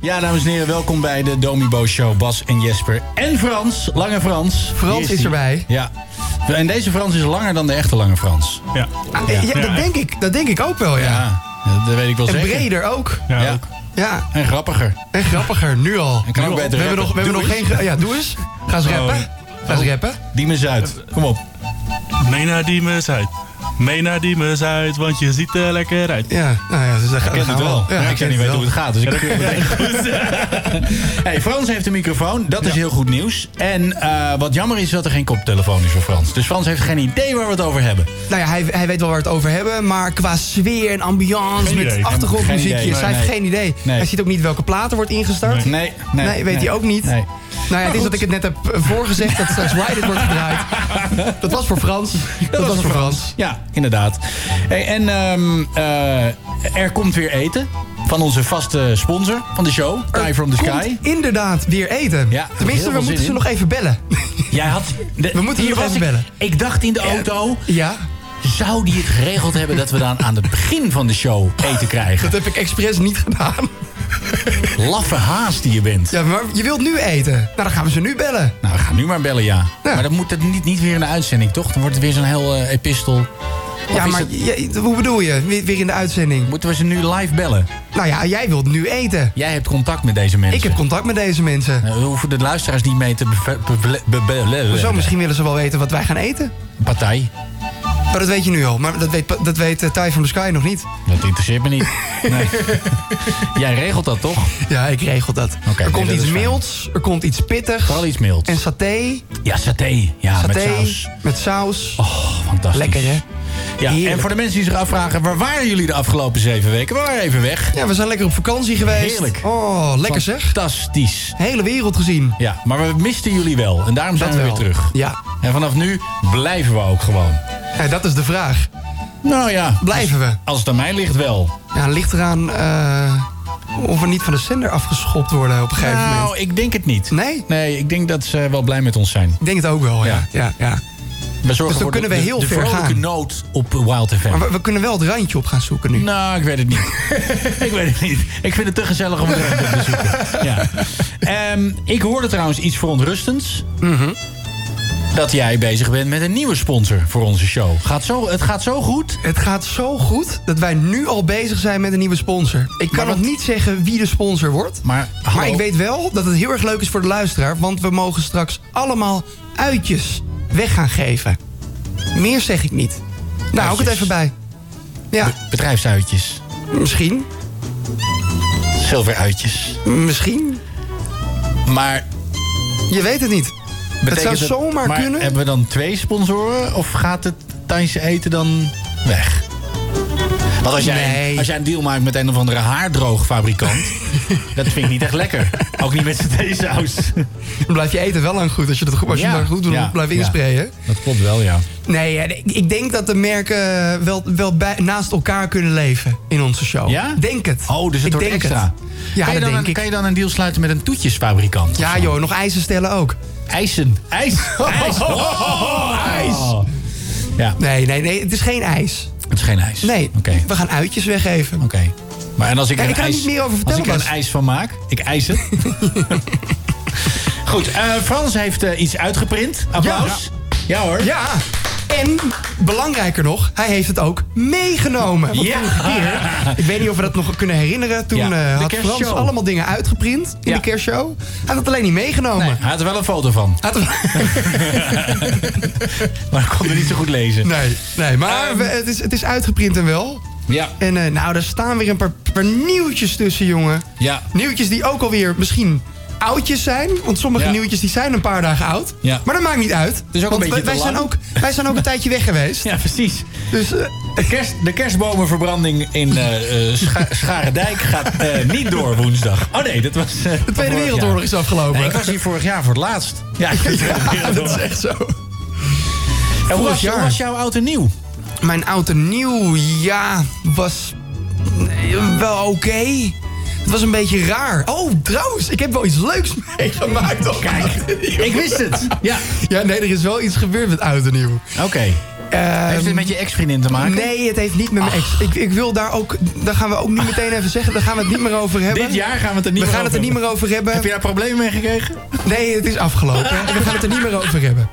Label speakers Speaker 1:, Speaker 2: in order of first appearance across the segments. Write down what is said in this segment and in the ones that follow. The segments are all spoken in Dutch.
Speaker 1: Ja, dames en heren, welkom bij de Domibo Show. Bas en Jesper en Frans, Lange Frans.
Speaker 2: Frans
Speaker 1: Hier
Speaker 2: is
Speaker 1: die.
Speaker 2: erbij.
Speaker 1: Ja. En deze Frans is langer dan de echte Lange Frans.
Speaker 3: Ja.
Speaker 2: Ah, Ja, dat, denk ik, dat denk ik ook wel, ja.
Speaker 1: Ja, dat weet ik wel
Speaker 2: En
Speaker 1: zeker.
Speaker 2: breder ook.
Speaker 3: Ja,
Speaker 1: Ja.
Speaker 3: ook.
Speaker 2: Ja,
Speaker 1: En grappiger.
Speaker 2: en grappiger, nu al.
Speaker 1: kan
Speaker 2: Nu
Speaker 1: ook
Speaker 2: al.
Speaker 1: beter
Speaker 2: we hebben
Speaker 1: rappen.
Speaker 2: nog, we hebben
Speaker 1: Doe Oh.
Speaker 2: nog geen... gra- Ja, doe eens. Ga
Speaker 3: Oh,
Speaker 2: eens rappen. Ga eens rappen.
Speaker 1: Diem eens uit. Kom op.
Speaker 3: Mee naar Diemen Zuid. Mee naar Diemen Zuid, want je ziet er lekker uit.
Speaker 2: Ja, nou ja, dus daar gaan
Speaker 1: Ik ken het
Speaker 2: we
Speaker 1: wel.
Speaker 2: al.
Speaker 1: Ja, ik
Speaker 2: ken
Speaker 1: zou niet weten
Speaker 2: wel.
Speaker 1: hoe het gaat. Dus ik hey, Frans heeft een microfoon. Dat is heel goed nieuws. En eh, wat jammer is dat er geen koptelefoon is voor Frans. Dus Frans heeft geen idee waar we het over hebben.
Speaker 2: Nou ja, hij, hij weet wel waar we het over hebben, maar qua sfeer en ambiance
Speaker 3: Geen idee.
Speaker 2: met
Speaker 1: Geen idee.
Speaker 2: achtergrondmuziekjes, hij heeft
Speaker 1: Nee.
Speaker 2: geen idee.
Speaker 1: Nee.
Speaker 2: Hij ziet ook niet welke plaat er wordt ingestart.
Speaker 3: Nee.
Speaker 1: Nee, nee.
Speaker 2: Nee, weet hij ook niet.
Speaker 1: Nee.
Speaker 2: Nou ja, het is dat ik het net heb eh, voorgezegd dat straks Ride It wordt gedraaid. Dat was voor Frans. Dat, was voor Frans.
Speaker 1: Ja, inderdaad. Hey, en ehm, eh, er komt weer eten van onze vaste sponsor van de show, Thai from the Sky.
Speaker 2: Komt inderdaad weer eten.
Speaker 1: Ja, heel
Speaker 2: Tenminste,
Speaker 1: veel
Speaker 2: we
Speaker 1: zin
Speaker 2: moeten ze
Speaker 1: in.
Speaker 2: nog even bellen.
Speaker 1: Jij had, de-
Speaker 2: We moeten
Speaker 1: hier
Speaker 2: nog
Speaker 1: was
Speaker 2: even
Speaker 1: ik,
Speaker 2: bellen.
Speaker 1: Ik dacht in de auto,
Speaker 2: Ja,
Speaker 1: zou die het geregeld hebben dat we dan aan het begin van de show eten krijgen?
Speaker 2: dat heb ik expres niet gedaan.
Speaker 1: Laffe haas die je bent.
Speaker 2: Ja, maar je wilt nu eten. Nou, dan gaan we ze nu bellen.
Speaker 1: Nou, we gaan nu maar bellen, ja.
Speaker 2: Ja.
Speaker 1: Maar dat moet het niet, niet weer in de uitzending, toch? Dan wordt het weer zo'n heel eh, epistel. Of
Speaker 2: Ja,
Speaker 1: is
Speaker 2: maar
Speaker 1: het-
Speaker 2: je- hoe bedoel je? Weer weer in de uitzending.
Speaker 1: moeten we ze nu live bellen?
Speaker 2: Nou ja, jij wilt nu eten.
Speaker 1: Jij hebt contact met deze mensen.
Speaker 2: Ik heb contact met deze mensen.
Speaker 1: Nou, we hoeven de luisteraars niet mee te beve- beve- bebellen.
Speaker 2: Zo, misschien willen ze wel weten wat wij gaan eten.
Speaker 1: Partij.
Speaker 2: Maar dat weet je nu al. Maar dat weet, dat weet eh, Ty from the Sky nog niet.
Speaker 1: Dat interesseert me niet. Nee. Jij regelt dat toch?
Speaker 2: Ja, ik regel dat.
Speaker 1: nee,
Speaker 2: er komt
Speaker 1: dat
Speaker 2: iets
Speaker 1: is fijn.
Speaker 2: milds, er komt iets pittigs.
Speaker 1: Vooral iets mild.
Speaker 2: En saté.
Speaker 1: Ja, saté. Ja,
Speaker 2: saté
Speaker 1: met saus.
Speaker 2: Met saus.
Speaker 1: Oh, fantastisch.
Speaker 2: Lekker, hè?
Speaker 1: Ja,
Speaker 2: Heerlijk.
Speaker 1: en voor de mensen die zich afvragen, waar waren jullie de afgelopen zeven weken? We waren even weg.
Speaker 2: Ja, we zijn lekker op vakantie geweest.
Speaker 1: Heerlijk.
Speaker 2: Oh, lekker zeg.
Speaker 1: Fantastisch.
Speaker 2: Hele wereld gezien.
Speaker 1: Ja, maar we misten jullie wel. En daarom zijn
Speaker 2: Dat
Speaker 1: we
Speaker 2: wel.
Speaker 1: weer terug.
Speaker 2: Ja.
Speaker 1: En vanaf nu blijven we ook gewoon.
Speaker 2: Ja, dat is de vraag.
Speaker 1: Nou ja,
Speaker 2: Blijven we?
Speaker 1: als het aan mij ligt wel.
Speaker 2: Ja, ligt eraan eh, of we niet van de zender afgeschopt worden op een gegeven moment.
Speaker 1: Nou, ik denk het niet.
Speaker 2: Nee?
Speaker 1: Nee, ik denk dat ze wel blij met ons zijn.
Speaker 2: Ik denk het ook wel, ja.
Speaker 1: Ja.
Speaker 2: ja. ja, Dus
Speaker 1: We zorgen
Speaker 2: dan
Speaker 1: voor
Speaker 2: kunnen
Speaker 1: de,
Speaker 2: we
Speaker 1: de-
Speaker 2: heel
Speaker 1: de
Speaker 2: ver
Speaker 1: vrolijke
Speaker 2: gaan.
Speaker 1: nood op Wild FM.
Speaker 2: Maar we, we kunnen wel het randje op gaan zoeken nu.
Speaker 1: Nou, ik weet het niet. ik weet het niet. Ik vind het te gezellig om het even op te zoeken. Ja. Ehm, ik hoorde trouwens iets verontrustends.
Speaker 2: Mhm.
Speaker 1: Dat jij bezig bent met een nieuwe sponsor voor onze show. Gaat zo, het gaat zo goed.
Speaker 2: Het gaat zo goed dat wij nu al bezig zijn met een nieuwe sponsor. Ik kan
Speaker 1: wat-
Speaker 2: nog niet zeggen wie de sponsor wordt.
Speaker 1: Maar, hallo.
Speaker 2: Maar ik weet wel dat het heel erg leuk is voor de luisteraar... want we mogen straks allemaal uitjes weg gaan geven. Meer zeg ik niet. Nou, hou ik het
Speaker 1: Uitjes.
Speaker 2: even bij. Ja,
Speaker 1: Bedrijfsuitjes.
Speaker 2: misschien.
Speaker 1: Zilveruitjes.
Speaker 2: Misschien.
Speaker 1: Maar
Speaker 2: Je weet het niet. Het zou
Speaker 1: Betekent
Speaker 2: zomaar
Speaker 1: maar
Speaker 2: kunnen.
Speaker 1: Hebben we dan twee sponsoren of gaat het Thaise eten dan weg? Want als jij,
Speaker 2: Nee.
Speaker 1: als jij een deal maakt met een of andere haardroogfabrikant, dat vind ik niet echt lekker. Ook niet met z'n theesaus.
Speaker 2: Dan blijf je eten wel lang goed. Als je dat goed, als je
Speaker 1: Ja,
Speaker 2: dat goed doet,
Speaker 1: ja,
Speaker 2: blijf
Speaker 1: ja.
Speaker 2: insprayen.
Speaker 1: Dat klopt wel, ja.
Speaker 2: Nee, ja, ik- ik denk dat de merken wel, wel bij, naast elkaar kunnen leven in onze show.
Speaker 1: Ja?
Speaker 2: Denk het.
Speaker 1: Oh, dus het
Speaker 2: ik
Speaker 1: wordt
Speaker 2: denk
Speaker 1: extra.
Speaker 2: Het. Ja,
Speaker 1: kan, je
Speaker 2: dat
Speaker 1: dan
Speaker 2: denk
Speaker 1: een,
Speaker 2: ik.
Speaker 1: kan je dan een deal sluiten met een toetjesfabrikant?
Speaker 2: Ja joh, nog eisen stellen ook.
Speaker 1: IJsen. IJs. IJs. Oh, IJs. Ja,
Speaker 2: Nee, nee, nee, het is geen ijs.
Speaker 1: het is geen ijs.
Speaker 2: Nee,
Speaker 1: Oké.
Speaker 2: we gaan uitjes weggeven.
Speaker 1: Oké. Maar en als ik
Speaker 2: Ja,
Speaker 1: er
Speaker 2: ik
Speaker 1: een
Speaker 2: kan
Speaker 1: ijs,
Speaker 2: er niet meer over
Speaker 1: als
Speaker 2: vertellen,
Speaker 1: ik er een
Speaker 2: Bas.
Speaker 1: ijs van maak, ik ijs het. Goed, eh, Frans heeft eh, iets uitgeprint. Applaus. Ja, hoor.
Speaker 2: Ja, en belangrijker nog, hij heeft het ook meegenomen. Want
Speaker 1: Ja.
Speaker 2: vorige keer, ik weet niet of we dat nog kunnen herinneren... toen
Speaker 1: Ja,
Speaker 2: eh,
Speaker 1: de
Speaker 2: had
Speaker 1: kerstshow.
Speaker 2: Frans allemaal dingen uitgeprint in
Speaker 1: Ja.
Speaker 2: de kerstshow. Hij had het alleen niet meegenomen.
Speaker 1: Nee, hij had er wel een foto van,
Speaker 2: Had het-
Speaker 1: maar ik kon het niet zo goed lezen.
Speaker 2: nee, nee, maar
Speaker 1: Ehm.
Speaker 2: we- het, is, het is uitgeprint en wel.
Speaker 1: Ja.
Speaker 2: En eh, nou, daar staan weer een paar, paar nieuwtjes tussen, jongen.
Speaker 1: Ja.
Speaker 2: Nieuwtjes die ook alweer misschien oudjes zijn. Want sommige
Speaker 1: Ja.
Speaker 2: nieuwtjes die zijn een paar dagen oud.
Speaker 1: Ja.
Speaker 2: Maar dat maakt niet uit. Het
Speaker 1: is ook een beetje te
Speaker 2: wij,
Speaker 1: lang.
Speaker 2: zijn ook, wij zijn ook een tijdje weg geweest.
Speaker 1: Ja, precies.
Speaker 2: Dus eh,
Speaker 1: De, kerst, de kerstbomenverbranding in eh, eh, Scha- Scharendijk gaat eh, niet door woensdag. Oh nee, dat was... eh, van
Speaker 2: de
Speaker 1: vorig
Speaker 2: Tweede
Speaker 1: jaar.
Speaker 2: Wereldoorlog is afgelopen.
Speaker 1: Nee, ik was hier vorig jaar voor het laatst. Ja, ik was hier voor de
Speaker 2: ja, dat is
Speaker 1: Wereldoorlog.
Speaker 2: echt zo.
Speaker 1: En hoe
Speaker 2: vorig
Speaker 1: was, hoe
Speaker 2: jaar.
Speaker 1: was jouw oud en nieuw?
Speaker 2: Mijn oud en nieuw, ja, was nee, wel oké. Het was een beetje raar. Oh, trouwens, ik heb wel iets leuks meegemaakt. Kijk,
Speaker 1: Ik wist het. Ja.
Speaker 2: Ja, nee, er is wel iets gebeurd met oud en nieuw. Ehm,
Speaker 1: Oké. Heeft dit met je ex-vriendin te maken?
Speaker 2: Nee, het heeft niet met mijn ex. Ik, ik wil daar ook, daar gaan we ook nu meteen even zeggen, daar gaan we het niet meer over hebben.
Speaker 1: Dit jaar gaan we het er niet
Speaker 2: we
Speaker 1: meer
Speaker 2: gaan het er
Speaker 1: over
Speaker 2: niet meer over hebben.
Speaker 1: Heb je daar problemen mee gekregen?
Speaker 2: Nee, het is afgelopen. We gaan het er niet meer over hebben.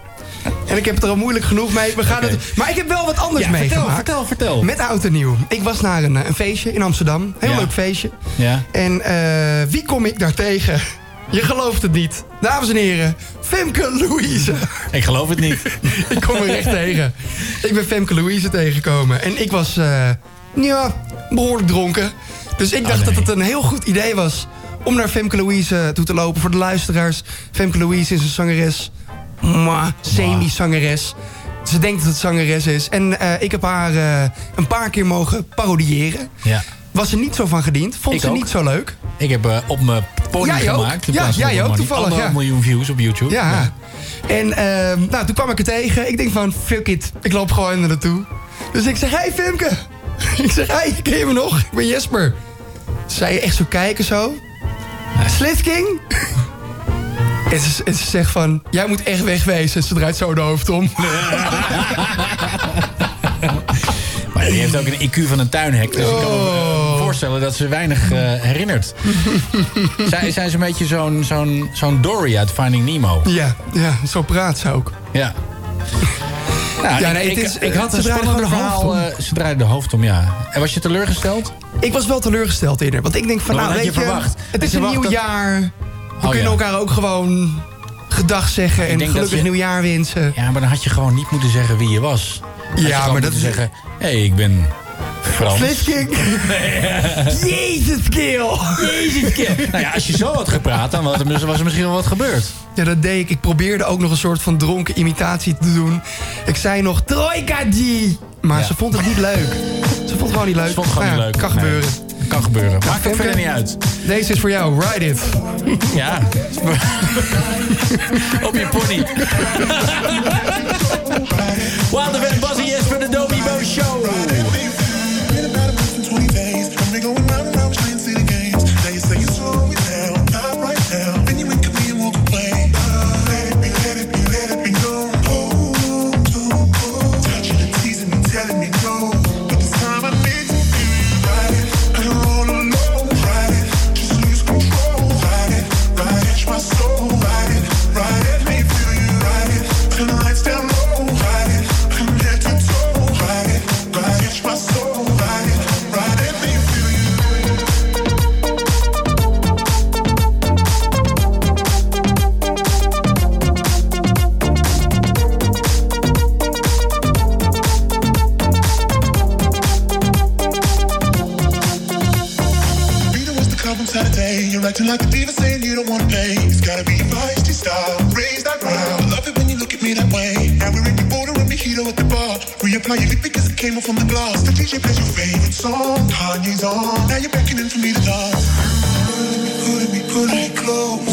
Speaker 2: En ik heb het er al moeilijk genoeg mee. We gaan
Speaker 1: Oké.
Speaker 2: het, maar ik heb wel wat anders
Speaker 1: Ja, vertel,
Speaker 2: meegemaakt.
Speaker 1: vertel, vertel.
Speaker 2: Met oud en nieuw. Ik was naar een, eh, een feestje in Amsterdam. Heel
Speaker 1: Ja.
Speaker 2: leuk feestje.
Speaker 1: Ja.
Speaker 2: En eh, wie kom ik daar tegen? Je gelooft het niet. Dames en heren, Femke Louise.
Speaker 1: Ik geloof het niet.
Speaker 2: ik kom er echt tegen. Ik ben Femke Louise tegengekomen. En ik was, eh, ja, behoorlijk dronken. Dus ik dacht
Speaker 1: nee.
Speaker 2: dat het een heel goed idee was om naar Femke Louise eh, toe te lopen. Voor de luisteraars, Femke Louise is een zangeres. Mwah, semi-zangeres. Ze denkt dat het zangeres is. En eh, ik heb haar eh, een paar keer mogen parodiëren.
Speaker 1: Ja.
Speaker 2: Was er niet zo van gediend. Vond
Speaker 1: Ik
Speaker 2: ze
Speaker 1: ook.
Speaker 2: niet zo leuk.
Speaker 1: Ik heb eh, op mijn pony
Speaker 2: Jij ook?
Speaker 1: gemaakt. in
Speaker 2: Ja,
Speaker 1: plaats van
Speaker 2: jij
Speaker 1: op
Speaker 2: ook,
Speaker 1: mijn money.
Speaker 2: toevallig,
Speaker 1: Anderhalf
Speaker 2: ja.
Speaker 1: miljoen views op YouTube.
Speaker 2: Ja. En ehm, nou, toen kwam ik er tegen. Ik denk van, fuck it. Ik loop gewoon naar naartoe. Dus ik zeg, hey Femke. ik zeg, hey, ken je me nog? Ik ben Jesper. Zij echt zo kijken zo. Slitking? en, ze, en ze zegt van, jij moet echt wegwezen. Ze draait zo de hoofd om.
Speaker 1: Maar die heeft ook een IQ van een tuinhek. Dus ik kan me
Speaker 2: Oh.
Speaker 1: eh, voorstellen dat ze weinig eh, herinnert. zij, zij is een beetje zo'n zo'n zo'n Dory uit Finding Nemo.
Speaker 2: Ja, ja, zo praat ze ook.
Speaker 1: Ja. Nou,
Speaker 2: Ja,
Speaker 1: ik-
Speaker 2: nee, het
Speaker 1: ik,
Speaker 2: is-
Speaker 1: ik had
Speaker 2: ze
Speaker 1: een
Speaker 2: draaiden
Speaker 1: spannende
Speaker 2: gewoon de
Speaker 1: verhaal.
Speaker 2: hoofd
Speaker 1: eh, ze draaiden de hoofd om, ja. En was je teleurgesteld?
Speaker 2: Ik was wel teleurgesteld eerder. Want ik denk van,
Speaker 1: Maar
Speaker 2: nou,
Speaker 1: wat
Speaker 2: weet
Speaker 1: had je verwacht?
Speaker 2: het
Speaker 1: Had
Speaker 2: is
Speaker 1: je
Speaker 2: een
Speaker 1: verwacht
Speaker 2: nieuw
Speaker 1: dat-
Speaker 2: jaar. We
Speaker 1: Oh,
Speaker 2: kunnen
Speaker 1: ja.
Speaker 2: elkaar ook gewoon gedag zeggen. En
Speaker 1: denk dat
Speaker 2: gelukkig
Speaker 1: ze-
Speaker 2: nieuwjaar wensen.
Speaker 1: Ja, maar dan had je gewoon niet moeten zeggen wie je was. Had
Speaker 2: Ja,
Speaker 1: je gewoon
Speaker 2: maar
Speaker 1: moeten
Speaker 2: dat is-
Speaker 1: zeggen, hé, hey, ik ben Frans.
Speaker 2: Flitskick. Jezus, keel.
Speaker 1: Jezus, kind. nou ja, als je zo had gepraat, dan was er, was er misschien wel wat gebeurd.
Speaker 2: Ja, dat deed ik. Ik probeerde ook nog een soort van dronken imitatie te doen. Ik zei nog Trojka G. Maar
Speaker 1: Ja.
Speaker 2: ze vond het niet leuk. Ze vond het gewoon niet leuk.
Speaker 1: Dat vond ik gewoon
Speaker 2: Nou
Speaker 1: niet
Speaker 2: ja,
Speaker 1: leuk.
Speaker 2: Kan
Speaker 1: Nee,
Speaker 2: gebeuren.
Speaker 1: Kan gebeuren. Maakt het
Speaker 2: Femke?
Speaker 1: verder niet uit.
Speaker 2: Deze is voor jou. Ride it.
Speaker 1: Ja. Op je pony. Wilder Van Bas en Jesper, de Domibo Show.
Speaker 4: Been about a month and 20 days. I've been going round and round trying to see the games. Now you say you're slowing down, not right now. Then you wake up and walk away. Let it be, let it be, let it be known. Oh, oh, oh. Touching and teasing and telling me no. But this time I need to be right. I don't wanna know. Right it, just lose control. Right it, right it, my soul. Right it, right it, me feel you. Right it, turn the lights down low. Right it, I'm head to toe. Right it, right it, my soul. Right it, right it, me feel you. Peter was the club on Saturday. You're acting like a diva saying you don't wanna pay. It's gotta be your feisty style. Raise that round. I love it when you look at me that way. Now we're in the border with Mojito at the bar. Reapply your lip because it came off on the glass. The DJ plays your favorite song. Kanye's on. Now you're beckoning for me to dance. Put me, put me close.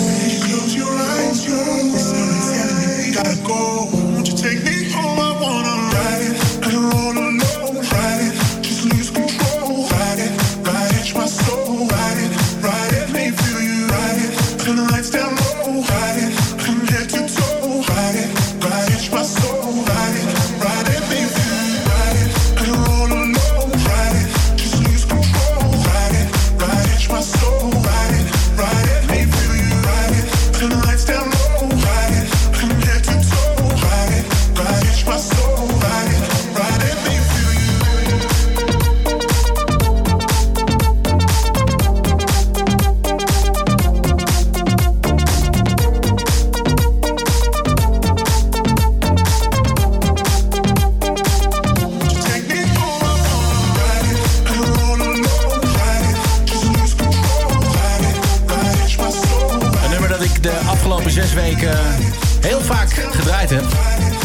Speaker 4: Close your eyes, your eyes. Gotta go. Won't you take me home? I wanna ride it. I don't wanna know. Ride it. Just lose control. Ride it. Ride it. My soul. Ride it. Ride it. Me feel you. Ride it. Turn the lights down low. Ride it. I'm head to toe. Ride it. Ride it. My soul. Ride it. Ride it. Me feel you. Ride it. I don't wanna know. Ride it. Just lose control. Ride it. Ride it. My soul. Ride it. Ride it. Me feel you. Ride it. Turn the lights down low. Ride it. I'm head to toe. Ride it. Ride it. My soul. Ride it. Ride it. Me feel you. Take me home, I wanna ride it. I don't wanna know, ride it. Just lose control, ride it. Ride it. My soul.
Speaker 1: Een nummer dat ik de afgelopen zes weken heel vaak gedraaid heb.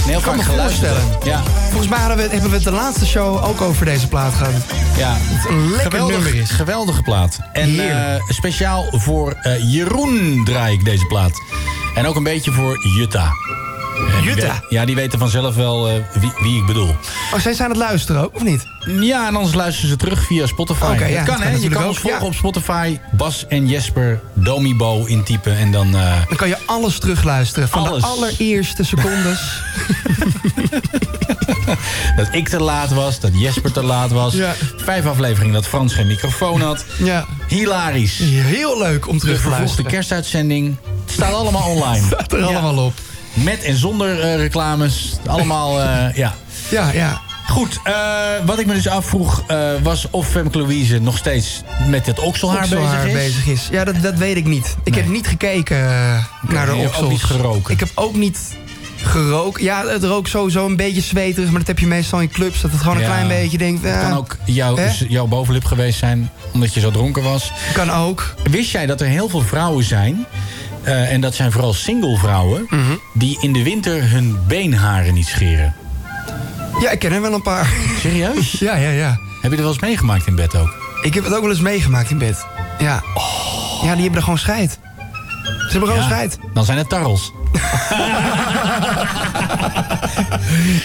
Speaker 1: En heel vaak
Speaker 2: me
Speaker 1: geluisterd
Speaker 2: voorstellen.
Speaker 1: heb. Ja,
Speaker 2: Volgens mij hadden we, hebben we het de laatste show ook over deze plaat gehad.
Speaker 1: ja.
Speaker 2: Een lekker nummer
Speaker 1: Geweldig,
Speaker 2: is.
Speaker 1: geweldige plaat. En eh,
Speaker 2: Heerlijk.
Speaker 1: speciaal voor eh, Jeroen draai ik deze plaat. En ook een beetje voor Jutta. En die
Speaker 2: Jutta?
Speaker 1: weet- Ja, die weten vanzelf wel eh, wie, wie ik bedoel.
Speaker 2: Oh, zij zijn aan het luisteren ook, of niet?
Speaker 1: Ja, en anders luisteren ze terug via Spotify.
Speaker 2: Oké, ja,
Speaker 1: dat
Speaker 2: dat
Speaker 1: kan,
Speaker 2: kan
Speaker 1: hè? Je
Speaker 2: natuurlijk
Speaker 1: kan
Speaker 2: ook,
Speaker 1: ons volgen
Speaker 2: ja.
Speaker 1: op Spotify. Bas en Jesper, Domibo intypen en dan... eh,
Speaker 2: Dan kan je alles terugluisteren. Van
Speaker 1: Alles.
Speaker 2: de allereerste secondes.
Speaker 1: dat ik te laat was, dat Jesper te laat was.
Speaker 2: Ja.
Speaker 1: Vijf afleveringen dat Frans geen microfoon had.
Speaker 2: Ja.
Speaker 1: Hilarisch. Dus
Speaker 2: Heel leuk om terug
Speaker 1: De
Speaker 2: te
Speaker 1: vervroegde
Speaker 2: luisteren.
Speaker 1: kerstuitzending. Het staat allemaal online.
Speaker 2: Staat er allemaal op.
Speaker 1: Met en zonder eh, reclames. Allemaal, eh, ja.
Speaker 2: Ja, ja.
Speaker 1: Goed, eh, wat ik me dus afvroeg eh, was of Femke Louise nog steeds met het okselhaar,
Speaker 2: Okselhaar
Speaker 1: bezig is.
Speaker 2: bezig is. Ja, dat, dat weet ik niet. Ik heb niet gekeken eh, naar de
Speaker 1: heb je ook
Speaker 2: oksels.
Speaker 1: niet geroken?
Speaker 2: Ik heb ook niet gerookt. Ja, het rookt sowieso een beetje zweterig. Maar dat heb je meestal in clubs. Dat het gewoon een
Speaker 1: Ja.
Speaker 2: klein beetje denkt... eh,
Speaker 1: Het
Speaker 2: ja,
Speaker 1: kan ook jouw,
Speaker 2: Hè?
Speaker 1: z- jouw bovenlip geweest zijn omdat je zo dronken was.
Speaker 2: Kan ook.
Speaker 1: Wist jij dat er heel veel vrouwen zijn, eh, en dat zijn vooral single vrouwen...
Speaker 2: Mhm.
Speaker 1: die in de winter hun beenharen niet scheren?
Speaker 2: Ja, ik ken er wel een paar.
Speaker 1: Serieus?
Speaker 2: ja, ja, ja.
Speaker 1: Heb je er wel eens meegemaakt in bed ook?
Speaker 2: Ik heb het ook wel eens meegemaakt in bed. Ja. Ja, die hebben er gewoon scheid. Ze hebben gewoon scheid.
Speaker 1: Oh. Dan zijn het tarrels.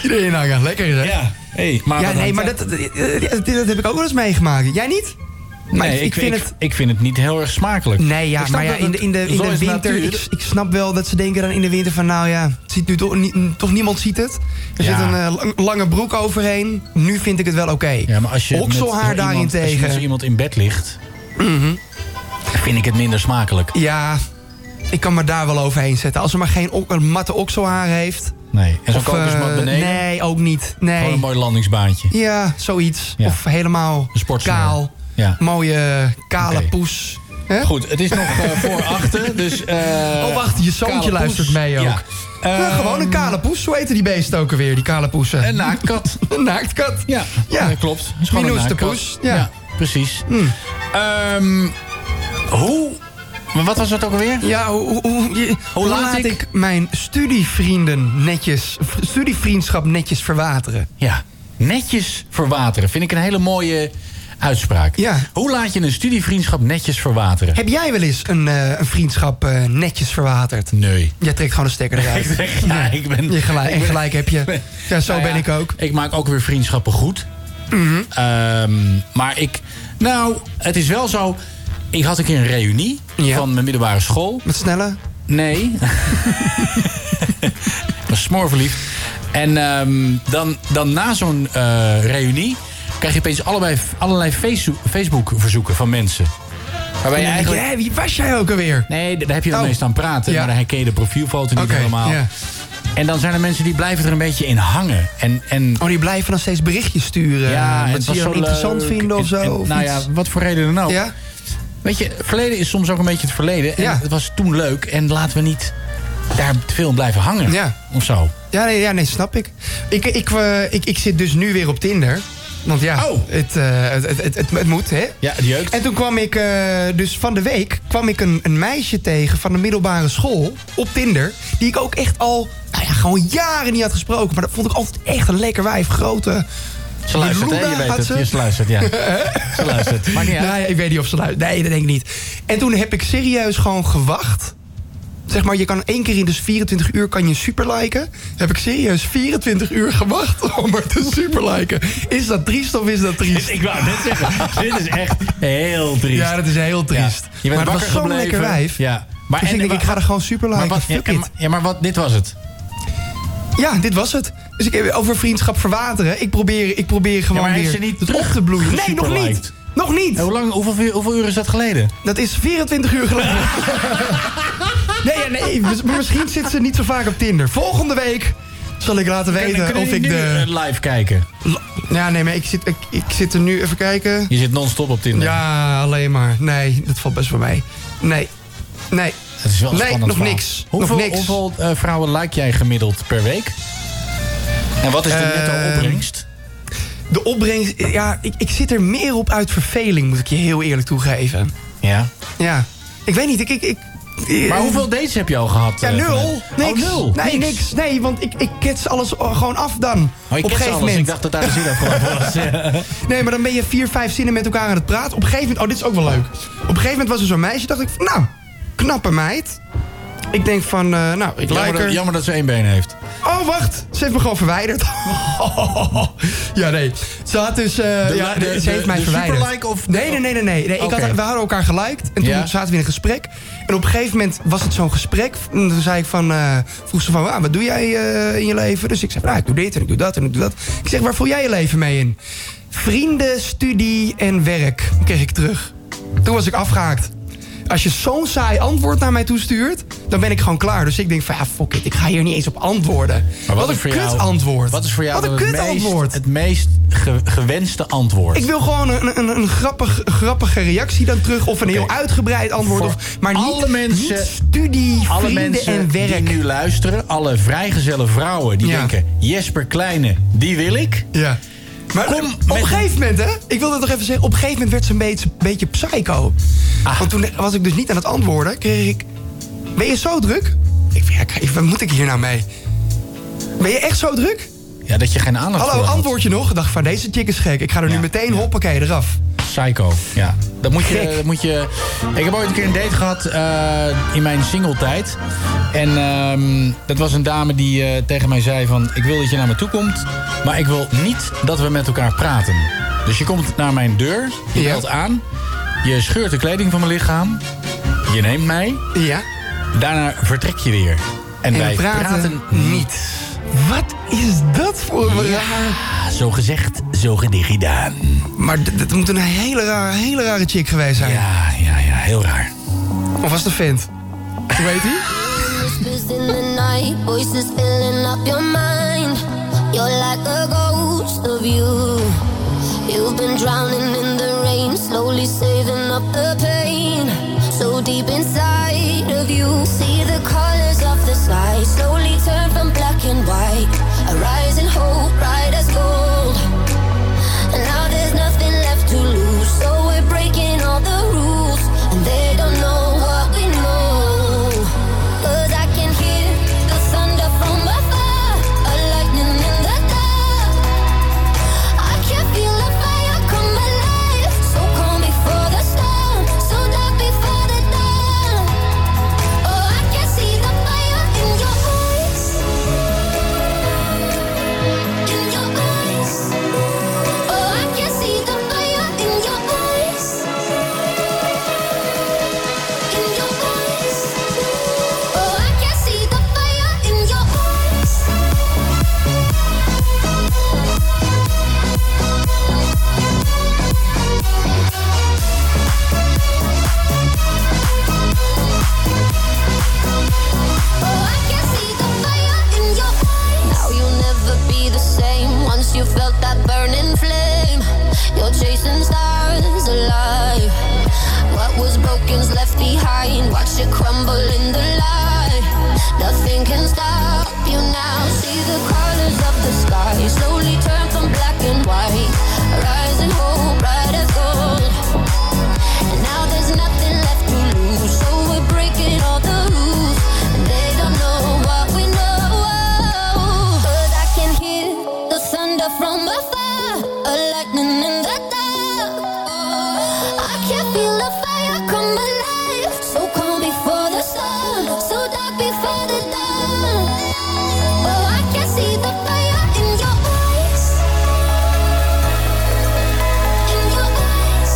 Speaker 2: Iedereen hangen. Lekker, hè? Ja,
Speaker 1: hey, maar wat
Speaker 2: nee,
Speaker 1: dan-
Speaker 2: maar dat, dat, dat- dat heb ik ook wel eens meegemaakt. Jij niet? Maar
Speaker 1: Nee,
Speaker 2: ik, ik vind het...
Speaker 1: ik vind het niet heel erg smakelijk.
Speaker 2: Nee, ja,
Speaker 1: Ik snap
Speaker 2: maar ja,
Speaker 1: dat
Speaker 2: in de, in de,
Speaker 1: het-
Speaker 2: in
Speaker 1: zo
Speaker 2: de
Speaker 1: is
Speaker 2: winter...
Speaker 1: natuur.
Speaker 2: Ik, ik snap wel dat ze denken dan in de winter van... Nou ja, het ziet nu toch, niet- toch niemand ziet het. Er
Speaker 1: Ja.
Speaker 2: zit een eh, lang- lange broek overheen. Nu vind ik het wel oké.
Speaker 1: Ja, maar als je met zo
Speaker 2: Okselhaar
Speaker 1: iemand- Als je met zo
Speaker 2: daarentegen.
Speaker 1: iemand in bed ligt, vind ik het minder smakelijk.
Speaker 2: Ja, ik kan me daar wel overheen zetten. Als ze maar geen ok- een matte okselhaar heeft...
Speaker 1: Nee. En zo'n
Speaker 2: Of, eh,
Speaker 1: kokosmat beneden,
Speaker 2: Nee, ook niet. Nee.
Speaker 1: gewoon een mooi landingsbaantje.
Speaker 2: Ja, zoiets.
Speaker 1: Ja.
Speaker 2: Of helemaal
Speaker 1: Een sportschoen.
Speaker 2: kaal.
Speaker 1: Ja.
Speaker 2: Mooie kale
Speaker 1: Oké.
Speaker 2: poes. Hè?
Speaker 1: Goed, het is nog eh, voor achten, dus... eh,
Speaker 2: Oh, wacht, je
Speaker 1: kale
Speaker 2: zoontje
Speaker 1: poes.
Speaker 2: luistert mee ook.
Speaker 1: Ja.
Speaker 2: Ja,
Speaker 1: Ehm,
Speaker 2: gewoon een kale poes. Zo heten die beesten ook alweer, die kale poesen.
Speaker 1: Een naaktkat.
Speaker 2: Een naaktkat.
Speaker 1: Ja,
Speaker 2: Ja.
Speaker 1: dat klopt. Het is gewoon
Speaker 2: Minus de
Speaker 1: een naaktkat.
Speaker 2: poes, ja. Hmm.
Speaker 1: precies. Ehm, hoe... Maar wat was dat ook alweer?
Speaker 2: Ja, hoe, hoe, hoe- je- hoe
Speaker 1: laat
Speaker 2: laat,
Speaker 1: ik-
Speaker 2: ik... mijn studievrienden netjes, v- studievriendschap netjes verwateren?
Speaker 1: Ja, netjes verwateren vind ik een hele mooie uitspraak.
Speaker 2: Ja.
Speaker 1: Hoe laat je een studievriendschap netjes verwateren?
Speaker 2: Heb jij wel eens een, eh, een vriendschap eh, netjes verwaterd?
Speaker 1: Nee.
Speaker 2: Jij trekt gewoon de stekker
Speaker 1: Ik
Speaker 2: eruit.
Speaker 1: zeg, ja, ik ben...
Speaker 2: Je gelijk,
Speaker 1: ik ben-
Speaker 2: gelijk heb je. Ja, zo
Speaker 1: Nou
Speaker 2: ben
Speaker 1: ja,
Speaker 2: ik ook.
Speaker 1: Ik maak ook weer vriendschappen goed. Mhm. Ehm, maar ik... Nou, het is wel zo... Ik had een keer een reunie
Speaker 2: Ja.
Speaker 1: van mijn middelbare school.
Speaker 2: Met snelle?
Speaker 1: Nee. Ik was smoorverliefd. En ehm, dan, dan na zo'n eh, reunie krijg je opeens allebei, allerlei Face- Facebook-verzoeken van mensen. Waarbij je
Speaker 2: Ja,
Speaker 1: eigenlijk...
Speaker 2: ja, wie was jij ook alweer?
Speaker 1: Nee, daar heb je dan
Speaker 2: Oh.
Speaker 1: meestal aan praten.
Speaker 2: Ja.
Speaker 1: Maar dan herken je de profielfoto niet
Speaker 2: Oké,
Speaker 1: helemaal.
Speaker 2: ja.
Speaker 1: En dan zijn er mensen die blijven er een beetje in hangen. En, en
Speaker 2: Oh, die blijven dan steeds berichtjes sturen. eh,
Speaker 1: en
Speaker 2: wat
Speaker 1: het
Speaker 2: ze
Speaker 1: was
Speaker 2: dan
Speaker 1: zo
Speaker 2: interessant
Speaker 1: leuk.
Speaker 2: vinden of
Speaker 1: En-
Speaker 2: zo.
Speaker 1: en,
Speaker 2: of
Speaker 1: nou
Speaker 2: iets.
Speaker 1: ja, wat voor reden dan ook.
Speaker 2: ja?
Speaker 1: Weet je, het verleden is soms ook een beetje het verleden. En
Speaker 2: Ja.
Speaker 1: het was toen leuk. En laten we niet daar te veel in blijven hangen.
Speaker 2: Ja.
Speaker 1: Of zo.
Speaker 2: Ja, nee, ja, nee, snap ik. Ik, ik, eh, ik. ik zit dus nu weer op Tinder. Want ja,
Speaker 1: Oh.
Speaker 2: het, eh, het, het, het, het- het moet, hè?
Speaker 1: Ja, het jeukt.
Speaker 2: En toen kwam ik, eh, dus van de week, kwam ik een, een meisje tegen van de middelbare school op Tinder. Die ik ook echt al, nou ja, gewoon jaren niet had gesproken. Maar dat vond ik altijd echt een lekker wijf. Grote.
Speaker 1: Ze luistert, hè?
Speaker 2: Luna
Speaker 1: Je weet
Speaker 2: had
Speaker 1: het.
Speaker 2: ze.
Speaker 1: Ja, Ze luistert, ja. Ze luistert. Maar niet uit.
Speaker 2: Nou ja, ik weet niet of ze luistert. Nee, dat denk ik niet. En toen heb ik serieus gewoon gewacht. Zeg maar, je kan één keer in dus 24 uur kan je superliken. Heb ik serieus 24 uur gewacht om er te superliken. Is dat triest of is dat triest?
Speaker 1: Ik wou net zeggen, dit is echt heel triest.
Speaker 2: Ja, dat is heel triest.
Speaker 1: Ja.
Speaker 2: maar het was
Speaker 1: wakker
Speaker 2: zo'n
Speaker 1: gebleven.
Speaker 2: lekker wijf.
Speaker 1: Ja. Maar,
Speaker 2: Dus
Speaker 1: en-
Speaker 2: ik denk, ik ga er gewoon superliken.
Speaker 1: maar wat, ja,
Speaker 2: Fuck
Speaker 1: en-
Speaker 2: it.
Speaker 1: ja, maar wat, dit was het.
Speaker 2: Ja, dit was het. Dus ik heb over vriendschap verwateren. Ik probeer, ik probeer gewoon
Speaker 1: maar heeft
Speaker 2: weer
Speaker 1: ze niet
Speaker 2: het
Speaker 1: terug
Speaker 2: op te bloeien. Nee, nog
Speaker 1: gesuperliked?
Speaker 2: niet. Nog niet.
Speaker 1: En Hoe lang, hoeveel, hoeveel uur is dat geleden?
Speaker 2: Dat is 24 uur geleden. Nee, ja, nee, mis- maar misschien zit ze niet zo vaak op Tinder. Volgende week zal ik laten weten
Speaker 1: Kunnen- kunnen
Speaker 2: of ik
Speaker 1: jullie nu,
Speaker 2: de...
Speaker 1: eh, live kijken?
Speaker 2: Ja, nee, maar ik zit, ik, ik zit er nu even kijken.
Speaker 1: Je zit non-stop op Tinder.
Speaker 2: Ja, alleen maar. Nee, dat valt best voor mij. Nee, nee.
Speaker 1: Dat is wel een
Speaker 2: Nee,
Speaker 1: spannend
Speaker 2: nog
Speaker 1: verhaal.
Speaker 2: niks. Nog
Speaker 1: Hoeveel,
Speaker 2: niks.
Speaker 1: hoeveel eh, vrouwen like jij gemiddeld per week? En wat is de netto
Speaker 2: Ehm,
Speaker 1: opbrengst?
Speaker 2: De opbrengst... Ja, ik, ik zit er meer op uit verveling, moet ik je heel eerlijk toegeven.
Speaker 1: Ja.
Speaker 2: Ja. Ik weet niet, ik... ik, ik
Speaker 1: Maar hoeveel dates heb je al gehad?
Speaker 2: Ja,
Speaker 1: eh,
Speaker 2: nul.
Speaker 1: vanuit-
Speaker 2: Niks.
Speaker 1: Oh, nul.
Speaker 2: Nee, niks. Nee, want ik, ik kets alles eh, gewoon af dan.
Speaker 1: Oh, ik
Speaker 2: op een
Speaker 1: ken ze
Speaker 2: gegeven
Speaker 1: alles.
Speaker 2: moment.
Speaker 1: Ik dacht dat daar de zin aan was.
Speaker 2: Nee, maar dan ben je vier, vijf zinnen met elkaar aan het praten. Op een gegeven moment, oh, dit is ook wel leuk. Op een gegeven moment was er zo'n meisje, dacht ik, van, nou, knappe meid. Ik denk van, eh, nou, ik like
Speaker 1: Jammer,
Speaker 2: haar.
Speaker 1: dat, jammer dat ze één been heeft.
Speaker 2: Oh, wacht. Ze heeft me gewoon verwijderd. ja, nee. Ze had dus... eh, ja,
Speaker 1: de- de-
Speaker 2: ze heeft mij
Speaker 1: de
Speaker 2: verwijderd.
Speaker 1: superlike of-
Speaker 2: Nee, nee, nee. nee, nee. nee, ik
Speaker 1: Oké.
Speaker 2: had, we hadden elkaar geliked. En toen
Speaker 1: Ja.
Speaker 2: zaten we in een gesprek. En op een gegeven moment was het zo'n gesprek. En toen zei ik van... eh, vroeg ze van, ah, wat doe jij eh, in je leven? Dus ik zei, nou, ik doe dit en ik doe dat en ik doe dat. Ik zeg, waar voel jij je leven mee in? Vrienden, studie en werk, kreeg ik terug. Toen was ik afgehaakt. Als je zo'n saai antwoord naar mij toestuurt, dan ben ik gewoon klaar. Dus ik denk van, ja, fuck it, ik ga hier niet eens op antwoorden.
Speaker 1: Maar
Speaker 2: wat,
Speaker 1: is
Speaker 2: een
Speaker 1: voor jou-
Speaker 2: kut antwoord.
Speaker 1: Wat is voor jou
Speaker 2: Wat een
Speaker 1: dan
Speaker 2: kut
Speaker 1: het meest,
Speaker 2: antwoord.
Speaker 1: het meest ge- gewenste antwoord?
Speaker 2: Ik wil gewoon een, een, een grappig, grappige reactie dan terug. Of een heel
Speaker 1: Oké.
Speaker 2: uitgebreid antwoord.
Speaker 1: Voor
Speaker 2: Of, maar niet,
Speaker 1: alle mensen-
Speaker 2: niet studie,
Speaker 1: alle
Speaker 2: vrienden
Speaker 1: mensen
Speaker 2: en werk.
Speaker 1: die nu luisteren, alle vrijgezelle vrouwen die
Speaker 2: Ja.
Speaker 1: denken: Jesper Kleine, die wil ik.
Speaker 2: Ja. Maar
Speaker 1: Kom
Speaker 2: op
Speaker 1: met-
Speaker 2: een gegeven moment, hè? Ik wil dat nog even zeggen. Op een gegeven moment werd ze een beetje, beetje psycho.
Speaker 1: Ah.
Speaker 2: Want toen was ik dus niet aan het antwoorden. Kreeg ik... Ben je zo druk? Ik vind, ja, kijk, wat moet ik hier nou mee? Ben je echt zo druk?
Speaker 1: Ja, dat je geen aandacht
Speaker 2: Hallo,
Speaker 1: voor had.
Speaker 2: antwoord je nog? Ik dacht van, deze chick is gek. Ik ga er
Speaker 1: Ja.
Speaker 2: nu meteen, hoppakee, eraf.
Speaker 1: Psycho, ja. Dat moet je,
Speaker 2: Gek.
Speaker 1: dat moet je... Ik heb ooit een keer een date gehad eh, in mijn singletijd. En ehm, dat was een dame die eh, tegen mij zei van... ik wil dat je naar me toe komt, maar ik wil niet dat we met elkaar praten. Dus je komt naar mijn deur, je
Speaker 2: Ja.
Speaker 1: belt aan... je scheurt de kleding van mijn lichaam, je neemt mij...
Speaker 2: Ja?
Speaker 1: daarna vertrek je weer. En,
Speaker 2: En
Speaker 1: wij
Speaker 2: praten Mhm.
Speaker 1: praten niet.
Speaker 2: Wat is dat voor een raar...
Speaker 1: Ah, Zo gezegd, zo gedaan.
Speaker 2: Maar d- dat moet een hele, raar, hele rare chick geweest zijn.
Speaker 1: Ja, ja, ja, heel raar.
Speaker 2: Of was de vent? Hoe heet die?
Speaker 5: Whispers in the night, voices filling up your mind. You're like a ghost of you. You've been drowning in the rain, slowly saving up the pain. So deep inside of you, see the colors of the sky slowly turn from black and white. A rising hope, bright as gold. And now there's nothing left to lose, so we're breaking all the rules, and they don't know what we know. 'Cause I can hear the thunder from afar, a lightning in the dark. I can feel the fire come alive, so calm before the storm, so dark before the dawn. Oh, I can see the fire in your eyes, in your eyes. Oh, I can see the fire in your eyes. In your eyes. Oh, I can see the fire in your eyes. Oh, I can see the fire in your eyes. Now you'll never be the same once you felt that burning flame. You're chasing stars alive. What was broken's left behind. Watch it crumble in the light. Nothing can stop you now. See the colors of the sky slowly turn from black and white. Rising hope, bright as gold. And now there's nothing left to lose, so we're breaking all the rules. And they don't know what we know. But I can hear the thunder from afar, a lightning in the dark. I can feel the fire come alive, so calm before the sun, so dark before the dawn. Oh, I can see the fire in your eyes, in your eyes.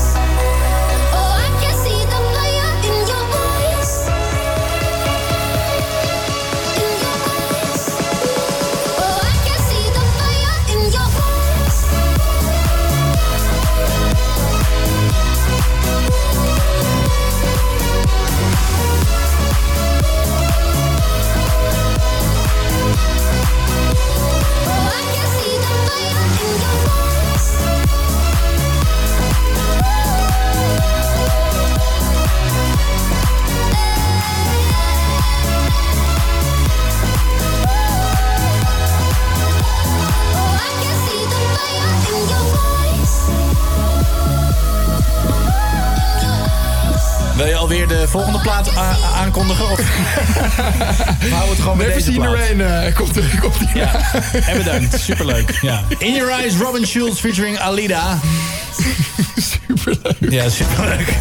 Speaker 5: Oh, I can see the fire in your eyes. In your eyes. Oh, I can see the fire in your eyes. Oh, I can see the fire in your eyes. Oh, I can see the fire in your eyes. In your eyes.
Speaker 1: Wil je alweer de volgende plaat a- aankondigen? Of... We houden het gewoon bij
Speaker 2: Never
Speaker 1: deze
Speaker 2: seen the
Speaker 1: plaat.
Speaker 2: rain. eh, komt er, komt die.
Speaker 1: Ja, en bedankt. Superleuk. Ja. In Your Eyes, Robin Schulz featuring Alida.
Speaker 2: Superleuk.
Speaker 1: Ja, superleuk.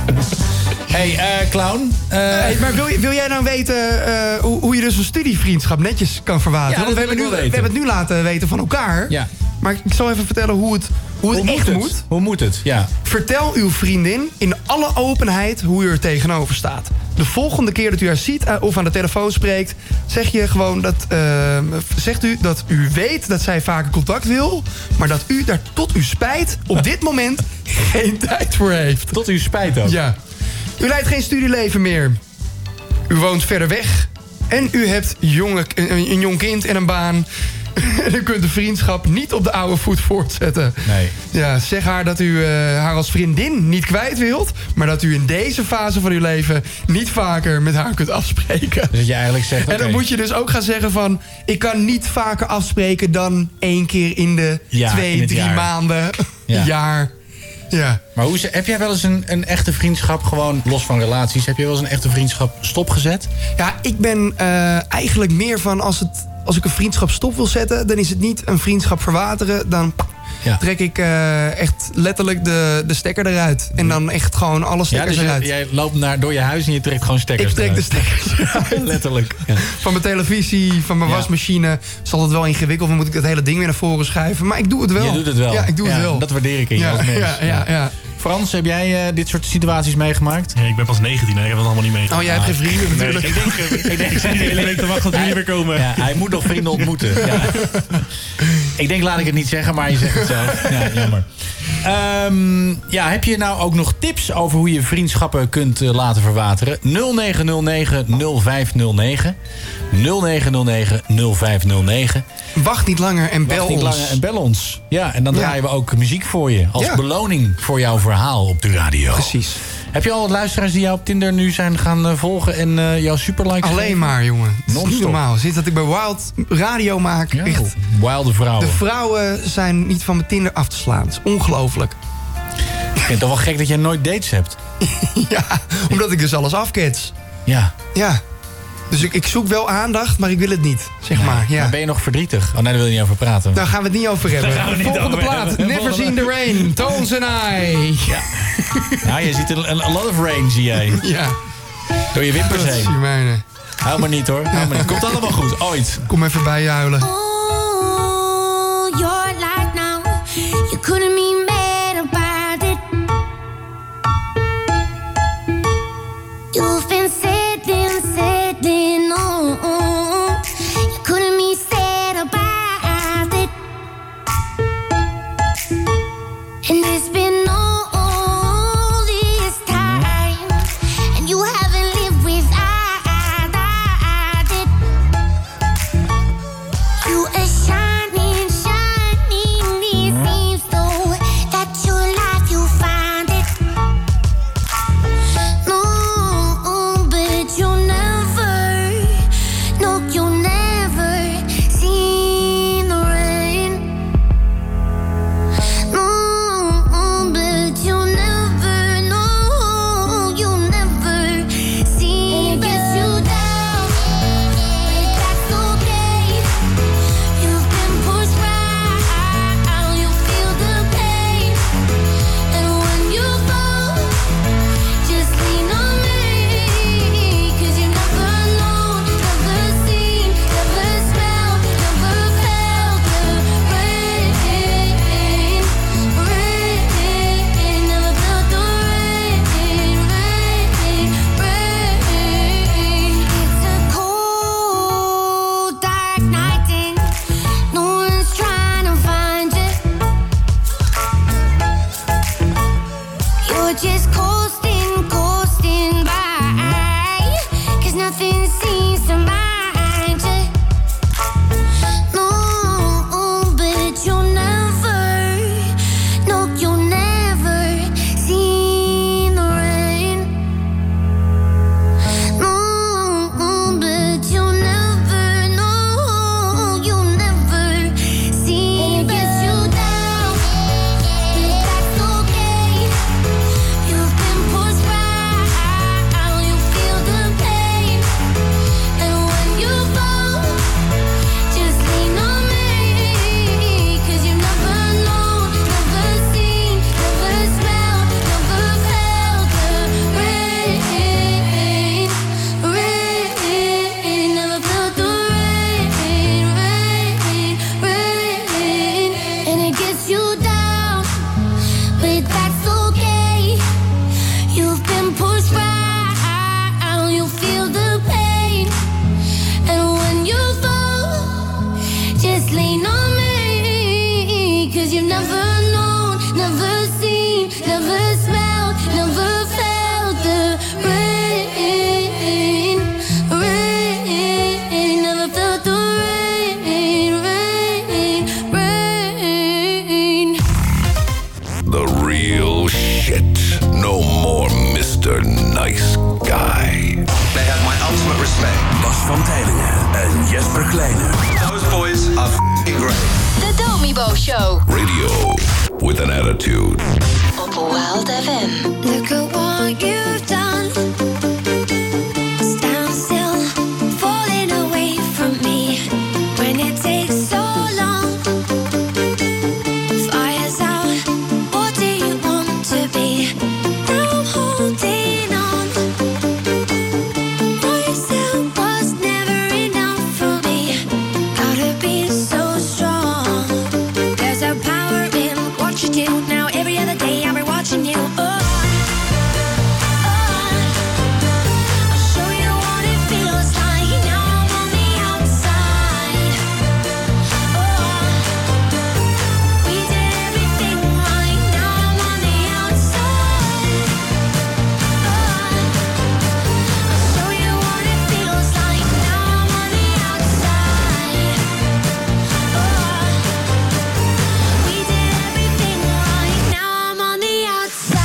Speaker 1: hey, eh, clown. Eh,
Speaker 2: Hey, maar wil, je- wil jij nou weten eh, hoe, hoe je dus een studievriendschap netjes kan verwateren?
Speaker 1: Ja, dat
Speaker 2: Want we
Speaker 1: wil
Speaker 2: hebben,
Speaker 1: ik
Speaker 2: nu,
Speaker 1: wel
Speaker 2: we
Speaker 1: weten.
Speaker 2: hebben het nu laten weten van elkaar.
Speaker 1: Ja.
Speaker 2: Maar ik zal even vertellen hoe het, hoe het
Speaker 1: hoe
Speaker 2: echt
Speaker 1: moet het?
Speaker 2: moet.
Speaker 1: Hoe moet het? Ja.
Speaker 2: Vertel uw vriendin in alle openheid hoe u er tegenover staat. De volgende keer dat u haar ziet eh, of aan de telefoon spreekt, zeg je gewoon dat, ehm, zegt u dat u weet dat zij vaker contact wil, maar dat u daar tot uw spijt op dit moment geen tijd voor heeft.
Speaker 1: Tot uw spijt ook.
Speaker 2: Ja. U leidt geen studieleven meer. U woont verder weg. En u hebt jonge, een, een- een jong kind en een baan. En u kunt de vriendschap niet op de oude voet voortzetten.
Speaker 1: Nee.
Speaker 2: Ja, zeg haar dat u eh, haar als vriendin niet kwijt wilt... maar dat u in deze fase van uw leven niet vaker met haar kunt afspreken.
Speaker 1: Dus dat je eigenlijk zegt,
Speaker 2: En dan
Speaker 1: oké.
Speaker 2: moet je dus ook gaan zeggen van... ik kan niet vaker afspreken dan één keer in de
Speaker 1: Ja,
Speaker 2: twee,
Speaker 1: in het
Speaker 2: drie
Speaker 1: jaar.
Speaker 2: maanden,
Speaker 1: Ja.
Speaker 2: jaar. Ja.
Speaker 1: Maar hoe, ze- heb jij wel eens een, een echte vriendschap, gewoon los van relaties... heb je wel eens een echte vriendschap stopgezet?
Speaker 2: Ja, ik ben eh, eigenlijk meer van als, het, als ik een vriendschap stop wil zetten, dan is het niet een vriendschap verwateren. Dan
Speaker 1: Ja.
Speaker 2: trek ik eh, echt letterlijk de, de stekker eruit. En dan echt gewoon alle
Speaker 1: Ja,
Speaker 2: stekkers
Speaker 1: dus jij,
Speaker 2: eruit.
Speaker 1: jij loopt naar, door je huis en je trekt gewoon stekkers
Speaker 2: ik trek de
Speaker 1: eruit.
Speaker 2: stekkers eruit.
Speaker 1: Letterlijk. Ja.
Speaker 2: Van mijn televisie, van mijn
Speaker 1: Ja.
Speaker 2: wasmachine. Is altijd wel ingewikkeld, want moet ik dat hele ding weer naar voren schuiven. Maar ik doe het wel.
Speaker 1: Je doet het wel.
Speaker 2: Ja, ik doe het wel.
Speaker 1: Dat waardeer ik in je
Speaker 2: ja,
Speaker 1: als mens.
Speaker 2: ja, ja, ja.
Speaker 1: Frans, heb jij eh, dit soort situaties meegemaakt?
Speaker 6: Ja, ik ben pas 19, hè, ik heb dat allemaal niet meegemaakt.
Speaker 2: Oh, jij hebt geen vrienden
Speaker 6: Nee,
Speaker 2: natuurlijk.
Speaker 6: ik denk, eh, ik, denk, ik zit de hele week te wachten tot jullie weer komen.
Speaker 1: Ja, hij moet nog vrienden ontmoeten. Ja. Ik denk, laat ik het niet zeggen, maar je zegt het zelf. Ja, jammer. Ehm, ja, heb je nou ook nog tips over hoe je vriendschappen kunt eh, laten verwateren? 0909-0509. 0909-0509.
Speaker 2: Wacht niet langer en bel
Speaker 1: Wacht niet
Speaker 2: ons.
Speaker 1: langer en bel ons. Ja, en dan
Speaker 2: Ja.
Speaker 1: draaien we ook muziek voor je. Als
Speaker 2: Ja.
Speaker 1: beloning voor jouw verhaal op de radio.
Speaker 2: Precies.
Speaker 1: Heb je al wat luisteraars die jou op Tinder nu zijn gaan eh, volgen en eh, jouw superlikes
Speaker 2: Alleen
Speaker 1: geven?
Speaker 2: maar, jongen. Het is niet
Speaker 1: Non-stop.
Speaker 2: normaal. Zit dat ik bij Wild radio maak.
Speaker 1: Ja,
Speaker 2: Echt.
Speaker 1: wilde vrouwen.
Speaker 2: De vrouwen zijn niet van mijn Tinder af te slaan. Het is ongelooflijk.
Speaker 1: Ik vind het toch wel gek dat jij nooit dates hebt.
Speaker 2: Ja, omdat ik dus alles afkets.
Speaker 1: Ja.
Speaker 2: Ja. Dus ik, ik zoek wel aandacht, maar ik wil het niet, zeg maar. Ja.
Speaker 1: Maar ben je nog verdrietig? Oh nee, daar wil je niet over praten.
Speaker 2: Daar gaan we het niet over hebben.
Speaker 6: gaan we het niet
Speaker 2: Volgende
Speaker 6: over
Speaker 2: plaat,
Speaker 6: hebben.
Speaker 2: Never Seen the Rain, Tones and I.
Speaker 1: Ja, je ziet een, een- a lot of rain, zie jij.
Speaker 2: Ja,
Speaker 1: Door je wimpers
Speaker 2: dat is
Speaker 1: heen.
Speaker 2: die mijne.
Speaker 1: Hou maar niet hoor. Hou maar niet. Komt allemaal goed. Ooit.
Speaker 2: Kom even bij je huilen.
Speaker 7: Ooh, you're like now. You couldn't be mad about it. You've been sitting, sitting on. You couldn't be sad about it. And it's been all this time, and you haven't lived without it. You are shining, shining. It seems though that your life you find it. No, but you'll never, no, you'll never see the rain. No, but you'll never, no, you'll never see. It gets you down, but that's okay. You've been pushed right, you feel the pain, and when you fall, just lean on me, 'cause you're never alone, never seen, never smelled, never felt the rain, rain, never felt the rain, rain, rain. It's a cold, dark night and no one's trying to find you. You're just coasting, coasting by, 'cause nothing seems to mind you. No, but you'll never, no, you'll never see the rain. No, but you'll never know. You'll never see. It gets you down, but that's okay. You've been pushed right, you feel the pain,
Speaker 5: never known, never seen, never smelled, never felt the rain, rain. Never felt the rain, rain, rain.
Speaker 8: The real shit. No more Mr. Nice Guy.
Speaker 9: They have my ultimate respect.
Speaker 10: Bas van Tijlingen en Jesper Kleine.
Speaker 9: Those boys are f***ing great.
Speaker 5: The Domibo Show.
Speaker 8: Radio with an attitude.
Speaker 5: Op Wild FM. Look at what you've done. Stand still, falling away from me. When it takes so long. Fire's out. What do you want to be? Now I'm holding on. What you said was never enough for me. Gotta be so strong. There's a power in what you do. Now every other day I've been watching you. Oh. Oh. I'll show you what it feels like. Now I'm on the outside. Oh. We did everything right. Now I'm on the outside. Oh. I'll show you what it feels like. Now I'm on the outside. Oh. We did everything right. Now I'm on the outside.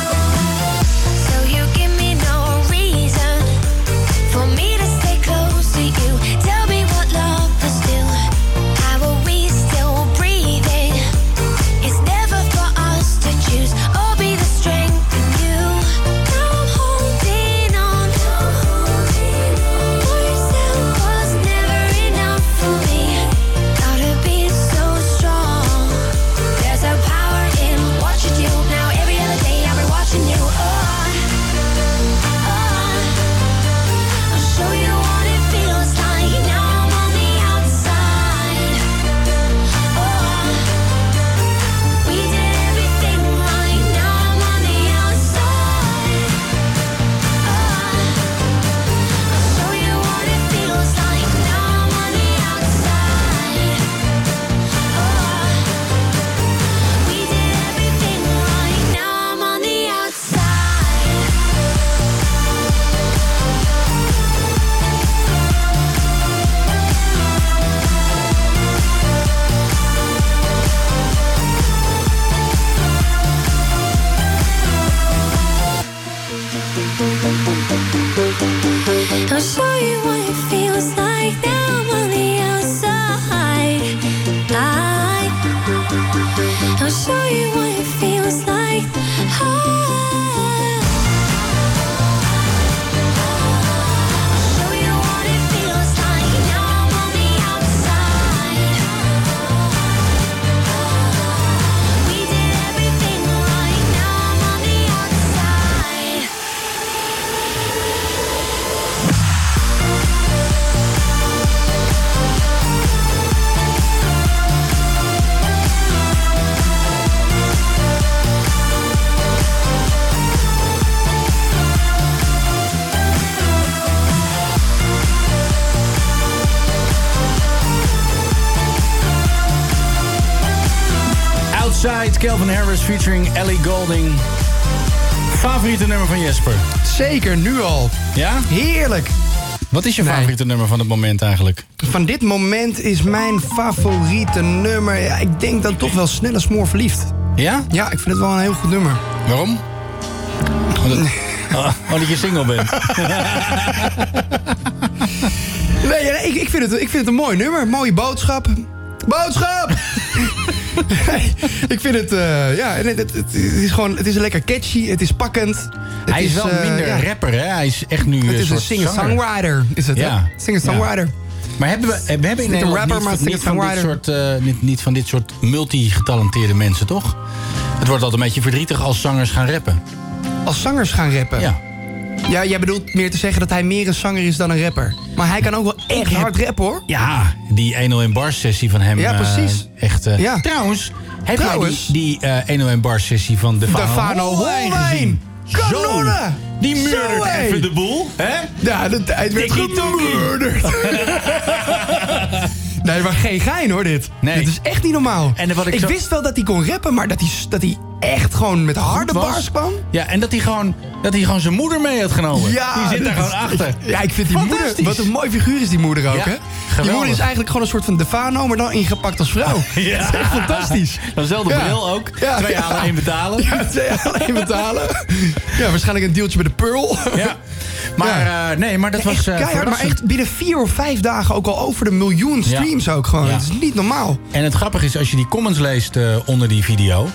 Speaker 5: So you give me no reason for me to stay close to you. Tell me what love is still. How are we still breathing? It's never for us to choose. I'll be the strength in you. Now I'm holding on. Myself was never enough for me. Gotta be so strong. There's a power in what you do. Now every other day I've been watching you. Oh, oh. I'll show you what it feels like. Now I'm on the outside. Oh. We did everything right. Now I'm on the outside. I'll show you what it feels like. Now I'm on the outside. Oh, We did everything right. Now I'm on the outside. I'll show you what it feels like now I'm on the outside. I- I'll show you what it feels like. I'll show you what it feels like now I'm on the outside. We did everything right now I'm on the outside.
Speaker 1: Outside, Calvin Harris featuring Ellie Golding. Favoriete nummer van Jesper?
Speaker 2: Zeker, nu al.
Speaker 1: Ja?
Speaker 2: Heerlijk.
Speaker 1: Wat is je
Speaker 2: Nee.
Speaker 1: favoriete nummer van het moment eigenlijk?
Speaker 2: Van dit moment is mijn favoriete nummer. Ja, ik denk dan toch wel Snelle Smoor Verliefd.
Speaker 1: Ja?
Speaker 2: Ja, ik vind het wel een heel goed nummer.
Speaker 1: Waarom? Omdat, oh, omdat je single bent.
Speaker 2: Nee, ja, nee, ik, ik, vind het, ik vind het een mooi nummer. Mooie boodschap. Boodschap! Nee, ik vind het, eh, ja, nee, het, het, het is gewoon, het is lekker catchy, het is pakkend. Het
Speaker 1: Hij is wel
Speaker 2: eh,
Speaker 1: minder
Speaker 2: ja,
Speaker 1: rapper, hè? Hij is echt nu
Speaker 2: Het
Speaker 1: een
Speaker 2: is een
Speaker 1: soort zanger.
Speaker 2: singer-songwriter, is het,
Speaker 1: Ja.
Speaker 2: hè? Singer-songwriter.
Speaker 1: Maar hebben we, we hebben in
Speaker 2: Niet een
Speaker 1: Nederland
Speaker 2: rapper, maar
Speaker 1: niet,
Speaker 2: het is
Speaker 1: niet,
Speaker 2: een
Speaker 1: van dit soort, eh, niet, niet van dit soort multigetalenteerde mensen, toch? Het wordt altijd een beetje verdrietig als zangers gaan rappen.
Speaker 2: Als zangers gaan rappen.
Speaker 1: Ja.
Speaker 2: Ja, jij bedoelt meer te zeggen dat hij meer een zanger is dan een rapper. Maar hij kan ook wel echt
Speaker 1: heb- Ah,
Speaker 2: hard rappen, hoor.
Speaker 1: Ja, die 101 bars sessie van hem.
Speaker 2: Ja,
Speaker 1: eh,
Speaker 2: precies.
Speaker 1: echt, eh,
Speaker 2: Ja.
Speaker 1: Trouwens, Heb jij
Speaker 2: Trouwens.
Speaker 1: die, die eh 101 bar sessie van de
Speaker 2: De Fano
Speaker 1: Fano
Speaker 2: Hollijn gezien. Kanonnen!
Speaker 1: Die
Speaker 2: Zo,
Speaker 1: murdert
Speaker 2: hé.
Speaker 1: even de boel. Hè?
Speaker 2: Ja, de tijd werd
Speaker 1: Tikkie-tokkie.
Speaker 2: gemurderd. nee, maar geen gein hoor dit.
Speaker 1: Nee.
Speaker 2: Dit is echt niet normaal.
Speaker 1: En wat ik
Speaker 2: ik
Speaker 1: zo-
Speaker 2: wist wel dat hij kon rappen, maar dat hij, dat hij echt gewoon met harde
Speaker 1: Was-
Speaker 2: bars kwam.
Speaker 1: Ja, en dat hij gewoon, dat hij gewoon zijn moeder mee had genomen. die zit daar
Speaker 2: dat
Speaker 1: gewoon
Speaker 2: is-
Speaker 1: achter.
Speaker 2: Ja, ik vind die moeder...
Speaker 1: Fantastisch.
Speaker 2: Wat een mooi figuur is die moeder ook,
Speaker 1: Ja,
Speaker 2: hè? Die
Speaker 1: geweldig.
Speaker 2: moeder is eigenlijk gewoon een soort van Defano, maar dan ingepakt als vrouw.
Speaker 1: Ja.
Speaker 2: Dat is echt fantastisch.
Speaker 1: Dezelfde
Speaker 2: Ja.
Speaker 1: bril ook.
Speaker 2: Ja,
Speaker 1: Twee
Speaker 2: ja.
Speaker 1: halen, één betalen.
Speaker 2: Ja, twee alleen betalen. Ja, waarschijnlijk een deeltje bij de Pearl.
Speaker 1: Ja. Maar eh, nee, maar dat was
Speaker 2: echt
Speaker 1: eh,
Speaker 2: keihard, maar
Speaker 1: verrassend.
Speaker 2: echt binnen vier of vijf dagen ook al over de miljoen streams ook gewoon.
Speaker 1: Ja.
Speaker 2: Het is niet normaal.
Speaker 1: En het grappige is, als je die comments leest eh, onder die video...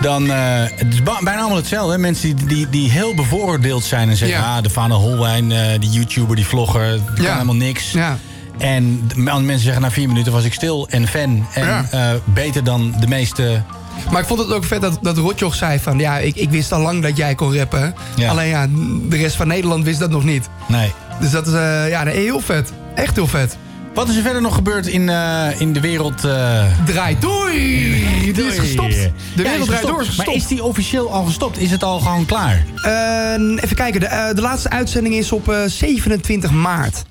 Speaker 1: dan eh, het is ba- bijna allemaal hetzelfde. hè. Mensen die, die, die heel bevooroordeeld zijn en zeggen...
Speaker 2: Ja.
Speaker 1: ah, de Fane Holwijn, eh, die YouTuber, die vlogger, het kan
Speaker 2: Ja.
Speaker 1: helemaal niks.
Speaker 2: Ja.
Speaker 1: En de- mensen zeggen, na vier minuten was ik stil en fan. En
Speaker 2: Ja.
Speaker 1: eh, beter dan de meeste...
Speaker 2: Maar ik vond het ook vet dat, dat Rotjoch zei van... ja, ik, ik wist al lang dat jij kon rappen.
Speaker 1: Ja.
Speaker 2: Alleen ja, de rest van Nederland wist dat nog niet.
Speaker 1: Nee.
Speaker 2: Dus dat is eh, ja, nee, heel vet. Echt heel vet.
Speaker 1: Wat is er verder nog gebeurd in, eh, in de wereld... eh,
Speaker 2: Draait door! Die
Speaker 1: door?
Speaker 2: is gestopt.
Speaker 1: Ja,
Speaker 2: De
Speaker 1: die
Speaker 2: wereld draait door is gestopt.
Speaker 1: Maar is die officieel al gestopt? Is het al gewoon klaar?
Speaker 2: Eh, even kijken, de, eh, de laatste uitzending is op eh, 27 maart.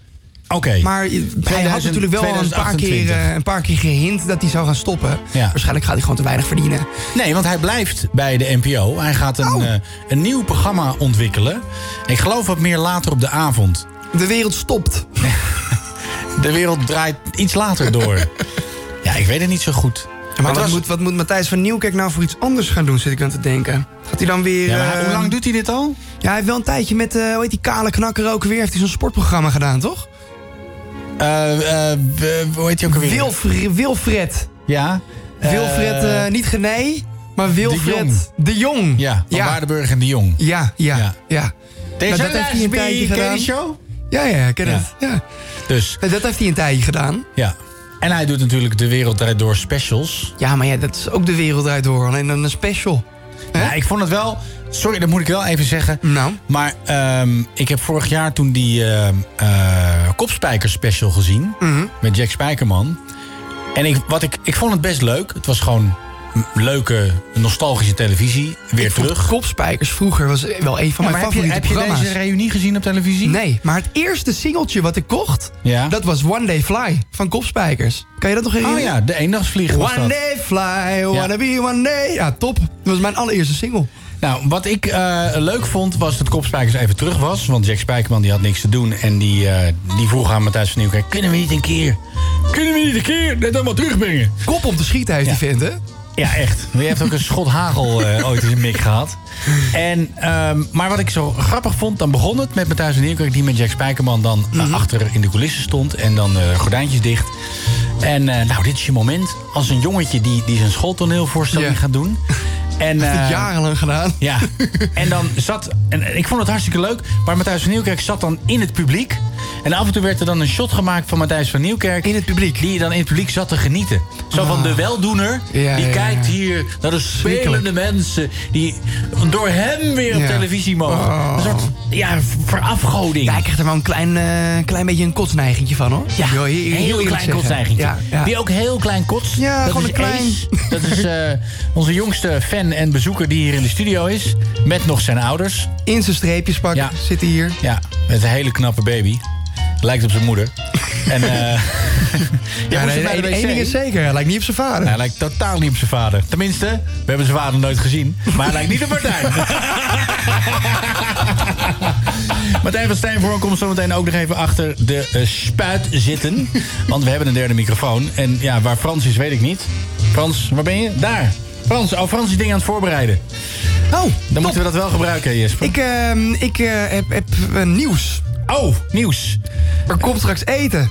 Speaker 1: Oké.
Speaker 2: Maar je- hij had
Speaker 1: 2000
Speaker 2: natuurlijk wel al een paar, keer,
Speaker 1: 2028.
Speaker 2: eh, een paar keer gehint dat hij zou gaan stoppen.
Speaker 1: Ja.
Speaker 2: Waarschijnlijk gaat hij gewoon te weinig verdienen.
Speaker 1: Nee, want hij blijft bij de NPO. Hij gaat een,
Speaker 2: Oh.
Speaker 1: eh, een nieuw programma ontwikkelen. Ik geloof wat meer later op de avond.
Speaker 2: De wereld stopt.
Speaker 1: De wereld draait iets later door. ja, ik weet het niet zo goed.
Speaker 2: Maar
Speaker 1: Het
Speaker 2: wat,
Speaker 1: was-
Speaker 2: moet, wat moet Matthijs van Nieuwkerk nou voor iets anders gaan doen, zit ik aan te denken. Gaat hij dan weer...
Speaker 1: Ja, maar hij-
Speaker 2: eh,
Speaker 1: hoe lang doet hij dit al?
Speaker 2: Ja, hij heeft wel een tijdje met, eh hoe heet die kale knakker ook weer, heeft hij zo'n sportprogramma gedaan, toch?
Speaker 1: Eh, eh, w- hoe heet hij ook alweer?
Speaker 2: Wilfre- Wilfred.
Speaker 1: Ja. Eh,
Speaker 2: Wilfred, eh, niet Gené, maar Wilfred
Speaker 1: Jong.
Speaker 2: de Jong.
Speaker 1: ja, van
Speaker 2: ja.
Speaker 1: Waardenburg en de Jong.
Speaker 2: Ja, ja,
Speaker 1: Ja.
Speaker 2: ja. ja. Nou,
Speaker 1: Deze
Speaker 2: dat heeft hij een tijdje
Speaker 1: ken je die
Speaker 2: gedaan.
Speaker 1: show?
Speaker 2: Ja, ja, ik ken
Speaker 1: Ja.
Speaker 2: het. Ja.
Speaker 1: Dus,
Speaker 2: En Dat heeft hij een tijdje gedaan.
Speaker 1: Hm? ja. En hij doet natuurlijk De Wereld Draait Door specials.
Speaker 2: Ja, maar ja, dat is ook de wereld uit door. Alleen dan een special. Hè?
Speaker 1: Ja, ik vond het wel... Sorry, dat moet ik wel even zeggen.
Speaker 2: Nou.
Speaker 1: Maar ehm, ik heb vorig jaar toen die ehm eh, kopspijker special gezien.
Speaker 2: Mhm.
Speaker 1: Met Jack Spijkerman. En ik, wat ik, ik vond het best leuk. Het was gewoon m- leuke, nostalgische televisie. Weer
Speaker 2: Ik vond
Speaker 1: terug.
Speaker 2: Kopspijkers vroeger was wel een van
Speaker 1: Ja,
Speaker 2: mijn
Speaker 1: heb je,
Speaker 2: favoriete
Speaker 1: heb je
Speaker 2: programma's.
Speaker 1: deze reunie gezien op televisie?
Speaker 2: Nee, maar het eerste singeltje wat ik kocht,
Speaker 1: Ja.
Speaker 2: dat was One Day Fly van Kopspijkers. Kan je dat nog
Speaker 1: Oh
Speaker 2: herinneren?
Speaker 1: ja, de eendagsvlieg was
Speaker 2: One
Speaker 1: dat.
Speaker 2: Day Fly, wanna be one day. Ja, top. Dat was mijn allereerste single.
Speaker 1: Nou, wat ik eh, leuk vond was dat Kopspijkers even terug was. Want Jack Spijkerman die had niks te doen. En die, eh, die vroeg aan Matthijs van Nieuwkerk... Kunnen we niet een keer... Kunnen we niet een keer dit allemaal terugbrengen?
Speaker 2: Kop om te schieten heeft
Speaker 1: Ja.
Speaker 2: die vent, hè?
Speaker 1: Ja, echt. Je hebt ook een schot hagel eh, ooit in zijn mik gehad. En, ehm, maar wat ik zo grappig vond, dan begon het met Matthijs van Nieuwkerk... die met Jack Spijkerman dan eh,
Speaker 2: Mhm.
Speaker 1: achter in de coulissen stond... en dan eh, gordijntjes dicht. En eh, nou, dit is je moment. Als een jongetje die, die zijn schooltoneelvoorstelling
Speaker 2: Ja.
Speaker 1: gaat doen. En,
Speaker 2: Dat heb ik
Speaker 1: eh,
Speaker 2: jarenlang gedaan.
Speaker 1: ja, en dan zat... En en ik vond het hartstikke leuk, maar Matthijs van Nieuwkerk zat dan in het publiek. En af en toe werd er dan een shot gemaakt van Matthijs van Nieuwkerk...
Speaker 2: In het publiek. Ah.
Speaker 1: die je dan in het publiek zat te genieten. Zo van de weldoener,
Speaker 2: Ja,
Speaker 1: die
Speaker 2: ja,
Speaker 1: kijkt
Speaker 2: ja.
Speaker 1: hier naar de spelende
Speaker 2: Schrikkelijk.
Speaker 1: mensen... die door hem weer op
Speaker 2: Ja.
Speaker 1: televisie mogen.
Speaker 2: Oh.
Speaker 1: Een soort ja, verafgoding.
Speaker 2: Ja, ik krijg er wel een klein, eh, klein beetje een kotsneigentje van, hoor.
Speaker 1: Ja,
Speaker 2: Ik wil
Speaker 1: een
Speaker 2: hier- hier
Speaker 1: heel
Speaker 2: eerlijk
Speaker 1: klein
Speaker 2: zeggen.
Speaker 1: kotsneigentje.
Speaker 2: Ja, ja.
Speaker 1: Die ook heel klein kots.
Speaker 2: Ja,
Speaker 1: dat
Speaker 2: gewoon
Speaker 1: is
Speaker 2: een klein-
Speaker 1: Ace. Dat is eh, onze jongste fan en bezoeker die hier in de studio is. Met nog zijn ouders.
Speaker 2: In zijn streepjes pakken,
Speaker 1: Ja.
Speaker 2: zit hij hier.
Speaker 1: Ja, met een hele knappe baby. Lijkt op zijn moeder. En eh ja,
Speaker 2: Ja,
Speaker 1: moest
Speaker 2: nee,
Speaker 1: je naar de
Speaker 2: één- één
Speaker 1: wc?
Speaker 2: ding is zeker, hij lijkt niet op zijn vader.
Speaker 1: Hij lijkt totaal niet op zijn vader. Tenminste, we hebben zijn vader nooit gezien. Maar hij lijkt niet op Martijn. Martijn van Steenvoorn komt zo meteen ook nog even achter de eh, spuit zitten. Want we hebben een derde microfoon. En ja, waar Frans is, weet ik niet. Frans, waar ben je? Daar. Frans, oh, Frans is dingen aan het voorbereiden.
Speaker 2: Oh,
Speaker 1: Dan moeten we dat wel gebruiken, Jesper.
Speaker 2: Ik, ehm, ik eh, heb, heb eh, nieuws.
Speaker 1: Oh, nieuws.
Speaker 2: Er komt straks eten.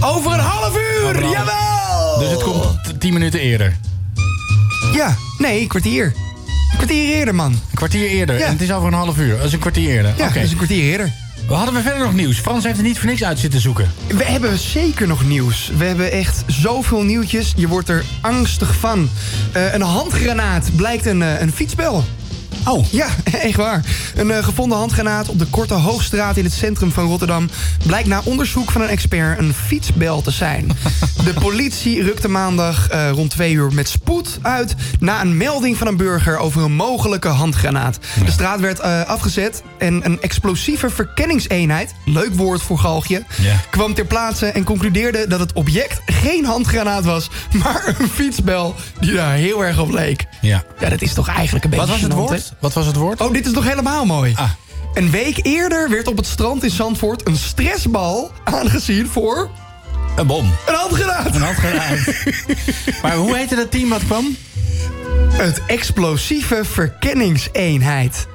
Speaker 2: Over een half uur,
Speaker 1: Over een half-
Speaker 2: jawel!
Speaker 1: Dus het komt t- tien minuten eerder.
Speaker 2: Ja, nee, een kwartier. Een kwartier eerder, man.
Speaker 1: Een kwartier eerder.
Speaker 2: Ja.
Speaker 1: En het is over een half uur. Dat is een kwartier eerder.
Speaker 2: Ja,
Speaker 1: Oké.
Speaker 2: dus een kwartier eerder.
Speaker 1: We hadden we verder nog nieuws. Frans heeft er niet voor niks uit zitten zoeken.
Speaker 2: We hebben zeker nog nieuws. We hebben echt zoveel nieuwtjes. Je wordt er angstig van. Eh, een handgranaat blijkt een, eh, een fietsbel.
Speaker 1: Oh.
Speaker 2: Ja, echt waar. Een eh, gevonden handgranaat op de Korte Hoogstraat in het centrum van Rotterdam... blijkt na onderzoek van een expert een fietsbel te zijn. De politie rukte maandag eh, rond twee uur met spoed uit... na een melding van een burger over een mogelijke handgranaat. De straat werd eh, afgezet en een explosieve verkenningseenheid... leuk woord voor galgje...
Speaker 1: Ja.
Speaker 2: kwam ter plaatse en concludeerde dat het object geen handgranaat was... maar een fietsbel die daar heel erg op leek.
Speaker 1: Ja.
Speaker 2: Ja, dat is toch eigenlijk een beetje
Speaker 1: Wat was het
Speaker 2: gênant, hè?
Speaker 1: woord? Wat was het woord?
Speaker 2: Oh, dit is nog helemaal mooi.
Speaker 1: Ah.
Speaker 2: Een week eerder werd op het strand in Zandvoort een stressbal aangezien voor
Speaker 1: Een bom.
Speaker 2: een handgranaat.
Speaker 1: Een handgranaat. maar hoe heette dat team wat kwam?
Speaker 2: Het explosieve verkenningseenheid.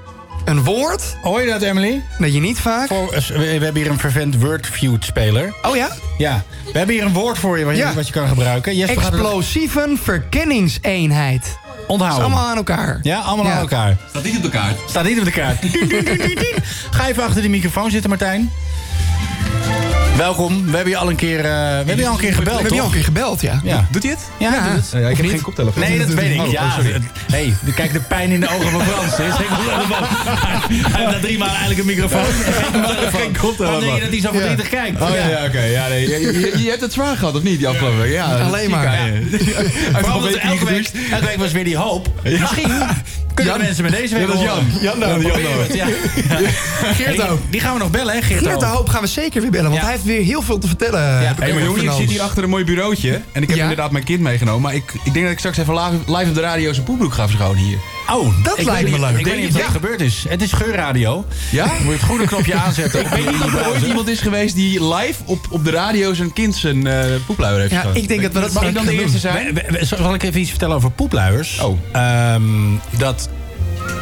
Speaker 2: Een woord
Speaker 1: Hoor je dat, Emily?
Speaker 2: dat je niet vaak...
Speaker 1: Voor- eh, we, we hebben hier een vervent wordfeud speler.
Speaker 2: Oh ja?
Speaker 1: Ja, we hebben hier een woord voor je wat, je,
Speaker 2: Ja.
Speaker 1: wat je kan gebruiken. Jesper gaat het
Speaker 2: Explosieve verkenningseenheid.
Speaker 1: onthouden.
Speaker 2: Allemaal aan elkaar.
Speaker 1: Ja, allemaal
Speaker 2: Ja.
Speaker 1: aan elkaar. Staat niet op de kaart. Staat niet op de kaart. Ding, ding, ding, ding, ding. Ga even achter die microfoon zitten, Martijn. Welkom. We hebben je al een keer, eh, we hebben je al een keer
Speaker 2: We
Speaker 1: gebeld,
Speaker 2: hebben je al een
Speaker 1: toch?
Speaker 2: keer gebeld, ja.
Speaker 1: Ja.
Speaker 6: Doet hij het?
Speaker 1: Ja, doe het.
Speaker 6: Ja, ik
Speaker 1: Of
Speaker 6: heb
Speaker 1: niet?
Speaker 6: geen koptelefoon.
Speaker 1: Nee, dat weet ik.
Speaker 6: Oh,
Speaker 1: ja,
Speaker 6: oh, sorry.
Speaker 1: hey, kijk de pijn in de ogen van Frans. hè. Is geen koptelefoon. Hij heeft na drie maanden eigenlijk een microfoon. Geen
Speaker 6: koptelefoon.
Speaker 1: Dan denk je dat hij zo verdrietig kijkt.
Speaker 6: Oh ja, ja, oké. Ja, nee. je, je- je hebt het zwaar gehad, of niet, die afgelopen week? Ja, dat
Speaker 2: Alleen
Speaker 6: zie
Speaker 2: maar.
Speaker 6: ik aan je. Hij heeft
Speaker 1: Vooral
Speaker 6: al
Speaker 1: omdat
Speaker 6: weken niet
Speaker 1: elke week,
Speaker 6: gedoucht.
Speaker 1: elke week was weer die hoop. Misschien kunnen
Speaker 6: Jan.
Speaker 1: mensen met deze week
Speaker 6: Ja, dat is
Speaker 1: horen.
Speaker 6: Jan. Jan Douwe.
Speaker 1: We proberen
Speaker 6: Jan Douwe.
Speaker 1: het, ja.
Speaker 2: Geert
Speaker 1: Hey,
Speaker 2: ook.
Speaker 1: die gaan we nog bellen, hè, Geert,
Speaker 2: Geert de
Speaker 1: Hoop.
Speaker 2: Hoop gaan we zeker weer bellen, want
Speaker 1: Ja.
Speaker 2: hij heeft weer heel veel te vertellen. eh, heb ik
Speaker 6: Hé, maar
Speaker 2: helemaal
Speaker 6: jongen, ik
Speaker 2: vernomen.
Speaker 6: zit hier achter een mooi bureautje. En ik heb
Speaker 2: Ja?
Speaker 6: inderdaad mijn kind meegenomen. Maar ik, ik denk dat ik straks even live, live op de radio zijn poepbroek ga verschonen hier.
Speaker 1: Oh,
Speaker 2: Dat
Speaker 1: ik
Speaker 2: lijkt
Speaker 1: weet
Speaker 2: me
Speaker 1: niet-
Speaker 2: leuk.
Speaker 1: Ik weet niet of dat
Speaker 2: Ja.
Speaker 1: gebeurd is. Het is geurradio.
Speaker 6: Ja?
Speaker 1: Moet je het groene knopje aanzetten.
Speaker 6: Ik weet niet of er ooit iemand is geweest die live op, op de radio zijn kind zijn eh poepluier heeft
Speaker 2: Ja,
Speaker 6: verschoond.
Speaker 2: ik denk dat we dat
Speaker 6: Mag ik
Speaker 2: zeker
Speaker 6: dan de
Speaker 2: gaan
Speaker 6: eerste
Speaker 2: doen.
Speaker 6: zijn?
Speaker 1: We- we- we- Zal ik even iets vertellen over poepluiers?
Speaker 6: Oh.
Speaker 1: Ehm, dat,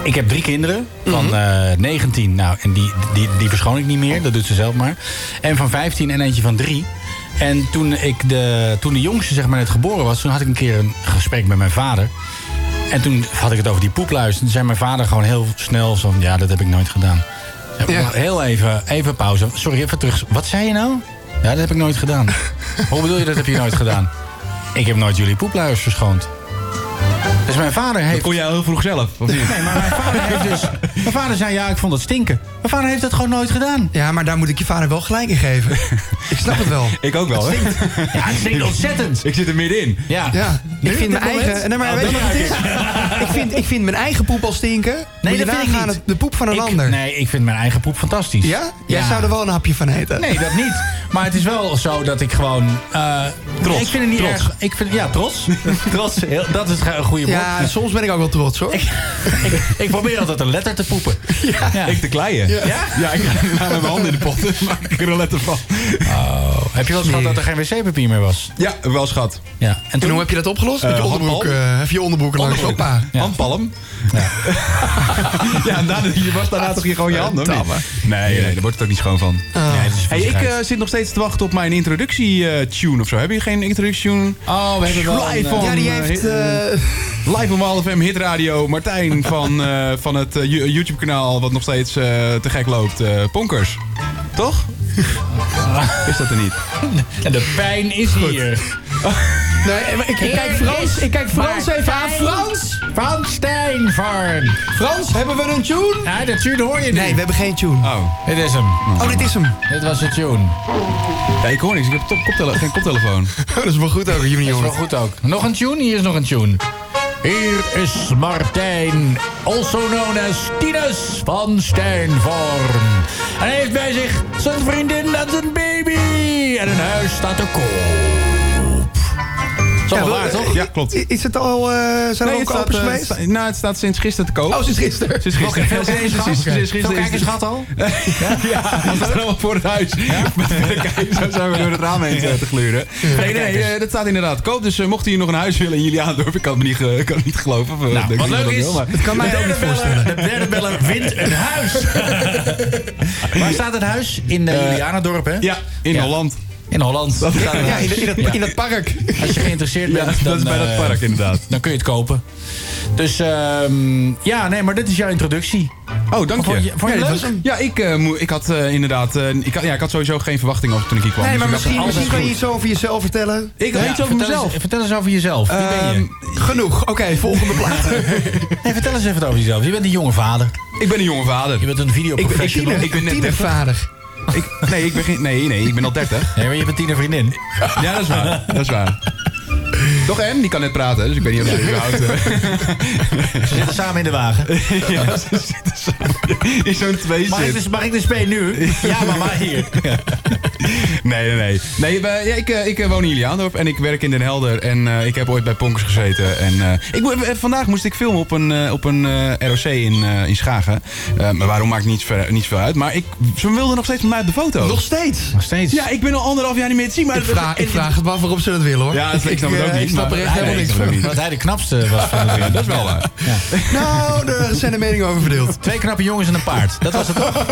Speaker 1: ik heb drie kinderen van eh, 19. Nou, en die, die, die verschoon ik niet meer. Dat doet ze zelf maar. En van 15 en eentje van 3. En toen, ik de, toen de jongste zeg maar, net geboren was... toen had ik een keer een gesprek met mijn vader. En toen had ik het over die poepluiers. En toen zei mijn vader gewoon heel snel van... ja, dat heb ik nooit gedaan. Ja,
Speaker 2: Ja.
Speaker 1: wacht, Heel even, even pauze. Sorry, even terug. Wat zei je nou? Ja, dat heb ik nooit gedaan. Hoe bedoel je, dat heb je nooit gedaan? Ik heb nooit jullie poepluiers verschoond. Dus mijn vader heeft...
Speaker 6: Kon jij al heel vroeg zelf, of niet?
Speaker 1: Nee, maar mijn vader heeft dus... Mijn vader zei, ja, ik vond dat stinken. Mijn vader heeft dat gewoon nooit gedaan.
Speaker 2: Ja, maar daar moet ik je vader wel gelijk in geven. ik snap het wel.
Speaker 6: Ik ook wel, hè?
Speaker 1: Ja, het stinkt ontzettend.
Speaker 6: Ik zit er middenin.
Speaker 1: Ja.
Speaker 2: Ja,
Speaker 1: Nu,
Speaker 2: ik vind
Speaker 1: dit
Speaker 2: mijn eigen...
Speaker 1: moment?
Speaker 2: Nee, maar
Speaker 1: Oh,
Speaker 2: weet je
Speaker 1: dat
Speaker 2: wat het
Speaker 1: ruik
Speaker 2: is? Ik vind, ik vind mijn eigen poep al stinken.
Speaker 1: Nee,
Speaker 2: Moet je
Speaker 1: dat vind ik
Speaker 2: nagaan
Speaker 1: niet.
Speaker 2: het- De poep van een
Speaker 1: Ik-
Speaker 2: ander.
Speaker 1: Nee, ik vind mijn eigen poep fantastisch.
Speaker 2: Ja? Jij zou er wel een hapje van eten.
Speaker 1: Nee, dat niet. Maar het is wel zo dat ik gewoon... eh,
Speaker 6: Trots.
Speaker 1: Ik vind het niet
Speaker 6: Trots.
Speaker 1: erg... Ik vind, ja, trots. trots, heel- dat is een goede woord.
Speaker 2: Ja, soms ben ik ook wel trots hoor.
Speaker 1: Ik, ik probeer altijd een letter te poepen. Ja.
Speaker 6: Ik te kleien. Ja? Ja, ik ga met mijn handen in de pot.
Speaker 1: dus
Speaker 6: Dan maak ik er een letter van.
Speaker 1: Heb je wel eens gehad dat er geen wc-papier meer was?
Speaker 6: Ja, wel schat.
Speaker 1: Ja. En
Speaker 2: En
Speaker 1: toen...
Speaker 2: hoe heb je dat opgelost? Met je
Speaker 6: Eh,
Speaker 2: onderbroek,
Speaker 6: handbal.
Speaker 2: eh, even je onderbroek langs.
Speaker 6: Onderbroek.
Speaker 2: Hoppa.
Speaker 6: Handpalm. Ja, en daarna, je was daarna toch hier gewoon je handen? of niet? Nee, nee, daar wordt het ook niet schoon van.
Speaker 1: Nee, dat is
Speaker 6: Hey, ik
Speaker 1: viezigheid.
Speaker 6: eh, zit nog steeds te wachten op mijn introductie-tune of zo. Heb je geen introductie-tune?
Speaker 1: Oh, we hebben wel een,
Speaker 6: Live
Speaker 1: eh,
Speaker 6: on,
Speaker 2: Ja, die
Speaker 6: eh,
Speaker 2: heeft...
Speaker 6: hit-
Speaker 2: eh,
Speaker 6: Live om 12 FM hitradio. Martijn van, eh, van het eh, Yo- YouTube-kanaal wat nog steeds eh, te gek loopt. eh, Ponkers. Toch? Is dat er niet?
Speaker 1: En de pijn is hier.
Speaker 2: Nee, Eh, maar ik, ik kijk Frans, ik kijk Frans even aan. Frans!
Speaker 1: Van Stijnvarn.
Speaker 2: Frans, hebben we een tune?
Speaker 1: Ja, dat tune hoor je niet.
Speaker 2: Nee, we hebben geen tune.
Speaker 6: Oh.
Speaker 1: Dit is hem.
Speaker 2: Oh, dit is hem.
Speaker 1: Dit was de tune.
Speaker 6: Ja, ik hoor niks. Ik heb top- koptele- geen koptelefoon.
Speaker 2: Dat is wel goed ook, jullie
Speaker 1: Is wel
Speaker 2: jongens.
Speaker 1: goed ook. Nog een tune? Hier is nog een tune. Hier is Martijn, also known as Tinus van Stijnvorm. En hij heeft bij zich zijn vriendin en zijn baby. En een huis staat te koop. Zo
Speaker 2: Ja,
Speaker 1: waar,
Speaker 2: wel,
Speaker 1: toch?
Speaker 6: Ja, klopt.
Speaker 2: I- Is het al... eh, zijn er
Speaker 6: het
Speaker 2: ook
Speaker 6: staat,
Speaker 2: kopers
Speaker 6: eh,
Speaker 2: geweest?
Speaker 6: sta- nou, het staat sinds gisteren te koop.
Speaker 2: Oh, sinds gisteren.
Speaker 6: Sinds gisteren.
Speaker 1: Veel
Speaker 6: Sinds-
Speaker 1: kijkers
Speaker 6: sinds-
Speaker 1: gehad?
Speaker 6: sinds
Speaker 1: Veel
Speaker 6: gisteren is
Speaker 1: kijkers
Speaker 6: het-
Speaker 1: gehad al?
Speaker 6: Ja, we staan allemaal voor het huis. Met de kei- Zo zijn we door het raam heen eh, te, te gluren. Nee, nee, eh, dat staat inderdaad koop. Dus eh, mocht u hier nog een huis willen in Juliaandorp, ik kan het me niet, ge- kan het niet geloven. of, eh,
Speaker 1: Nou,
Speaker 6: denk
Speaker 1: wat
Speaker 6: ik
Speaker 1: leuk
Speaker 6: dat
Speaker 1: is,
Speaker 6: wil, maar-
Speaker 2: Dat kan mij ook niet voorstellen.
Speaker 1: De derde beller wint een huis. Waar staat het huis? In eh, Julianadorp, hè?
Speaker 6: Ja, in
Speaker 1: Ja.
Speaker 6: Holland.
Speaker 1: In Holland. Daar staat het
Speaker 2: Ja, in,
Speaker 1: huis.
Speaker 2: dat- in, dat, in dat park.
Speaker 1: Als je geïnteresseerd
Speaker 6: Ja,
Speaker 1: bent, dan,
Speaker 6: dat is bij dat
Speaker 1: eh,
Speaker 6: park inderdaad.
Speaker 1: dan kun je het kopen. Dus ehm, ja, nee, maar dit is jouw introductie.
Speaker 6: Oh, dank
Speaker 1: Vond
Speaker 6: je.
Speaker 1: je- vond je
Speaker 6: ja,
Speaker 1: het
Speaker 6: dat
Speaker 1: leuk?
Speaker 6: was- ja, ik, eh, moe- ik had eh, inderdaad... eh, ik, had, ja, ik had sowieso geen verwachting over toen ik hier kwam.
Speaker 2: Nee, maar
Speaker 6: dus ik
Speaker 2: misschien,
Speaker 6: dacht,
Speaker 2: misschien kan
Speaker 6: alles
Speaker 2: je
Speaker 6: is
Speaker 2: iets over jezelf vertellen.
Speaker 6: goed. Ik weet iets over
Speaker 1: vertel
Speaker 6: mezelf.
Speaker 1: Eens, vertel eens over jezelf. Wie ben je?
Speaker 2: Ehm, genoeg. Oké, volgende plaat.
Speaker 1: Nee, vertel eens even wat over jezelf. Je bent een jonge vader.
Speaker 6: Ik ben een jonge vader.
Speaker 1: Je bent een
Speaker 2: ik ben
Speaker 1: videoprofessional.
Speaker 2: tiener,
Speaker 6: ik ben net
Speaker 2: tienervader.
Speaker 6: Ik- nee, ik ben geen- nee, nee, ik ben al 30.
Speaker 1: Nee, maar je hebt een tienervriendin.
Speaker 6: Ja, dat is waar. Dat is waar. Toch en? Die kan net praten, dus ik weet niet of ze überhaupt... eh,
Speaker 1: Ze zitten samen in de wagen.
Speaker 6: ja, ze zitten samen in zo'n twee
Speaker 1: Mag ik,
Speaker 6: zit.
Speaker 1: de, mag ik de spee nu? Ja, mama, hier.
Speaker 6: Nee, nee, nee. nee we- ja, ik, eh, ik eh, woon in Iliaandorp en ik werk in Den Helder. En eh, ik heb ooit bij Ponkers gezeten. En, eh, ik, mo- eh, vandaag moest ik filmen op een, eh, op een eh, ROC in, eh, in Schagen. Eh, maar waarom maakt niet, ver, niet veel uit. Maar ik, ze wilden nog steeds met mij op de foto.
Speaker 2: Nog steeds.
Speaker 1: Nog steeds.
Speaker 6: Ja, ik ben al anderhalf jaar niet meer te zien. Maar
Speaker 2: Ik vraag, ik vraag het me af waarom ze dat willen hoor.
Speaker 6: Ja, ik, ik snap het ook
Speaker 2: eh,
Speaker 6: niet.
Speaker 2: Ik snap er
Speaker 6: maar-
Speaker 2: echt
Speaker 6: Nee,
Speaker 2: helemaal
Speaker 6: nee,
Speaker 2: niks
Speaker 6: ik snap
Speaker 2: van.
Speaker 6: het ook niet.
Speaker 1: Dat hij de knapste was van de
Speaker 6: Ja,
Speaker 1: drie.
Speaker 6: dat is wel waar.
Speaker 2: Nou, daar zijn de meningen over verdeeld.
Speaker 1: Twee knappe jongens en een paard. Dat was het toch?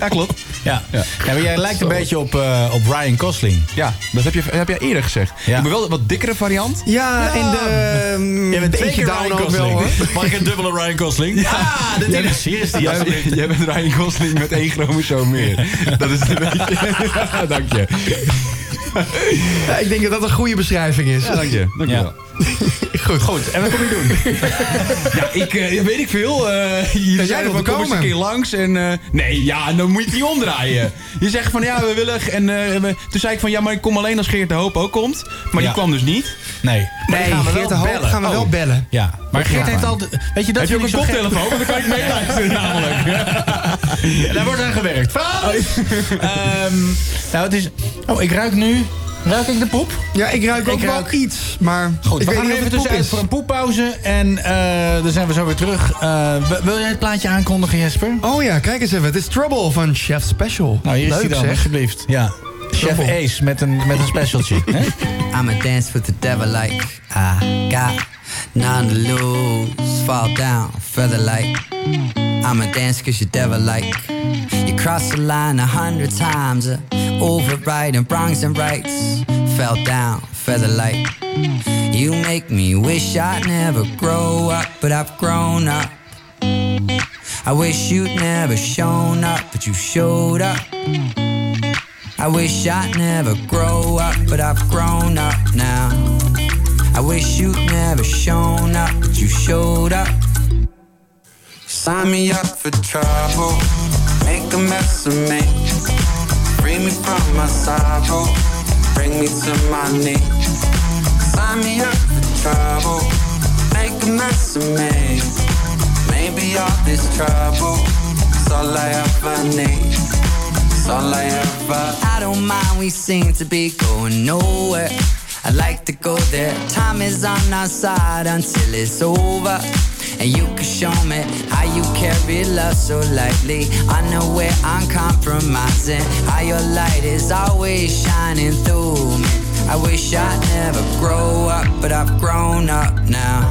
Speaker 6: Ja, klopt.
Speaker 1: Ja. ja. maar jij lijkt een beetje op, eh, op Ryan Gosling.
Speaker 6: Ja, dat heb, je, heb jij eerder gezegd.
Speaker 1: Ja.
Speaker 6: Ik ben wel de wat dikkere variant.
Speaker 2: Ja, en de...
Speaker 1: mm,
Speaker 2: ehm, eentje down ook wel hoor.
Speaker 1: Mag ik een dubbele Ryan Gosling? Ja, dit is serieus die
Speaker 6: Ah, Jij,
Speaker 1: alsjeblieft.
Speaker 6: jij bent Ryan Gosling met één chromosoom meer. Dat is een beetje... Ja, dank je.
Speaker 2: Ja, ik denk dat dat een goede beschrijving is.
Speaker 6: Ja, dank je. Dank je
Speaker 1: Ja.
Speaker 6: wel.
Speaker 2: Goed. Goed.
Speaker 1: En wat kom je doen?
Speaker 6: Ja, ik eh, weet ik veel. Eh je
Speaker 2: jij
Speaker 6: zei
Speaker 2: wil
Speaker 6: van, kom eens
Speaker 2: komen.
Speaker 6: een keer langs. En, eh, nee, ja, dan moet je het niet omdraaien. Je zegt van, ja, we willen... En eh, we- toen zei ik van, ja, maar ik kom alleen als Geert de Hoop ook komt. Maar
Speaker 1: Ja.
Speaker 6: die kwam dus niet.
Speaker 1: Nee. Maar die
Speaker 2: Nee,
Speaker 1: gaan we
Speaker 2: Geert de
Speaker 1: wel
Speaker 2: Hoop
Speaker 1: bellen.
Speaker 2: gaan we wel
Speaker 1: Oh.
Speaker 2: bellen.
Speaker 1: Ja, maar Geert
Speaker 2: Ja.
Speaker 1: heeft al... Weet je,
Speaker 6: Heb
Speaker 1: dat
Speaker 6: je ook
Speaker 1: vind
Speaker 6: een
Speaker 1: ik zo gek.
Speaker 6: koptelefoon? Want dan kan ik meeluisteren namelijk.
Speaker 1: Ja, Daar wordt aan gewerkt. Vader! Ehm, nou, het is... Oh, ik ruik nu... Ruik ik de poep?
Speaker 2: Ja, ik ruik
Speaker 1: Ik
Speaker 2: ook wel
Speaker 1: ruik-
Speaker 2: iets, maar
Speaker 1: Goed,
Speaker 2: ik
Speaker 1: we
Speaker 2: weet
Speaker 1: gaan
Speaker 2: niet of
Speaker 1: er even
Speaker 2: het poep
Speaker 1: tussenuit
Speaker 2: is.
Speaker 1: voor een poeppauze. En eh dan zijn we zo weer terug. Eh, w- wil jij het plaatje aankondigen, Jesper?
Speaker 2: Oh ja, kijk eens even. Het is Trouble van Chef Special.
Speaker 1: Nou, hier is hij
Speaker 2: Leuk
Speaker 1: dan,
Speaker 2: zeg.
Speaker 1: alsjeblieft. Ja. Chef
Speaker 2: Trouble.
Speaker 1: Ace met een, met een specialtje. hè?
Speaker 11: I'ma dance with the devil like I got none to lose. Fall down, feather like I'ma dance cause you're devil like. You cross the line a hundred times, uh, overriding wrongs and rights. Fell down, feather like. You make me wish I'd never grow up, but I've grown up. I wish you'd never shown up, but you showed up. I wish I'd never grow up, but I've grown up now. I wish you'd never shown up, but you showed up.
Speaker 9: Sign me up for trouble. Make a mess of me. Free me from my sorrow. Bring me to my knees. Sign me up for trouble. Make a mess of me. Maybe all this trouble is all I ever need. It's all I ever
Speaker 11: I don't mind, we seem to be going nowhere. I like to go there. Time is on our side until it's over. And you can show me how you carry love so lightly. I know where I'm compromising. How your light is always shining through me. I wish I'd never grow up, but I've grown up now.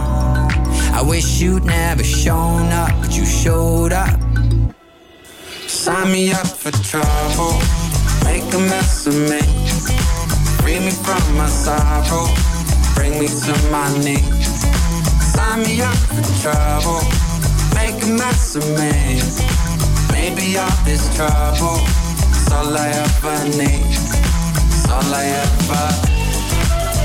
Speaker 11: I wish you'd never shown up, but you showed up.
Speaker 9: Sign me up for trouble. Make a mess of me. Free me from my sorrow. Bring me to my knees. Sign me up for trouble. Make a mess of me. Maybe all this trouble is all I ever need. It's all I ever.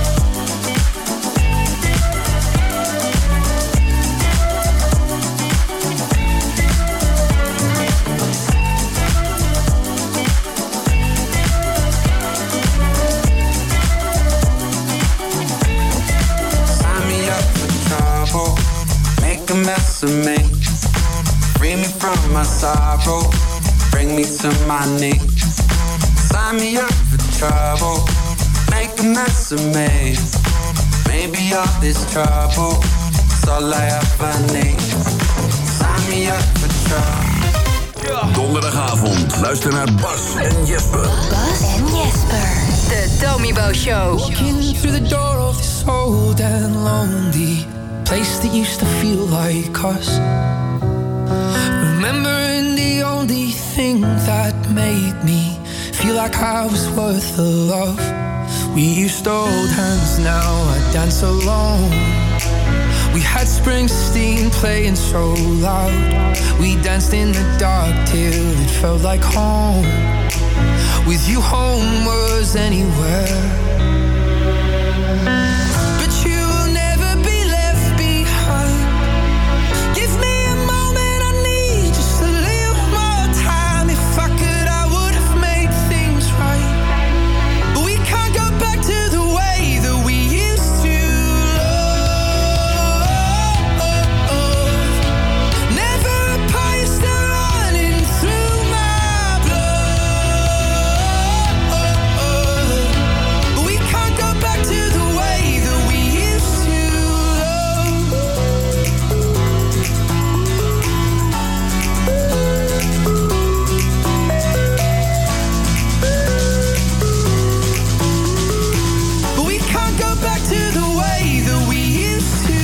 Speaker 9: Sign me up for trouble. Make a mess of me. Free me from my sorrow. Bring me to my knees. Sign me up for trouble. Make a mess of me. Maybe all this trouble is all I ever need. Sign me up for trouble.
Speaker 8: Donderdagavond, luister naar Bas en Jesper.
Speaker 5: Bas en Jesper.
Speaker 12: The Domibo Show.
Speaker 11: Walking through the door of this old and lonely place that used to feel like us. Remembering the only thing that made me feel like I was worth the love. We used to hold hands, now I dance alone. We had Springsteen playing so loud.
Speaker 13: We danced in the dark till it felt like home. With you, home was anywhere. But you will never be left behind. Give me a moment, I need just a little more time. If I could, I would have made things right. But we can't go back to the way that we used to love. Never a pie still running through my blood. But we can't go back to the way that we used to love. But we can't go back to the way that we used to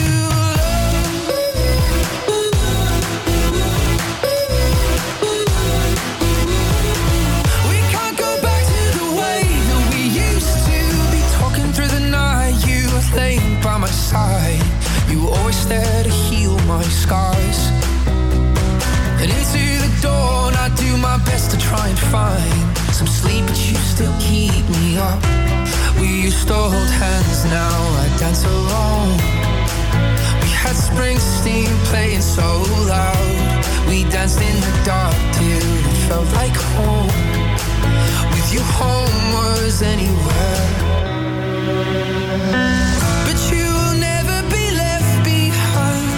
Speaker 13: love. We can't go back to the way that we used to be talking through the night. You were laying by my side. You were always there to heal my scars. And into the dawn, I do my best to try and find some sleep, but you still keep me up. We used to hold hands, now I dance alone. We had Springsteen playing so loud. We danced in the dark till it felt like home. With you, home was anywhere. But you will never be left behind.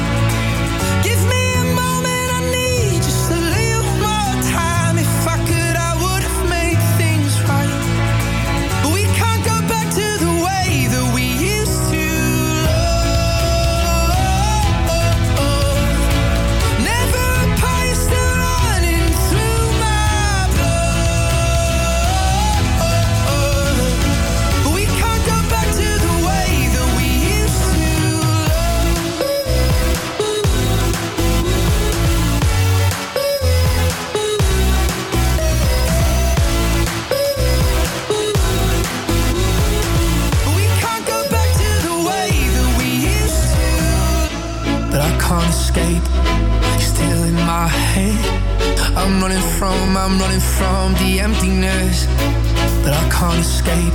Speaker 13: Give me a moment, I need just a little more time. If I could, I would have made things right. But we can't go back to the way that we used to love. Never a pie still running through my blood. But we can't go back to the way that we used to But we can't go back to the way that we used to. But I can't escape. You're still in my head. I'm running from, I'm running from the emptiness. But I can't escape.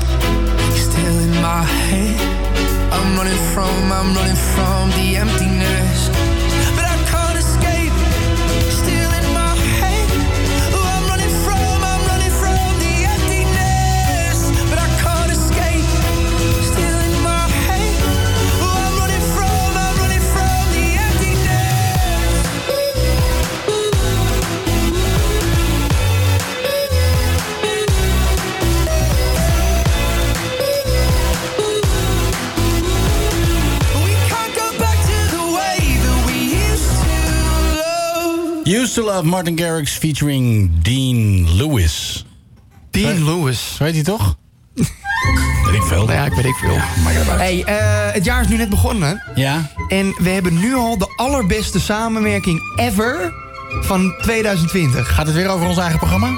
Speaker 13: You're still in my head. I'm running from, I'm running from the emptiness. But I can't escape. You're still in my head. Oh, I'm running from, I'm running from the emptiness. But I can't escape. You're still in my head. Oh, I'm running from, I'm running from the emptiness. We can't go back to the way that we used to love.
Speaker 1: Used to Love, Martin Garrix featuring Dean Lewis.
Speaker 2: Dean Lewis.
Speaker 1: Zo heet hij toch? weet ik veel.
Speaker 2: Ja, ik weet ik veel. Hey, eh, het jaar is nu net begonnen.
Speaker 1: Ja.
Speaker 2: En we hebben nu al de allerbeste samenwerking ever van 2020.
Speaker 1: Gaat het weer over ons eigen programma?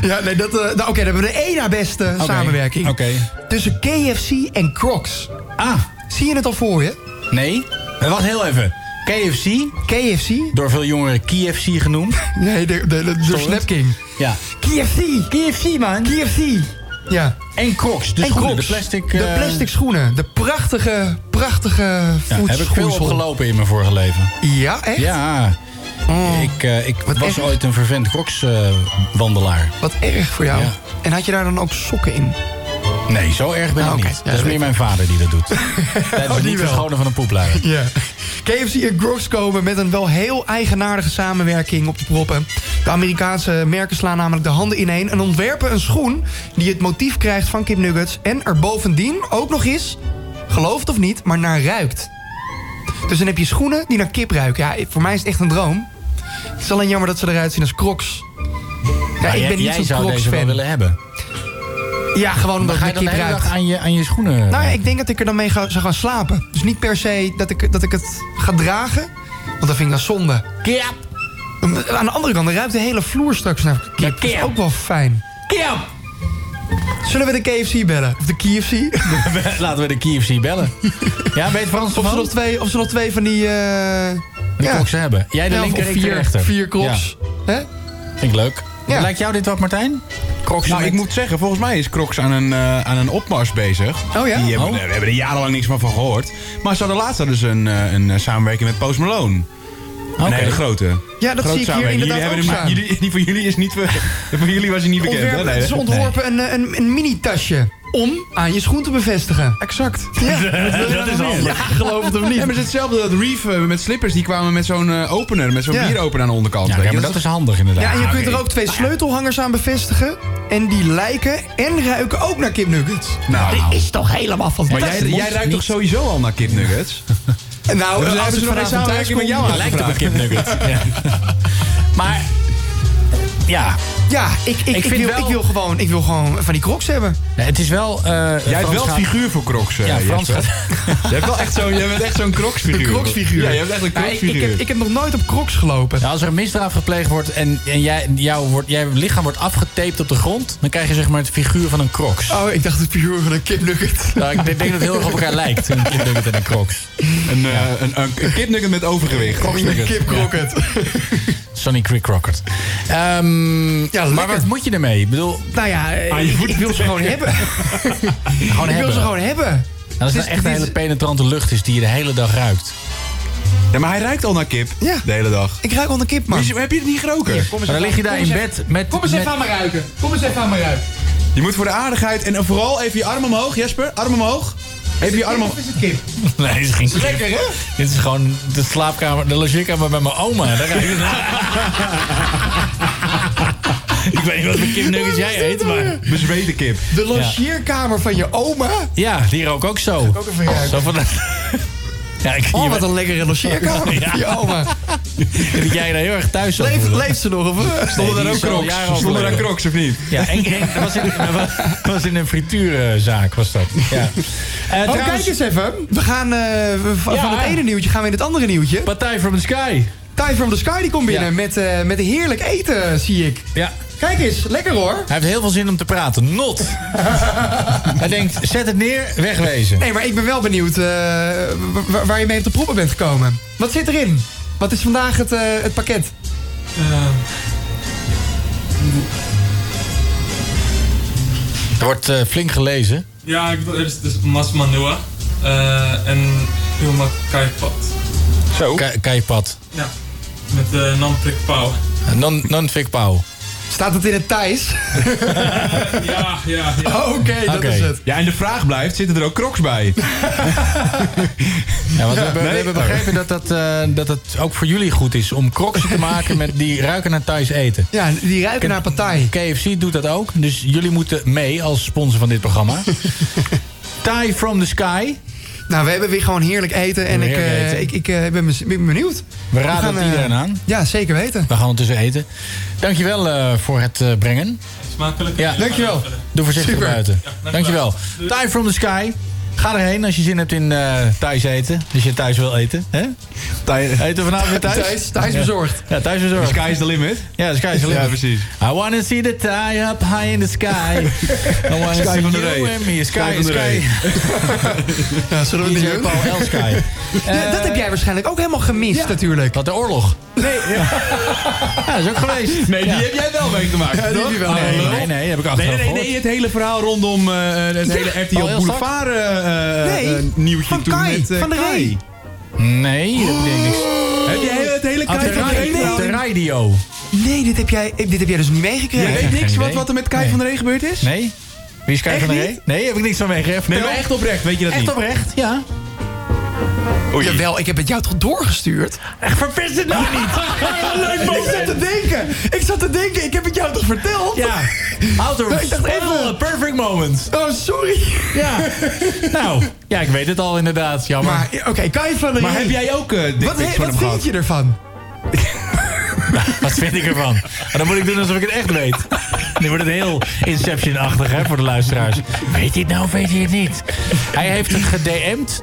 Speaker 2: ja, nee, dat... eh, nou, Oké, dan hebben we de één na beste samenwerking.
Speaker 1: Oké.
Speaker 2: Tussen KFC en Crocs.
Speaker 1: Ah.
Speaker 2: Zie je het al voor je?
Speaker 1: Nee. Eh, Wacht heel even. KFC.
Speaker 2: KFC.
Speaker 1: Door veel jongeren KFC genoemd.
Speaker 2: Nee, de, de, de, de
Speaker 1: Sorry.
Speaker 2: Snap King.
Speaker 1: Ja.
Speaker 2: KFC.
Speaker 1: KFC, man.
Speaker 2: KFC. Ja.
Speaker 1: En Crocs. De
Speaker 2: En
Speaker 1: schoenen,
Speaker 2: Crocs.
Speaker 1: De plastic...
Speaker 2: De
Speaker 1: eh,
Speaker 2: plastic schoenen. De prachtige, prachtige
Speaker 1: ja,
Speaker 2: voetschoensel.
Speaker 1: heb ik veel opgelopen in mijn vorige leven.
Speaker 2: Ja, echt? Oh.
Speaker 1: Ja. Ik, eh, ik was
Speaker 2: erg.
Speaker 1: ooit een vervent eh, Crocs-wandelaar.
Speaker 2: Wat erg voor jou.
Speaker 1: Ja.
Speaker 2: En had je daar dan ook sokken in?
Speaker 1: nee, zo erg ben
Speaker 2: Ah,
Speaker 1: ik
Speaker 2: oké.
Speaker 1: niet.
Speaker 2: Ja,
Speaker 1: dat is
Speaker 2: dat-
Speaker 1: meer mijn vader die dat doet.
Speaker 2: Oh,
Speaker 1: Tijdens het
Speaker 2: die
Speaker 1: niet
Speaker 2: wel.
Speaker 1: verschonen van een poepluier.
Speaker 2: Ja. KFC en Grogs komen met een wel heel eigenaardige samenwerking op de proppen. De Amerikaanse merken slaan namelijk de handen ineen en ontwerpen een schoen die het motief krijgt van Kip Nuggets en er bovendien ook nog eens, geloof het of niet, maar naar ruikt. Dus dan heb je schoenen die naar kip ruiken. Ja, voor mij is het echt een droom. Het is alleen jammer dat ze eruit zien als Crocs. Ja,
Speaker 1: Maar
Speaker 2: ik
Speaker 1: jij-
Speaker 2: ben
Speaker 1: jij
Speaker 2: niet zo'n
Speaker 1: zou deze wel
Speaker 2: Crocs-fan.
Speaker 1: willen hebben.
Speaker 2: Ja, gewoon
Speaker 1: Dan
Speaker 2: omdat
Speaker 1: ga je
Speaker 2: het
Speaker 1: dan
Speaker 2: naar
Speaker 1: de
Speaker 2: kip
Speaker 1: hele
Speaker 2: ruikt.
Speaker 1: dag aan je, aan je schoenen...
Speaker 2: Nou, ja, ik denk dat ik er dan mee ga, zou gaan slapen. Dus niet per se dat ik, dat ik het ga dragen. Want dat vind ik dan zonde.
Speaker 1: Kip!
Speaker 2: Aan de andere kant, dan ruikt de hele vloer straks naar kip. Dat is ook wel fijn.
Speaker 1: Kip!
Speaker 2: Zullen we de KFC bellen? Of de KFC?
Speaker 1: Laten we de KFC bellen. Ja, weet Frans
Speaker 2: of ze, nog twee, of ze nog twee van die... eh
Speaker 1: Die kloks hebben. Jij de
Speaker 2: Ja, of
Speaker 1: linker, ik de
Speaker 2: vier,
Speaker 1: rechter.
Speaker 2: Vier kloks. Hè?
Speaker 1: Vind ik leuk. Lijkt jou dit wat, Martijn? Crocs
Speaker 6: nou,
Speaker 1: met-
Speaker 6: ik moet zeggen, volgens mij is Crocs aan een, eh, aan een opmars bezig.
Speaker 2: Oh ja?
Speaker 6: Die hebben,
Speaker 2: Oh.
Speaker 6: We hebben er jarenlang niks meer van gehoord. Maar ze hadden laatst hadden ze een, eh, een eh, samenwerking met Post Malone. Een
Speaker 2: Oké.
Speaker 6: hele grote.
Speaker 2: Ja, dat
Speaker 6: Grote
Speaker 2: zie ik hier
Speaker 6: samenwerking.
Speaker 2: inderdaad
Speaker 6: jullie
Speaker 2: ook
Speaker 6: hebben hem-
Speaker 2: staan.
Speaker 6: jullie, Die van jullie is niet... be- Voor jullie was hij niet bekend. hè?
Speaker 2: Ontwerpen,
Speaker 6: Nee,
Speaker 2: ze
Speaker 6: hè?
Speaker 2: ontworpen een, eh, een, een mini-tasje om aan je schoen te bevestigen. Exact. Ja,
Speaker 6: Dat is handig.
Speaker 2: Ja, geloof het of niet.
Speaker 6: Ja, maar het is hetzelfde dat Reef eh, met slippers, die kwamen met zo'n eh, opener, met zo'n
Speaker 2: Ja.
Speaker 6: bieropener aan de onderkant.
Speaker 1: Ja,
Speaker 6: weet
Speaker 1: ja,
Speaker 6: je.
Speaker 1: maar dat is handig inderdaad.
Speaker 2: Ja, en je
Speaker 6: Ah,
Speaker 2: kunt
Speaker 6: oké.
Speaker 2: er ook twee sleutelhangers aan bevestigen. En die lijken en ruiken ook naar kipnuggets.
Speaker 6: Nou.
Speaker 2: dit is toch helemaal
Speaker 6: Maar
Speaker 2: fantastisch.
Speaker 6: jij, jij ruikt toch sowieso al naar kipnuggets?
Speaker 2: Nou,
Speaker 6: Hebben ze-
Speaker 2: als
Speaker 6: hebben
Speaker 2: het
Speaker 6: ze nog geen
Speaker 2: vanavond thuis
Speaker 6: samenwerking
Speaker 2: komt,
Speaker 6: met jou
Speaker 2: lijkt het
Speaker 6: aangevraagd?
Speaker 1: Kip nugget. Ja. Maar, ja.
Speaker 2: Ja, ik, ik,
Speaker 1: Ik
Speaker 2: ik,
Speaker 1: vind
Speaker 2: wil,
Speaker 1: wel-
Speaker 2: ik, wil gewoon, ik wil gewoon van die crocs hebben.
Speaker 1: Nee, het is wel... eh,
Speaker 6: Jij hebt
Speaker 1: Frans
Speaker 6: wel
Speaker 1: gaat-
Speaker 6: figuur voor Crocs. eh,
Speaker 1: Ja, Frans
Speaker 6: Jesper.
Speaker 1: gaat...
Speaker 6: Je hebt wel echt zo'n, jij bent echt zo'n Crocs-figuur.
Speaker 2: Een crocsfiguur.
Speaker 6: Ja, je hebt echt een
Speaker 2: Maar ik-
Speaker 6: Crocs-figuur.
Speaker 2: Ik, heb, ik heb nog nooit op crocs gelopen.
Speaker 1: Ja, als er een misdraaf gepleegd wordt en, en jij, jou wordt, jij lichaam wordt afgetaped op de grond... dan krijg je zeg maar het figuur van een crocs.
Speaker 2: Oh, ik dacht het figuur van een kipnugget.
Speaker 1: Nou, ik denk dat het heel erg op elkaar lijkt, een Kip Nugget en een crocs.
Speaker 6: Een, eh, een, een, een kipnugget met overgewicht.
Speaker 2: Een kipcrocket.
Speaker 1: Sonny Creek Rocket. Ehm, maar wat moet je ermee? Ik bedoel,
Speaker 2: Nou ja,
Speaker 6: Ah,
Speaker 1: Aan je
Speaker 2: ik,
Speaker 1: voeten
Speaker 2: ik wil ze gewoon hebben.
Speaker 1: gewoon
Speaker 2: Ik wil
Speaker 1: hebben.
Speaker 2: ze gewoon hebben.
Speaker 1: Nou, dat is
Speaker 2: Het
Speaker 1: nou
Speaker 2: is-
Speaker 1: echt een
Speaker 2: het is-
Speaker 1: hele penetrante lucht is die je de hele dag ruikt.
Speaker 6: Ja, maar hij ruikt al naar kip
Speaker 2: Ja.
Speaker 6: de hele dag.
Speaker 2: Ik ruik al een kip, man.
Speaker 6: Is- Heb je het niet geroken?
Speaker 1: Maar dan lig je daar in bed met...
Speaker 2: Kom eens
Speaker 1: met-
Speaker 2: even aan me ruiken. Kom eens even aan me ruiken.
Speaker 6: Je moet voor de aardigheid en vooral even je arm omhoog, Jesper. Arm omhoog. Even je arm omhoog.
Speaker 2: Of is het kip?
Speaker 1: Nee, dit is geen kip.
Speaker 6: Lekker, hè?
Speaker 1: Dit is gewoon de slaapkamer, de logeerkamer bij mijn oma. Daar ruik ik naar. Ik weet niet wat voor kipnuggets jij eet, maar...
Speaker 6: Bezweten kip.
Speaker 2: nou De logeerkamer van je oma?
Speaker 1: Ja, die rook ook zo.
Speaker 2: ook even ruiken.
Speaker 1: Zo van... Ja, ik
Speaker 2: Oh,
Speaker 1: je
Speaker 2: wat
Speaker 1: weet
Speaker 2: een lekkere logeerkamer Oh,
Speaker 1: Ja. oh,
Speaker 2: van je oma.
Speaker 1: dat jij daar heel erg thuis zou
Speaker 2: Leeft,
Speaker 1: voelen.
Speaker 2: leeft ze nog? Of?
Speaker 1: Nee,
Speaker 6: Stonden
Speaker 1: die
Speaker 6: daar ook
Speaker 1: is al
Speaker 6: crocs?
Speaker 1: jaren al
Speaker 6: Stonden daar
Speaker 1: geleden.
Speaker 6: crocs of niet?
Speaker 1: Ja, en, en, was, in, was in een frituurzaak, was dat. Ja. Eh,
Speaker 2: Oh,
Speaker 1: trouwens,
Speaker 2: kijk eens even. We gaan eh, we- van
Speaker 1: Ja.
Speaker 2: van het ene nieuwtje gaan we in het andere nieuwtje.
Speaker 1: Partij from the Sky.
Speaker 2: Ty from the Sky die komt binnen
Speaker 1: Ja.
Speaker 2: met, eh, met heerlijk eten, zie ik.
Speaker 1: Ja.
Speaker 2: Kijk eens, lekker hoor.
Speaker 1: Hij heeft heel veel zin om te praten. Not. Hij denkt, zet het neer, wegwezen.
Speaker 2: Nee, maar ik ben wel benieuwd eh, wa- wa- waar je mee op de proppen bent gekomen. Wat zit erin? Wat is vandaag het, eh, het pakket?
Speaker 1: Er wordt eh, flink gelezen.
Speaker 14: Ja, ik bedoel, er is dus Masmanua eh en Hilma Kaipat.
Speaker 1: Zo. Kaipat.
Speaker 14: Ja, met eh Nam Prik Pau.
Speaker 1: Non, non-fic pauw.
Speaker 2: Staat het in het Thais?
Speaker 14: Ja, ja, ja.
Speaker 2: Oh, Oké, dat
Speaker 1: Oké.
Speaker 2: is het.
Speaker 6: Ja, en de vraag blijft, zitten er ook crocs bij?
Speaker 1: Ja, want we, hebben, we
Speaker 6: nee.
Speaker 1: hebben begrepen dat, dat, eh, dat het ook voor jullie goed is om crocs te maken met die ruiken naar thuis eten.
Speaker 2: Ja, die ruiken naar partij.
Speaker 1: KFC doet dat ook, dus jullie moeten mee als sponsor van dit programma. Thai from the Sky.
Speaker 2: Nou, we hebben weer gewoon heerlijk eten. En ik,
Speaker 1: Heerlijk
Speaker 2: eh,
Speaker 1: eten.
Speaker 2: ik, ik eh, ben, bes- ben benieuwd.
Speaker 1: We raden het
Speaker 2: eh,
Speaker 1: iedereen aan.
Speaker 2: Ja, zeker weten.
Speaker 1: We gaan ondertussen eten. Dankjewel eh voor het eh, brengen.
Speaker 14: Smakelijk.
Speaker 1: Ja,
Speaker 14: En
Speaker 2: dankjewel.
Speaker 14: verder.
Speaker 1: Doe voorzichtig
Speaker 2: Super.
Speaker 1: buiten.
Speaker 14: dankjewel.
Speaker 1: dankjewel.
Speaker 14: Doei.
Speaker 1: Time from the sky. Ga erheen als je zin hebt in eh thuis eten. Als je thuis wil eten. Hè? Eten vanavond weer thuis?
Speaker 2: Thijs, Thijs bezorgd.
Speaker 1: Ja, thuis bezorgd.
Speaker 6: Sky is the limit.
Speaker 1: Ja, de sky is alleen.
Speaker 6: Ja, precies.
Speaker 1: I wanna see the tie up high in the sky. I wanna
Speaker 6: Sky
Speaker 1: see
Speaker 6: van der
Speaker 1: you
Speaker 6: Rey.
Speaker 1: and
Speaker 6: Sky
Speaker 1: me. Sky,
Speaker 6: van der
Speaker 1: sky.
Speaker 6: Rey.
Speaker 2: Ja, zullen we het
Speaker 1: DJ
Speaker 2: niet doen?
Speaker 1: Paul L. Sky.
Speaker 2: Ja, dat heb jij waarschijnlijk ook helemaal gemist natuurlijk.
Speaker 1: Wat de oorlog. Nee. Ja, dat is ook geweest.
Speaker 6: Nee, die heb jij wel meegemaakt,
Speaker 2: die
Speaker 6: toch?
Speaker 2: heb je wel
Speaker 6: Oh,
Speaker 1: Nee,
Speaker 6: lul.
Speaker 1: nee, nee, heb ik achteraf
Speaker 6: Nee, nee, nee,
Speaker 1: gehoord.
Speaker 6: nee, het hele verhaal rondom eh, het hele RTL
Speaker 1: Oh, heel
Speaker 6: Boulevard eh, eh,
Speaker 2: Nee,
Speaker 6: eh, nieuwtje
Speaker 2: van
Speaker 6: toen
Speaker 2: Kai,
Speaker 6: met, eh,
Speaker 2: van der
Speaker 6: Kai.
Speaker 2: Rey.
Speaker 1: Nee, dat denk ik niks.
Speaker 6: Heb jij het hele
Speaker 1: Op
Speaker 6: Kai
Speaker 1: Oh. de
Speaker 6: van der Rey
Speaker 1: radio- op
Speaker 6: verhaal?
Speaker 1: de radio.
Speaker 2: Nee, dit heb jij, dit heb jij dus niet
Speaker 6: Je
Speaker 2: meegekregen.
Speaker 6: weet
Speaker 1: geen
Speaker 6: niks wat,
Speaker 1: idee.
Speaker 6: wat er met Kai
Speaker 1: Nee.
Speaker 6: van der Rey gebeurd is?
Speaker 1: Nee? Wie is Kai
Speaker 6: Echt
Speaker 1: van der
Speaker 6: niet?
Speaker 1: Rey? Nee, heb ik niks van meegegeven.
Speaker 6: Nee, maar echt oprecht, weet je dat niet?
Speaker 1: oprecht, ja.
Speaker 6: Oei.
Speaker 2: Jawel, ik heb het jou toch doorgestuurd?
Speaker 1: Echt verpest het nou niet.
Speaker 2: ik zat te denken. Ik zat te denken, ik heb het jou toch verteld?
Speaker 1: Ja. Houd er
Speaker 2: ik dacht
Speaker 1: stil,
Speaker 2: even-
Speaker 1: perfect moment.
Speaker 2: Oh, sorry.
Speaker 1: Ja. Nou, ja, ik weet het al inderdaad. Jammer.
Speaker 2: Maar oké, Kai van der
Speaker 6: Maar
Speaker 2: Rey.
Speaker 6: heb jij ook eh
Speaker 2: Wat,
Speaker 6: dickpics
Speaker 2: he-
Speaker 6: van
Speaker 2: wat
Speaker 6: hem gehad?
Speaker 2: vind je ervan?
Speaker 1: Wat vind ik ervan? En dan moet ik doen alsof ik het echt weet. Nu wordt het heel Inception-achtig hè, voor de luisteraars. Weet hij het nou of weet hij het niet? Hij heeft het gedm'd.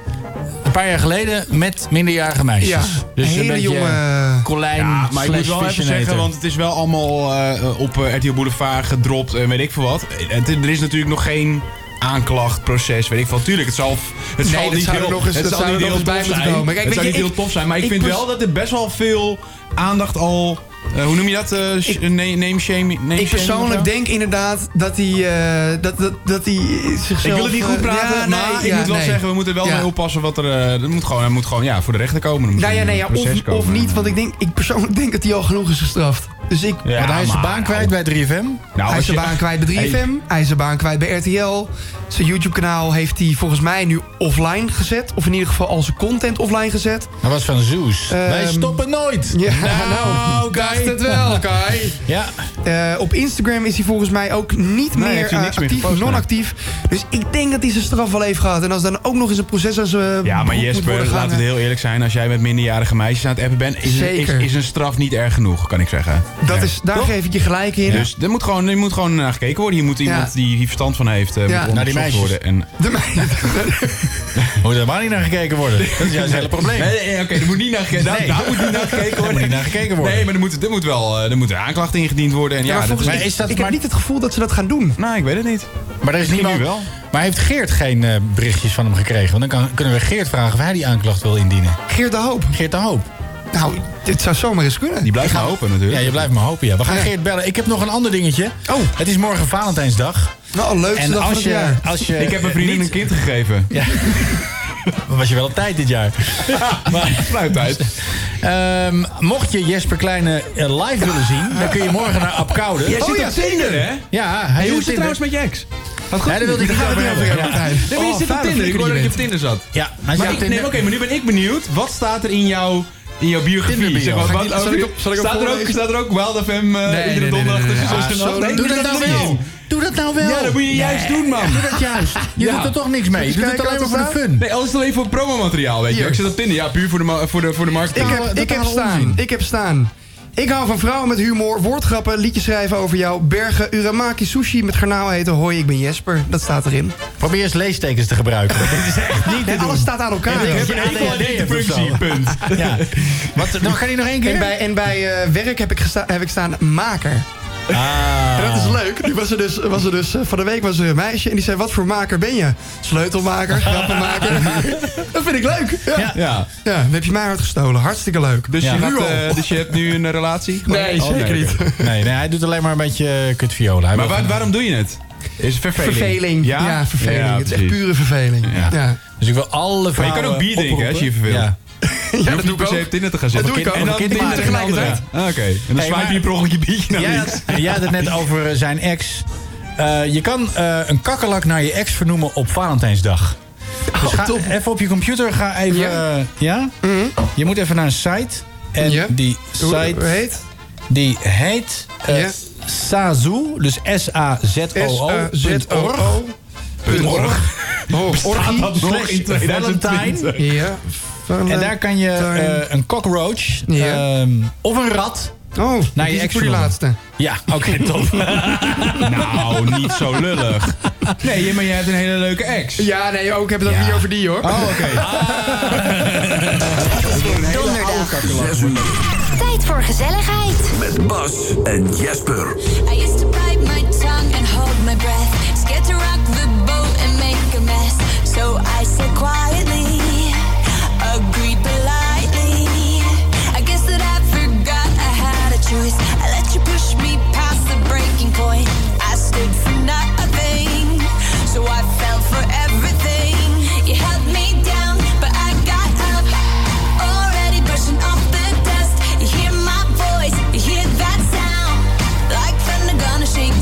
Speaker 1: paar jaar geleden met minderjarige meisjes.
Speaker 2: Ja,
Speaker 1: dus
Speaker 2: hele
Speaker 1: een beetje
Speaker 2: jonge-
Speaker 1: Colijn
Speaker 6: Ja, maar ik
Speaker 1: slash
Speaker 6: moet wel even
Speaker 1: Fishinator.
Speaker 6: zeggen, want het is wel allemaal eh, op eh, RTL Boulevard gedropt en weet ik veel wat. Het, er is natuurlijk nog geen aanklacht, proces, weet ik veel. Tuurlijk, het zal, het
Speaker 2: Nee,
Speaker 6: zal
Speaker 2: dat
Speaker 6: niet
Speaker 2: zou er
Speaker 6: heel,
Speaker 2: nog eens-
Speaker 6: het
Speaker 2: dat
Speaker 6: zal
Speaker 2: zou
Speaker 6: niet
Speaker 2: er
Speaker 6: heel
Speaker 2: nog eens bij
Speaker 6: tof
Speaker 2: moeten
Speaker 6: zijn.
Speaker 2: komen. Kijk,
Speaker 6: het
Speaker 2: weet
Speaker 6: zou
Speaker 2: je,
Speaker 6: niet heel
Speaker 2: ik-
Speaker 6: tof zijn, maar ik,
Speaker 2: ik
Speaker 6: vind
Speaker 2: pers-
Speaker 6: wel dat er best wel veel aandacht al... eh, hoe noem je dat? eh, sh- name, name shame? Name
Speaker 2: Ik persoonlijk denk inderdaad dat hij, eh, dat, dat, dat hij zichzelf...
Speaker 6: Ik wil het niet goed
Speaker 2: eh,
Speaker 6: praten,
Speaker 2: ja,
Speaker 6: maar
Speaker 2: nee,
Speaker 6: ik
Speaker 2: ja,
Speaker 6: moet wel
Speaker 2: nee.
Speaker 6: zeggen, we moeten wel
Speaker 2: Ja.
Speaker 6: mee oppassen wat er... eh, er moet gewoon, er moet gewoon ja, voor de rechter komen. Er moet
Speaker 2: Nou ja,
Speaker 6: een,
Speaker 2: nee,
Speaker 6: eh,
Speaker 2: ja,
Speaker 6: proces
Speaker 2: of, of
Speaker 6: komen.
Speaker 2: niet, want ik, denk, ik persoonlijk denk dat hij al genoeg is gestraft. Dus ik...
Speaker 6: Ja,
Speaker 1: Want hij is zijn
Speaker 6: maar-
Speaker 1: baan kwijt bij 3FM.
Speaker 2: hij is
Speaker 1: nou. als
Speaker 2: zijn
Speaker 1: je-
Speaker 2: baan kwijt bij 3FM, hij is zijn baan kwijt bij RTL. Zijn YouTube-kanaal heeft hij volgens mij nu offline gezet. Of in ieder geval al zijn content offline gezet. Ehm,
Speaker 1: Dat was van Zeus. Wij stoppen nooit.
Speaker 2: Ja,
Speaker 1: Nou,
Speaker 2: nou, ik
Speaker 1: Kai.
Speaker 2: dacht het wel, Kai.
Speaker 1: Ja.
Speaker 2: Eh, op Instagram is hij volgens mij ook niet
Speaker 1: Nee,
Speaker 2: meer
Speaker 1: heeft hij
Speaker 2: eh,
Speaker 1: niks meer
Speaker 2: actief,
Speaker 1: gepost, nee.
Speaker 2: non-actief. Dus ik denk dat hij zijn straf wel heeft gehad. En als dan ook nog eens een proces aan zijn
Speaker 6: Ja, Ah, maar
Speaker 2: broek moet
Speaker 6: Jesper,
Speaker 2: worden
Speaker 6: laten
Speaker 2: gehangen.
Speaker 6: we heel eerlijk zijn. Als jij met minderjarige meisjes aan het appen bent, is, een- is,
Speaker 2: Zeker.
Speaker 6: is een straf niet erg genoeg, kan ik zeggen.
Speaker 2: Dat is, daar
Speaker 6: Toch?
Speaker 2: geef ik je gelijk in.
Speaker 6: Dus er moet gewoon, er moet gewoon naar gekeken worden. Hier moet iemand die hier verstand van heeft, eh
Speaker 2: Ja.
Speaker 6: moet
Speaker 2: Naar die
Speaker 6: onderzocht
Speaker 2: meisjes.
Speaker 6: worden. En...
Speaker 2: De meiden.
Speaker 1: Moet er maar niet naar gekeken worden. Dat is juist het hele probleem.
Speaker 6: Nee, nee, oké, er moet niet naar gekeken daar-
Speaker 1: Nee.
Speaker 6: daar moet niet naar gekeken worden.
Speaker 1: niet naar gekeken worden.
Speaker 6: Nee, maar er moet, er moet wel eh, er moet een aanklacht ingediend worden. En ja,
Speaker 1: Ja, maar
Speaker 6: dat-
Speaker 1: volgens- maar is dat
Speaker 2: ik
Speaker 1: maar-
Speaker 2: heb niet het gevoel dat ze dat gaan doen.
Speaker 6: Nou, ik weet het niet.
Speaker 1: Maar er is
Speaker 6: Misschien
Speaker 1: niemand...
Speaker 6: nu wel.
Speaker 1: Maar heeft Geert geen eh, berichtjes van hem gekregen? Want dan kan- kunnen we Geert vragen of hij die aanklacht wil indienen.
Speaker 2: Geert de Hoop.
Speaker 1: Geert de Hoop.
Speaker 2: Nou, dit zou zomaar eens kunnen.
Speaker 6: Die blijft maar open natuurlijk.
Speaker 1: Ja, je blijft maar hopen. Ja. We gaan
Speaker 2: Ja.
Speaker 1: Geert bellen. Ik heb nog een ander dingetje.
Speaker 2: Oh.
Speaker 1: Het is morgen Valentijnsdag.
Speaker 2: Nou, leukste
Speaker 1: En
Speaker 2: dag van
Speaker 1: als
Speaker 2: het
Speaker 1: je-
Speaker 2: jaar.
Speaker 1: als je-
Speaker 6: ik heb een vriendin
Speaker 1: niet-
Speaker 6: een kind gegeven.
Speaker 1: Ja. Dan was je wel op tijd dit jaar. maar,
Speaker 6: Sluit uit.
Speaker 1: Ehm, mocht je Jesper Kleine eh, live willen zien, dan kun je morgen naar Apkoude.
Speaker 2: Oh
Speaker 6: Jij zit op Tinder, hè?
Speaker 1: Ja,
Speaker 6: Hey,
Speaker 1: hij
Speaker 6: hoe
Speaker 1: doet
Speaker 6: is het
Speaker 1: Tinder.
Speaker 6: trouwens met je ex? Wat
Speaker 1: Ja, daar wilde ik het niet over hebben. Ja.
Speaker 6: Nee,
Speaker 2: Oh,
Speaker 6: maar je zit op Tinder. Ik hoorde dat je op Tinder zat.
Speaker 1: Ja, maar,
Speaker 6: Maar ik, nee, oké, maar nu ben ik benieuwd. Wat staat er in jouw, in jouw biografie?
Speaker 1: Tinder-bio.
Speaker 6: Zeg maar,
Speaker 1: Ga ik
Speaker 6: wat,
Speaker 1: niet- zal ik op- zal ik op
Speaker 6: staat, er ook,
Speaker 1: voorlezen?
Speaker 6: staat er ook Wild FM eh, iedere donderdag tussen zes en acht?
Speaker 1: Doe dat nou wel. Doe dat nou wel.
Speaker 6: Ja, dat moet je juist doen, man.
Speaker 1: Doe dat juist. Je
Speaker 6: Ja.
Speaker 1: doet er toch niks mee. Je doet het alleen maar voor de fun.
Speaker 6: Nee, alles alleen voor promomateriaal, weet je.
Speaker 2: Hier.
Speaker 6: Ik zit op Tinder, ja, puur voor de, ma- voor de, voor de
Speaker 2: Ik
Speaker 6: marketing.
Speaker 2: heb, ik heb staan. Ik heb staan. Ik hou van vrouwen met humor, woordgrappen, liedjes schrijven over jou, bergen, uramaki, sushi met garnaal eten. Hoi, ik ben Jesper. Dat staat erin.
Speaker 1: Probeer eens leestekens te gebruiken. Dit is echt niet te
Speaker 2: En
Speaker 1: doen.
Speaker 2: alles staat aan elkaar.
Speaker 1: Ik
Speaker 6: heb
Speaker 1: heb
Speaker 6: een
Speaker 1: een ADHD
Speaker 6: hele
Speaker 1: of zo.
Speaker 6: functie, punt.
Speaker 1: Ja. Wat,
Speaker 6: eh,
Speaker 1: dan kan hij nog één keer.
Speaker 2: En bij, en bij eh, werk heb ik, gesta- heb ik staan maker.
Speaker 1: Ah.
Speaker 2: En dat is leuk. Nu was er dus, was er dus, eh, van de week was er een meisje en die zei: Wat voor maker ben je? Sleutelmaker, grappenmaker. dat vind ik leuk. Ja. Ja.
Speaker 6: Ja.
Speaker 2: dan heb je mij gestolen. Hartstikke leuk.
Speaker 6: Dus,
Speaker 1: Ja.
Speaker 6: je
Speaker 2: Nu
Speaker 6: gaat,
Speaker 2: al.
Speaker 6: eh, dus je hebt nu een relatie?
Speaker 2: Nee,
Speaker 6: Oh,
Speaker 2: zeker
Speaker 6: oké.
Speaker 2: niet.
Speaker 1: Nee, nee, hij doet alleen maar een beetje eh, kut viola. Hij
Speaker 6: Maar
Speaker 1: wil
Speaker 6: waar-
Speaker 1: gewoon-
Speaker 6: waarom doe je het? Is het verveling?
Speaker 2: Verveling. Ja, verveling.
Speaker 6: Ja,
Speaker 2: het is echt
Speaker 6: precies.
Speaker 2: pure verveling.
Speaker 1: Ja.
Speaker 2: Ja. Ja.
Speaker 1: Dus ik wil alle
Speaker 6: Maar je
Speaker 1: vrouwen
Speaker 6: kan ook bier drinken hè, als je je
Speaker 1: oproepen.
Speaker 6: verveelt.
Speaker 1: Ja.
Speaker 6: Je
Speaker 2: dat
Speaker 6: hoeft
Speaker 2: doe
Speaker 6: niet
Speaker 2: ik
Speaker 6: per se
Speaker 2: ook.
Speaker 6: op Tinder te gaan
Speaker 2: Dat
Speaker 6: zitten.
Speaker 2: doe ik ook.
Speaker 6: En dan
Speaker 1: Kind
Speaker 6: Tinder
Speaker 1: maken.
Speaker 6: tegelijkertijd. Ah, Oké, en dan
Speaker 1: Hey,
Speaker 6: swipe je
Speaker 1: maar-
Speaker 6: per ongeluk je biertje naar
Speaker 1: Jij
Speaker 6: links.
Speaker 1: had, jij had het net over eh, zijn ex. Eh, je kan eh, een kakkerlak naar je ex vernoemen op Valentijnsdag. Dus ga even op je computer, ga even...
Speaker 2: Oh, Ja. Mhm.
Speaker 1: eh, ja? Je moet even naar een site. En
Speaker 2: Ja.
Speaker 1: die
Speaker 2: Hoe hoe
Speaker 1: site
Speaker 2: heet?
Speaker 1: die heet eh,
Speaker 2: Ja.
Speaker 1: Sazoo, dus S-A-Z-O-O.
Speaker 2: S-A-Z-O-O.
Speaker 1: .org.
Speaker 2: Oh,
Speaker 1: Orgie
Speaker 2: orgie.
Speaker 1: slash Valentijn.
Speaker 2: Ja.
Speaker 1: En daar kan je eh, een cockroach
Speaker 2: Ja.
Speaker 1: ehm, of een rat
Speaker 2: Oh,
Speaker 1: naar je
Speaker 2: die is
Speaker 1: ex
Speaker 2: voor die
Speaker 1: vernoemen.
Speaker 2: laatste.
Speaker 1: Ja, oké, top.
Speaker 6: Nou, niet zo lullig. Nee, maar jij hebt een hele leuke ex.
Speaker 2: Ja, nee, ook heb het ook niet over die hoor.
Speaker 6: Oh, oké.
Speaker 12: Donderdag.
Speaker 10: 6 uur.
Speaker 12: Tijd voor gezelligheid.
Speaker 10: Met Bas en Jesper.
Speaker 12: I used to bite my tongue and hold my breath. Scared to rock the boat and make a mess. So I said quietly, agreed politely. I guess that I forgot I had a choice. I let you push me past the breaking point. I stood for nothing, so I fell for everything. You held me down, but I got up. Already brushing off the dust. You hear my voice, you hear that sound. Like thunder gonna shake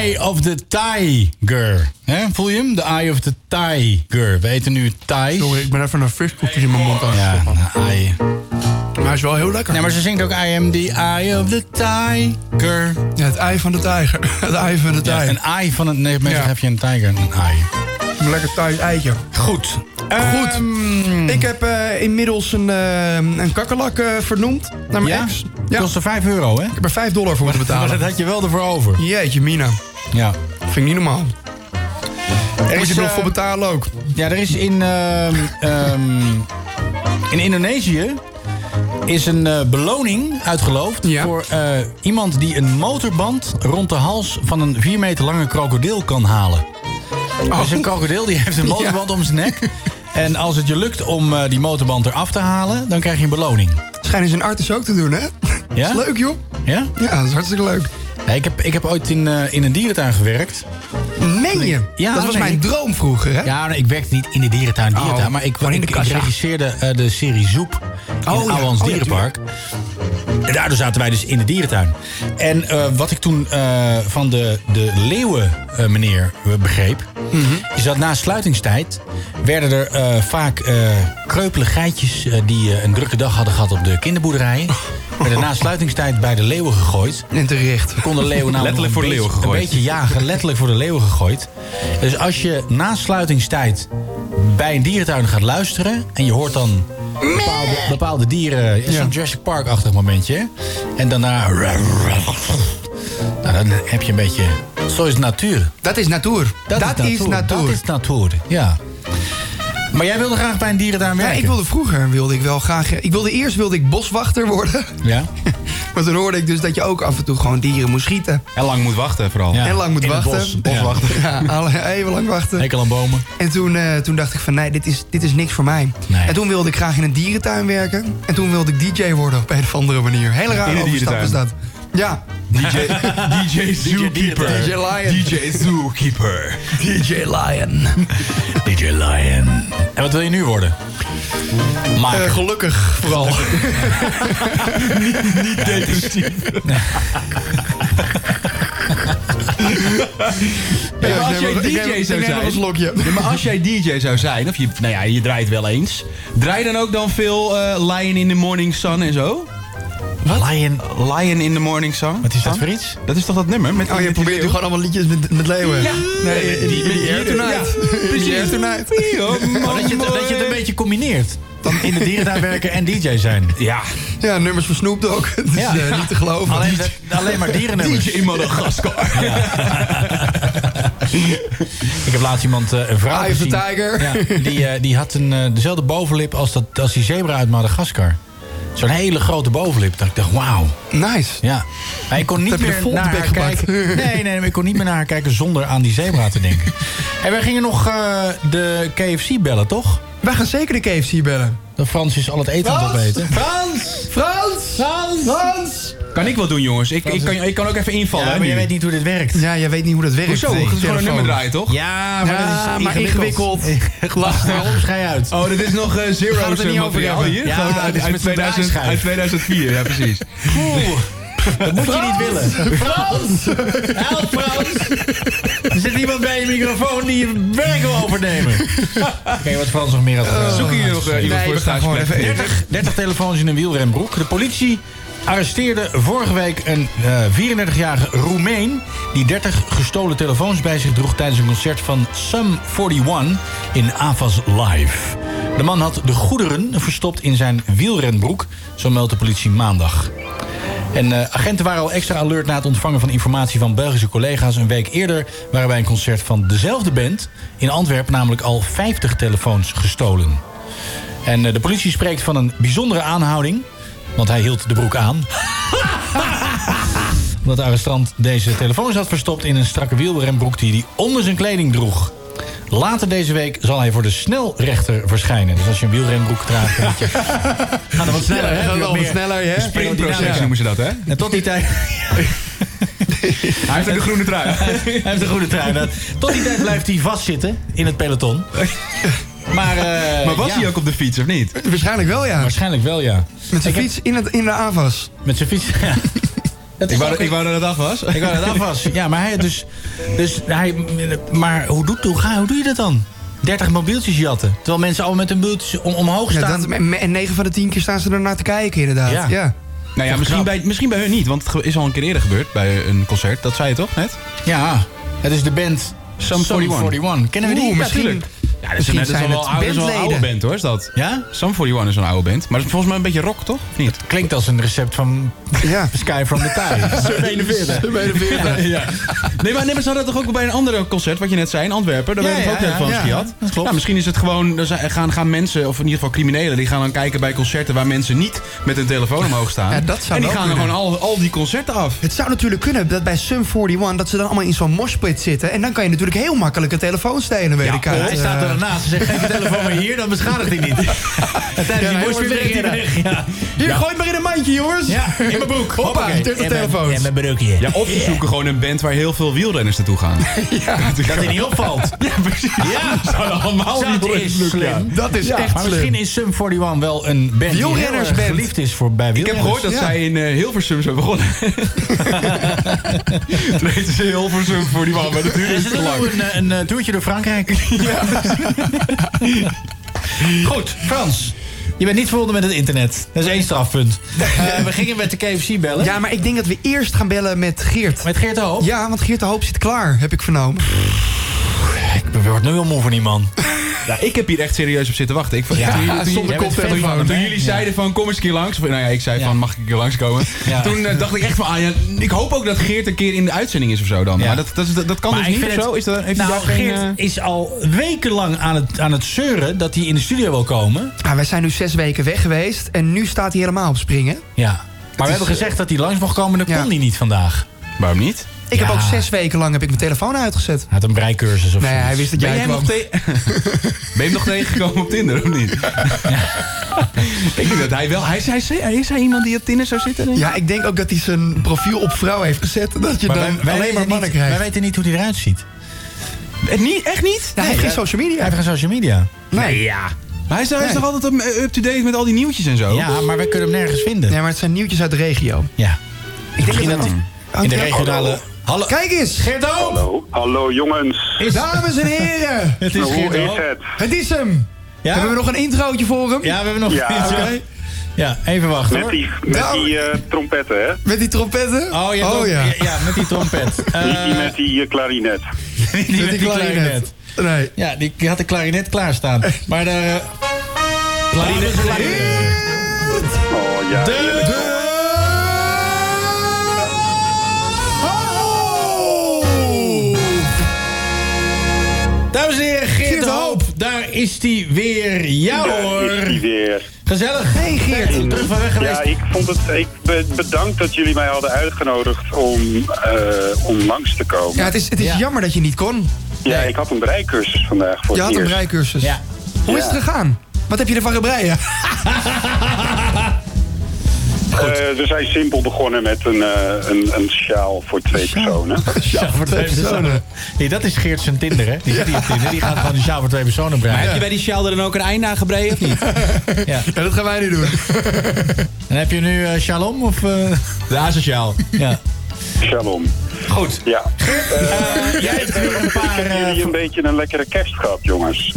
Speaker 1: Eye of the Tiger. Hè, voel je hem? The Eye of the Tiger. We eten nu Thai. Sorry, ik ben even een friskoekje in mijn mond aan Ja, nou, ai. Maar hij is wel heel lekker. Nee, maar ze zingt ook I am the eye of the tiger.
Speaker 2: Ja, het ei van de tijger. Het ei van de tijger.
Speaker 1: een ei van het... Nee, meestal heb je een tijger en een ei.
Speaker 2: Een lekker thuis eitje.
Speaker 1: Goed.
Speaker 2: Goed. ik heb eh, inmiddels een, eh, een kakkerlak eh, vernoemd naar mijn
Speaker 1: Ja?
Speaker 2: ex.
Speaker 1: Kostte 5 euro, hè? Ik
Speaker 2: heb er 5 dollar voor moeten betalen.
Speaker 1: Maar dat had je wel ervoor over.
Speaker 2: Jeetje, Mina.
Speaker 1: Ja.
Speaker 2: Vind ik niet normaal. Dus, eh,
Speaker 1: Er
Speaker 2: Moet je er nog voor betalen ook.
Speaker 1: Ja, er is in, ehm, ehm, in Indonesië is een eh, beloning uitgeloofd voor eh, iemand die een motorband rond de hals van een 4 meter lange krokodil kan halen.
Speaker 2: Oh.
Speaker 1: Dus een krokodil die heeft een
Speaker 15: Ja.
Speaker 1: motorband om zijn nek. En als het je lukt om eh, die motorband eraf te halen, dan krijg je een beloning.
Speaker 2: Schijnen ze een artis ook te doen, hè?
Speaker 1: Ja?
Speaker 2: Is leuk, joh.
Speaker 1: Ja?
Speaker 2: Ja, dat is hartstikke leuk.
Speaker 1: ik, heb, ik heb ooit in, eh, in een dierentuin gewerkt.
Speaker 2: Meen je?
Speaker 1: Ja,
Speaker 2: dat was
Speaker 1: nee.
Speaker 2: mijn droom vroeger, hè?
Speaker 1: Ja, nee, ik werkte niet in de dierentuin, dierentuin
Speaker 2: Oh,
Speaker 1: maar ik,
Speaker 2: gewoon in de
Speaker 1: ik, ik
Speaker 2: kassa.
Speaker 1: regisseerde eh, de serie Zoep in
Speaker 2: Oh,
Speaker 1: het
Speaker 2: ja.
Speaker 1: Ouwehands
Speaker 2: Oh, ja,
Speaker 1: Dierenpark. En daardoor zaten wij dus in de dierentuin. En eh, wat ik toen eh, van de, de leeuwen eh, meneer eh, begreep...
Speaker 2: Mhm.
Speaker 1: is dat na sluitingstijd werden er eh, vaak eh kreupele geitjes... eh, die eh, een drukke dag hadden gehad op de kinderboerderijen... werden na sluitingstijd bij de leeuwen gegooid.
Speaker 2: En terecht.
Speaker 1: Konden leeuwen namelijk
Speaker 6: Letterlijk voor de
Speaker 1: een
Speaker 6: leeuwen
Speaker 1: beetje-
Speaker 6: gegooid.
Speaker 1: Een beetje jagen, letterlijk voor de leeuwen gegooid. Dus als je na sluitingstijd bij een dierentuin gaat luisteren... en je hoort dan bepaalde, bepaalde dieren... Het is een Jurassic Park-achtig momentje. hè? En daarna... Nou, dan heb je een beetje... Zo is natuur.
Speaker 2: Dat is natuur.
Speaker 1: Dat, is natuur. Dat is natuur, ja. Maar jij wilde graag bij een
Speaker 2: Ja,
Speaker 1: dierentuin werken?
Speaker 2: ik wilde vroeger wilde ik wel graag... eh, Ik wilde eerst wilde ik boswachter worden.
Speaker 1: Ja.
Speaker 2: Maar toen hoorde ik dus dat je ook af en toe gewoon dieren moest schieten.
Speaker 6: En lang moet wachten
Speaker 1: Oh.
Speaker 6: vooral.
Speaker 2: En lang moet wachten.
Speaker 6: Of wachten.
Speaker 2: Ja, alle- even lang wachten.
Speaker 1: Hekel aan bomen.
Speaker 2: En toen, eh, toen dacht ik van nee, dit is, dit is niks voor mij. En toen wilde ik graag in een dierentuin werken. En toen wilde ik DJ worden op een of andere manier. Hele
Speaker 6: In
Speaker 2: rare
Speaker 6: een
Speaker 2: overstap is dat. Ja.
Speaker 6: DJ, DJ Zookeeper.
Speaker 2: DJ Lion.
Speaker 6: DJ Zookeeper.
Speaker 2: DJ Lion.
Speaker 1: DJ Lion. En wat wil je nu worden? Maker.
Speaker 2: Eh, gelukkig vooral.
Speaker 1: niet, niet depressief.
Speaker 6: Nee, maar als
Speaker 1: ik neem
Speaker 6: jij
Speaker 1: nog- ik neem-
Speaker 6: DJ
Speaker 1: ik
Speaker 6: zou
Speaker 1: neem nog
Speaker 6: zijn,
Speaker 1: een slokje.
Speaker 6: Nee, maar als jij DJ zou zijn, of je, nou ja, je draait wel eens, draai dan ook dan veel eh, Lion in the Morning Sun en zo?
Speaker 1: Lion,
Speaker 6: Lion in the Morning Sun? Wat
Speaker 1: is dat voor iets?
Speaker 6: Dat is toch dat nummer? Met
Speaker 2: Oh, je probeert nu gewoon allemaal liedjes met, met leeuwen.
Speaker 6: Ja.
Speaker 2: Nee, in die, in die Air Tonight. In die Air Tonight.
Speaker 1: Maar dat, je, het- dat je het een beetje combineert. Dan in de dierentuin werken en DJ zijn.
Speaker 6: Ja.
Speaker 2: Ja, nummers van Snoop Dogg. Het is
Speaker 1: Ja.
Speaker 2: eh, niet te geloven.
Speaker 1: Alleen, alleen maar dierennummers.
Speaker 6: DJ in Madagaskar.
Speaker 1: Ik heb laatst iemand, eh, een vrouw
Speaker 2: Eye of the
Speaker 1: gezien.
Speaker 2: tiger.
Speaker 1: Ja, die, eh, die had een, eh, dezelfde bovenlip als, dat, als die zebra uit Madagaskar. Zo'n hele grote bovenlip. Dat ik dacht, wauw.
Speaker 2: Nice.
Speaker 1: Ja. Maar ik kon niet
Speaker 2: Heb je de
Speaker 1: meer
Speaker 2: vondbek
Speaker 1: naar haar
Speaker 2: gepakt?
Speaker 1: kijken. Nee, nee, maar ik kon niet meer naar haar kijken zonder aan die zebra te denken. En wij gingen nog eh, de KFC bellen, toch?
Speaker 2: Wij gaan zeker de KFC bellen.
Speaker 1: Dat Frans is al het eten aan het opeten.
Speaker 2: Frans! Frans! Frans! Frans!
Speaker 6: Kan ik wel doen, jongens. Ik, ik, kan, ik kan ook even invallen.
Speaker 1: Ja,
Speaker 6: hè,
Speaker 1: maar jij
Speaker 6: nu.
Speaker 1: weet niet hoe dit werkt.
Speaker 2: Ja, jij weet niet hoe dat werkt.
Speaker 6: Hoezo? Het is gewoon een
Speaker 2: Telefoon.
Speaker 6: nummer draaien, toch?
Speaker 1: Ja, maar dat is ingewikkeld. Lastig. Schij uit.
Speaker 6: Oh, dat is nog eh, Zero's
Speaker 1: We gaan het er
Speaker 6: eh,
Speaker 1: niet over
Speaker 6: materiaal
Speaker 1: hebben.
Speaker 6: hier.
Speaker 1: Ja,
Speaker 6: Gewoon
Speaker 1: dit
Speaker 6: uit,
Speaker 1: is
Speaker 6: uit
Speaker 1: met zo'n
Speaker 6: 2000
Speaker 1: draaischijf.
Speaker 6: uit 2004, ja precies.
Speaker 1: Dat moet je niet willen. Frans! Help Frans! Er zit iemand bij je microfoon die je werk wil overnemen. Oké, wat Frans nog meer had gedaan.
Speaker 6: Zoeken jullie nog, eh, iemand Nee, voor we de gaan gewoon thuisplek? even-
Speaker 1: 30, 30 telefoons in een wielrenbroek. De politie arresteerde vorige week een eh, 34-jarige Roemeen... die 30 gestolen telefoons bij zich droeg tijdens een concert van Sum 41 in Avas Live. De man had de goederen verstopt in zijn wielrenbroek, zo meldt de politie maandag. En eh, agenten waren al extra alert na het ontvangen van informatie van Belgische collega's. Een week eerder waren bij een concert van dezelfde band in Antwerpen namelijk al 50 telefoons gestolen. En eh, de politie spreekt van een bijzondere aanhouding, want hij hield de broek aan. Omdat de arrestant deze telefoons had verstopt in een strakke wielrenbroek die hij onder zijn kleding droeg. Later deze week zal hij voor de snelrechter verschijnen. Dus als je een wielrenbroek draagt, dan moet je... Ga dan wat sneller,
Speaker 2: Ja,
Speaker 1: hè?
Speaker 2: ga dan
Speaker 1: Wat
Speaker 2: wat
Speaker 1: meer
Speaker 2: sneller, hè?
Speaker 6: Sprintproces noemen ze dat, hè?
Speaker 1: En tot die tijd...
Speaker 6: Hij heeft ook de groene trui.
Speaker 1: Hij heeft een goede trui. Nou, Tot die tijd blijft hij vastzitten in het peloton. Maar, eh,
Speaker 6: maar was
Speaker 1: ja.
Speaker 6: hij ook op de fiets, of niet?
Speaker 2: Waarschijnlijk wel, ja.
Speaker 1: Waarschijnlijk wel, ja.
Speaker 2: Met zijn fiets in, het, in de AVAS.
Speaker 1: Met zijn fiets, ja. Dat is
Speaker 6: Ik wou-
Speaker 1: ook-
Speaker 6: ik wou dat het af was.
Speaker 1: Ik wou dat het af was. Ja, maar hij dus... dus hij, maar hoe, doet, hoe, ga, hoe doe je dat dan? 30 mobieltjes jatten. Terwijl mensen al met hun mobieltjes om, omhoog
Speaker 2: Ja,
Speaker 1: staan.
Speaker 2: dat- en- en 9 van de 10 keer staan ze ernaar te kijken, inderdaad. Ja.
Speaker 6: Nou ja, misschien bij, misschien bij hun niet, want het ge- is al een keer eerder gebeurd bij een concert. Dat zei je toch net?
Speaker 1: Ja, het is de band
Speaker 6: Sum 41.
Speaker 1: 41. Kennen we die?
Speaker 6: Oeh,
Speaker 1: Ja,
Speaker 6: misschien.
Speaker 1: tuurlijk.
Speaker 6: Ja, dat is, een- dat is wel een oude- dat is wel een oude band hoor, is dat?
Speaker 1: Ja?
Speaker 6: Sum 41 is een oude band, maar dat is volgens mij een beetje rock, toch? Of niet? Het
Speaker 1: klinkt als een recept van Sky from the Sky.
Speaker 6: Sum 41.
Speaker 1: Sum 41.
Speaker 6: Ja. Nee, maar, nee, maar ze hadden toch ook bij een ander concert, wat je net zei, in Antwerpen. Daar
Speaker 1: Ja,
Speaker 6: werden we ook
Speaker 1: ja,
Speaker 6: telefoons
Speaker 1: ja,
Speaker 6: gehad.
Speaker 1: ja, dat klopt.
Speaker 6: Nou, misschien is het gewoon, er zijn- gaan, gaan mensen, of in ieder geval criminelen, die gaan dan kijken bij concerten waar mensen niet met hun telefoon omhoog staan.
Speaker 2: Ja, dat zou
Speaker 6: en die
Speaker 2: wel
Speaker 6: gaan dan
Speaker 2: kunnen.
Speaker 6: gewoon al, al die concerten af.
Speaker 2: Het zou natuurlijk kunnen dat bij Sum 41 dat ze dan allemaal in zo'n moshpit zitten. En dan kan je natuurlijk heel makkelijk een telefoon stelen, weet ik uit.
Speaker 1: hij staat er
Speaker 2: Eh,
Speaker 1: ernaast en zegt, geef je telefoon maar hier, dan beschadigt hij niet. En tijdens
Speaker 2: Ja,
Speaker 1: die
Speaker 2: hij
Speaker 1: moest
Speaker 2: wordt
Speaker 1: weer
Speaker 2: weer
Speaker 1: weg. Ja.
Speaker 2: Hier, gooi maar in een mandje, jongens.
Speaker 1: Ja, in mijn broek.
Speaker 2: Hoppa,
Speaker 1: Hoppakee.
Speaker 2: 30
Speaker 1: In mijn-
Speaker 2: telefoons.
Speaker 1: in mijn broekje.
Speaker 6: Ja, of ze
Speaker 1: Yeah.
Speaker 6: zoeken gewoon een band waar heel veel wielrenners naartoe gaan.
Speaker 1: Dat hij niet opvalt. Ja, precies. Ja,
Speaker 6: Zouden allemaal
Speaker 1: dat
Speaker 6: wielrenners
Speaker 1: is
Speaker 6: lukken, ja.
Speaker 1: slim.
Speaker 6: Dat is echt
Speaker 1: Maar misschien
Speaker 6: slim.
Speaker 1: is Sum 41 wel een band die heel erg
Speaker 6: Wielrennersband.
Speaker 1: geliefd is voor bij
Speaker 6: Ik heb
Speaker 1: wielrenners.
Speaker 6: gehoord dat
Speaker 1: Ja.
Speaker 6: zij in eh, Hilversum zijn begonnen. Toen heette ze Hilversum voor die man, maar dat duurde
Speaker 1: Is
Speaker 6: dus
Speaker 1: het
Speaker 6: te
Speaker 1: ook
Speaker 6: lang.
Speaker 1: een, eh, een eh, toertje door Frankrijk? Goed, Frans. Je bent niet verbonden met het internet. Dat is één strafpunt. Eh, we gingen met de KFC bellen.
Speaker 2: Ja, maar ik denk dat we eerst gaan bellen met Geert.
Speaker 1: Met Geert de Hoop?
Speaker 2: Ja, want Geert de Hoop zit klaar, heb ik vernomen.
Speaker 1: Ik word nu al moe van die man.
Speaker 6: Ja, ik heb hier echt serieus op zitten wachten. Ik,
Speaker 1: Ja,
Speaker 6: toen, jullie- toen-
Speaker 1: zonder
Speaker 6: jij bent
Speaker 1: koptelefoon,
Speaker 6: fan van hem.
Speaker 1: hè?
Speaker 6: Toen jullie
Speaker 1: Ja.
Speaker 6: zeiden van kom eens een keer langs. Of, nou ja, ik zei van mag ik een keer langskomen.
Speaker 1: Ja.
Speaker 6: Toen eh, dacht ik echt van ah, ja, ik hoop ook dat Geert een keer in de uitzending is of zo dan. Maar dat, dat, is- dat, dat kan
Speaker 1: Maar
Speaker 6: dus
Speaker 1: ik
Speaker 6: niet
Speaker 1: vind
Speaker 6: of
Speaker 1: het-
Speaker 6: zo? Is dat, heeft hij
Speaker 1: nou,
Speaker 6: daar geen,
Speaker 1: Geert
Speaker 6: eh,
Speaker 1: is al wekenlang aan het, aan het zeuren dat hij in de studio wil komen.
Speaker 2: Ah, wij zijn nu zes weken weg geweest en nu staat hij helemaal op springen.
Speaker 1: Ja. Maar we
Speaker 2: is,
Speaker 1: hebben gezegd dat hij langs mag komen. Dat
Speaker 2: ja.
Speaker 1: kon hij niet vandaag.
Speaker 6: Waarom niet?
Speaker 2: Ik heb
Speaker 1: Ja.
Speaker 2: ook zes weken lang heb ik mijn telefoon uitgezet.
Speaker 1: Hij had een breikursus of
Speaker 2: Nee, hij wist dat
Speaker 6: ben,
Speaker 2: jij
Speaker 6: jij hem
Speaker 2: kwam.
Speaker 6: nog te- ben je hem nog tegengekomen op Tinder of niet? ik denk dat hij
Speaker 2: Oh,
Speaker 6: wel... Hij, hij, hij, is hij iemand die op Tinder zou zitten? denk ik?
Speaker 2: Ja, ik denk ook dat hij zijn profiel op vrouw heeft gezet. Dat je
Speaker 1: Maar
Speaker 2: dan
Speaker 1: wij- wij
Speaker 2: alleen
Speaker 1: weten
Speaker 2: maar mannen
Speaker 1: niet-
Speaker 2: krijgt.
Speaker 1: Wij weten niet hoe hij eruit ziet. eh,
Speaker 6: Eh, niet, echt niet?
Speaker 2: hij heeft geen social media.
Speaker 1: Hij heeft geen social media.
Speaker 2: Nee.
Speaker 1: Ja.
Speaker 6: Maar hij is, hij is
Speaker 2: Nee.
Speaker 6: toch altijd up- up-to-date met al die nieuwtjes en zo?
Speaker 1: Ja, maar wij kunnen hem nergens vinden.
Speaker 2: Nee, maar het zijn nieuwtjes uit de regio.
Speaker 1: Ja. Ik Misschien dat
Speaker 2: dat-
Speaker 1: hij in de regionale... Hallo.
Speaker 2: Kijk eens!
Speaker 1: Geert de Hoop!
Speaker 15: Hallo, hallo jongens.
Speaker 1: Is-
Speaker 2: Dames en heren!
Speaker 1: Het is
Speaker 15: Hoe
Speaker 1: Geert de
Speaker 15: is
Speaker 1: Hoop.
Speaker 15: het?
Speaker 2: Het is hem!
Speaker 1: Ja?
Speaker 2: Hebben we nog een introotje voor hem?
Speaker 1: Ja, we hebben nog
Speaker 15: Ja.
Speaker 1: iets. hè? Ja, even wachten
Speaker 15: Met
Speaker 1: hoor.
Speaker 15: die, met
Speaker 2: Nou.
Speaker 15: die eh, trompetten, hè?
Speaker 2: Met die trompetten?
Speaker 1: Oh, je hebt ook-
Speaker 2: ja.
Speaker 1: ja. ja, met die trompet.
Speaker 15: Niet die
Speaker 1: Eh,
Speaker 15: met die eh, klarinet.
Speaker 1: die, met die
Speaker 2: klarinet.
Speaker 1: klarinet.
Speaker 2: Nee.
Speaker 1: Ja, die, die had de klarinet klaarstaan. Maar daar... eh, klarinet
Speaker 15: Oh ja, heerlijk.
Speaker 1: Dames en heren, Geert
Speaker 2: Geert
Speaker 1: de
Speaker 2: de
Speaker 1: Hoop. Daar is die weer. Ja
Speaker 15: Daar is
Speaker 1: hoor.
Speaker 15: die weer.
Speaker 1: Gezellig.
Speaker 2: Hey Geert!
Speaker 1: Terug van weg geweest.
Speaker 15: Ja, ik vond het. Ik ben- bedankt dat jullie mij hadden uitgenodigd om, eh, om langs te komen.
Speaker 2: Ja,
Speaker 15: Ja,
Speaker 2: het is, het is
Speaker 1: Ja.
Speaker 2: jammer dat je niet kon.
Speaker 15: ik had een breikursus vandaag voor
Speaker 2: Je
Speaker 15: het
Speaker 2: had een
Speaker 15: eerst.
Speaker 2: breicursus.
Speaker 1: Ja.
Speaker 2: Hoe is het gegaan? Wat heb je ervan gebreien?
Speaker 15: Eh, we zijn simpel begonnen met een, eh, een, een sjaal voor twee personen.
Speaker 2: Ja, voor twee personen.
Speaker 1: Nee, dat is Geert zijn Tinder, hè? Die zit hier op Tinder. Die gaat gewoon een sjaal voor twee personen brengen.
Speaker 6: Maar heb je bij die sjaal er dan ook een einde aan gebreid of niet?
Speaker 2: Ja, dat gaan wij nu doen.
Speaker 1: En heb je nu eh shalom of... eh,
Speaker 6: De asociaal.
Speaker 1: ja.
Speaker 15: Shalom.
Speaker 1: Goed.
Speaker 15: Ja.
Speaker 1: Jij hebt weer een paar...
Speaker 15: Hebben
Speaker 1: eh,
Speaker 15: jullie een beetje een lekkere kerst gehad, jongens?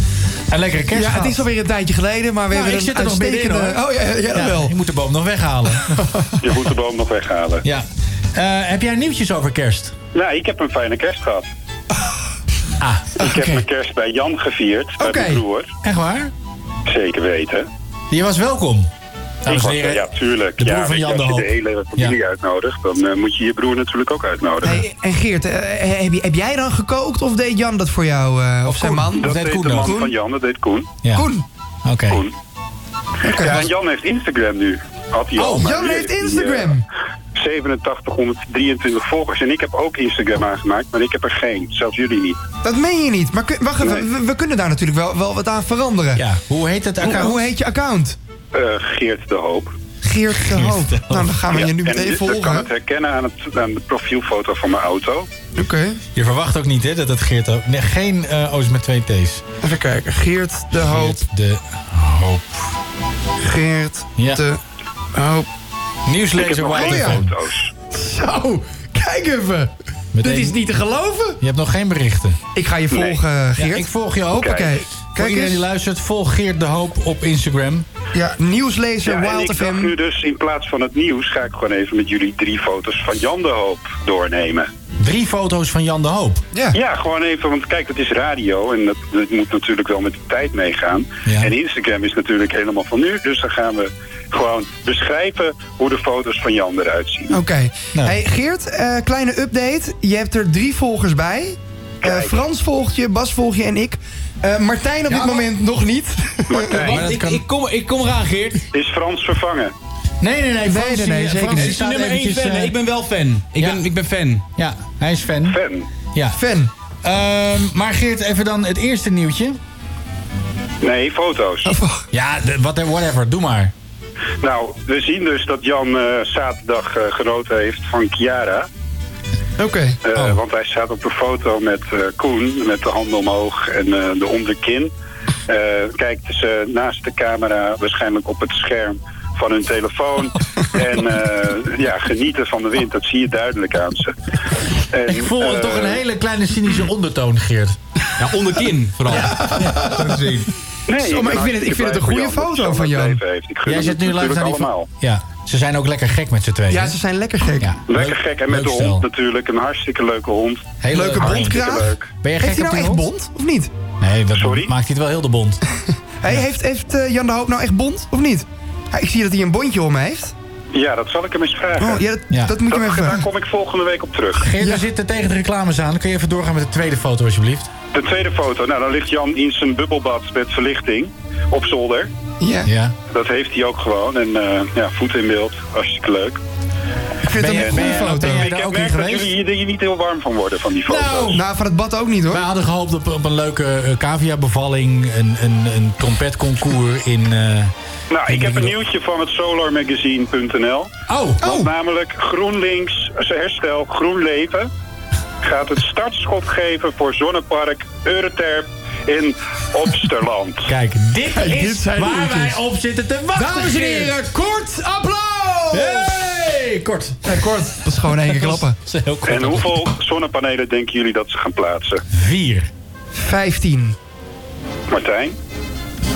Speaker 1: een lekkere kerst
Speaker 2: Ja, het is alweer een tijdje geleden, maar we
Speaker 1: Nou,
Speaker 2: hebben
Speaker 1: ik
Speaker 2: een
Speaker 1: zit er nog
Speaker 2: uitstekende...
Speaker 1: middenin, hoor.
Speaker 2: Oh ja, ja, dat wel.
Speaker 1: Je moet de boom nog weghalen.
Speaker 15: Je moet de boom nog weghalen.
Speaker 1: ja. Eh, heb jij nieuwtjes over kerst?
Speaker 15: Nou, ik heb een fijne kerst gehad.
Speaker 1: Ah,
Speaker 15: Ik heb mijn kerst bij Jan gevierd, bij
Speaker 2: Oké.
Speaker 15: mijn broer.
Speaker 1: echt waar?
Speaker 15: Zeker weten.
Speaker 1: Je was welkom.
Speaker 15: Ik
Speaker 1: Dames en
Speaker 15: was,
Speaker 1: heren.
Speaker 15: ja, tuurlijk.
Speaker 1: de broer
Speaker 15: ja,
Speaker 1: van
Speaker 15: weet je,
Speaker 1: Jan de
Speaker 15: als je
Speaker 1: Hoop.
Speaker 15: de hele familie
Speaker 1: Ja.
Speaker 15: uitnodigt, dan eh, moet je je broer natuurlijk ook uitnodigen.
Speaker 2: Hey, en Geert, eh, heb, je- heb jij dan gekookt of deed Jan dat voor jou? eh, of zijn man?
Speaker 1: Dat
Speaker 15: dat
Speaker 1: deed
Speaker 15: deed
Speaker 1: Koen
Speaker 15: de
Speaker 1: dan.
Speaker 15: man
Speaker 1: Koen?
Speaker 15: van Jan, dat deed Koen.
Speaker 1: Ja.
Speaker 2: Koen.
Speaker 1: Oké.
Speaker 15: Koen. Ja, en Jan heeft Instagram nu. Had hij al,
Speaker 2: Oh,
Speaker 15: maar
Speaker 2: Jan
Speaker 15: nu
Speaker 2: heeft
Speaker 15: hij, eh,
Speaker 2: Instagram.
Speaker 15: 8723 volgers. En ik heb ook Instagram aangemaakt, maar ik heb er geen. Zelfs jullie niet.
Speaker 2: Dat meen je niet. Maar kun- wacht even,
Speaker 15: Nee.
Speaker 2: we, we kunnen daar natuurlijk wel, wel wat aan veranderen.
Speaker 1: Ja, hoe heet het
Speaker 2: Hoe,
Speaker 1: account?
Speaker 2: hoe heet je account?
Speaker 15: Eh, Geert de Hoop.
Speaker 2: Geert de Hoop.
Speaker 1: de
Speaker 2: Nou, dan gaan we je
Speaker 15: en
Speaker 2: nu meteen
Speaker 15: ik kan het
Speaker 2: volgen.
Speaker 15: herkennen aan, het, aan de profielfoto van mijn auto.
Speaker 2: Oké.
Speaker 1: Je verwacht ook niet, hè, dat het Geert... ook- Nee, geen eh O's met twee T's.
Speaker 2: Even kijken. Geert de Hoop.
Speaker 1: Geert de Hoop.
Speaker 2: Geert
Speaker 1: Ja.
Speaker 2: de Hoop.
Speaker 1: Nieuwslezer
Speaker 15: ik heb nog
Speaker 1: Wild
Speaker 15: geen
Speaker 1: Phone.
Speaker 15: foto's.
Speaker 2: Zo, kijk even. Dit is niet te geloven.
Speaker 1: Je hebt nog geen berichten.
Speaker 2: Ik ga je volgen, Geert.
Speaker 1: Ja, ik volg je ook.
Speaker 2: Oké. Kijk
Speaker 1: Voor iedereen
Speaker 2: eens.
Speaker 1: die luistert, volg Geert de Hoop op Instagram.
Speaker 2: Ja, nieuwslezer
Speaker 15: en ik dacht nu dus in plaats van het nieuws ga ik gewoon even met jullie drie foto's van Jan de Hoop doornemen.
Speaker 1: Drie foto's van Jan de Hoop.
Speaker 2: Ja.
Speaker 15: gewoon even, want kijk, het is radio en dat, dat moet natuurlijk wel met de tijd meegaan. En Instagram is natuurlijk helemaal van nu, dus dan gaan we gewoon beschrijven hoe de foto's van Jan eruit zien.
Speaker 2: Oké.
Speaker 1: Nou.
Speaker 2: Hey, Geert, eh, kleine update. Je hebt er drie volgers bij. Eh, Frans volgt je, Bas volgt je en ik. Eh, Martijn op dit moment nog niet.
Speaker 1: Maar dat kan-
Speaker 14: kom, ik kom eraan, Geert.
Speaker 15: Is Frans vervangen?
Speaker 1: Nee, nee, nee. Frans,
Speaker 15: nee, nee,
Speaker 1: die-
Speaker 15: zeker
Speaker 1: Frans
Speaker 15: niet.
Speaker 1: die staat
Speaker 15: Nummer één
Speaker 1: eventjes,
Speaker 15: fan,
Speaker 1: eh,
Speaker 15: ik
Speaker 14: ben wel fan.
Speaker 1: Ik, ben, ik ben fan. Ja, hij is fan.
Speaker 15: Fan.
Speaker 1: Ja. Ehm,
Speaker 2: Fan.
Speaker 1: maar Geert, even dan het eerste nieuwtje.
Speaker 15: Nee, foto's.
Speaker 2: Oh,
Speaker 1: Ja, de- wat- whatever, doe maar.
Speaker 15: Nou, we zien dus dat Jan eh, zaterdag eh, genoten heeft van Chiara.
Speaker 2: Oké.
Speaker 15: Eh,
Speaker 1: Oh.
Speaker 15: Want hij staat op een foto met eh, Koen, met de handen omhoog en eh, de onderkin. Eh, kijkt ze naast de camera, waarschijnlijk op het scherm van hun telefoon. en eh, ja, genieten van de wind, dat zie je duidelijk aan ze. En,
Speaker 1: Ik voel er
Speaker 15: eh,
Speaker 1: toch een hele kleine cynische ondertoon, Geert. Ja, onderkin vooral.
Speaker 15: Nee, ik ben hartstikke blij voor Jan, dat Jan dat leven heeft. Ik gun
Speaker 1: Jij
Speaker 15: hem
Speaker 1: zit nu
Speaker 15: het
Speaker 1: luisteren naar die
Speaker 15: natuurlijk
Speaker 1: van-
Speaker 15: allemaal.
Speaker 1: Ja, ze zijn ook lekker gek met z'n tweeën.
Speaker 2: Ja, ze zijn lekker gek.
Speaker 15: Lekker gek. En met
Speaker 1: leuk
Speaker 15: de
Speaker 1: stel.
Speaker 15: hond natuurlijk. Een hartstikke leuke hond.
Speaker 1: Hele
Speaker 2: Leuke
Speaker 1: leuke
Speaker 2: bondkraag.
Speaker 1: hond. Ben je gek
Speaker 2: Heeft hij
Speaker 1: op
Speaker 2: nou
Speaker 1: die
Speaker 2: echt bond of niet?
Speaker 1: Nee, dat maakt hij het wel heel de bond.
Speaker 2: Hey, heeft heeft eh, Jan de Hoop nou echt bond of niet? Hey, ik zie dat hij een bondje om heeft.
Speaker 15: Ja, dat zal ik hem eens vragen.
Speaker 2: Oh, ja, dat- Ja. dat moet je hem even
Speaker 15: Daar
Speaker 2: vragen.
Speaker 15: kom ik volgende week op terug.
Speaker 1: Geert, we zitten tegen de reclames aan. Dan kun je even doorgaan met de tweede foto, alsjeblieft.
Speaker 15: De tweede foto. Nou, dan ligt Jan in zijn bubbelbad met verlichting op zolder.
Speaker 2: Ja.
Speaker 1: ja.
Speaker 15: Dat heeft hij ook gewoon. En eh, ja, voet in beeld. Hartstikke leuk.
Speaker 2: Ik vind het een goede foto.
Speaker 15: Ik heb merk dat jullie hier hier niet heel warm van worden van die foto.
Speaker 2: Nou, van het bad ook niet hoor.
Speaker 1: Wij hadden gehoopt op, op een leuke cavia bevalling een, een, een trompetconcours in... eh,
Speaker 15: Nou, ik heb een nieuwtje van het solarmagazine.nl.
Speaker 1: Oh,
Speaker 15: Want namelijk GroenLinks, zijn herstel GroenLeven... gaat het startschot geven voor zonnepark Euroterp in Opsterland.
Speaker 1: Kijk, dit
Speaker 15: Kijk, dit
Speaker 1: is
Speaker 15: zijn
Speaker 1: waar
Speaker 15: nieuwtjes.
Speaker 1: wij op zitten te wachten,
Speaker 2: Dames en
Speaker 1: Geert.
Speaker 2: heren, kort applaus!
Speaker 1: Hey, kort.
Speaker 2: Ja, kort. Dat is gewoon in één keer klappen.
Speaker 15: En hoeveel zonnepanelen denken jullie dat ze gaan plaatsen?
Speaker 1: Vier.
Speaker 2: 15.
Speaker 15: Martijn?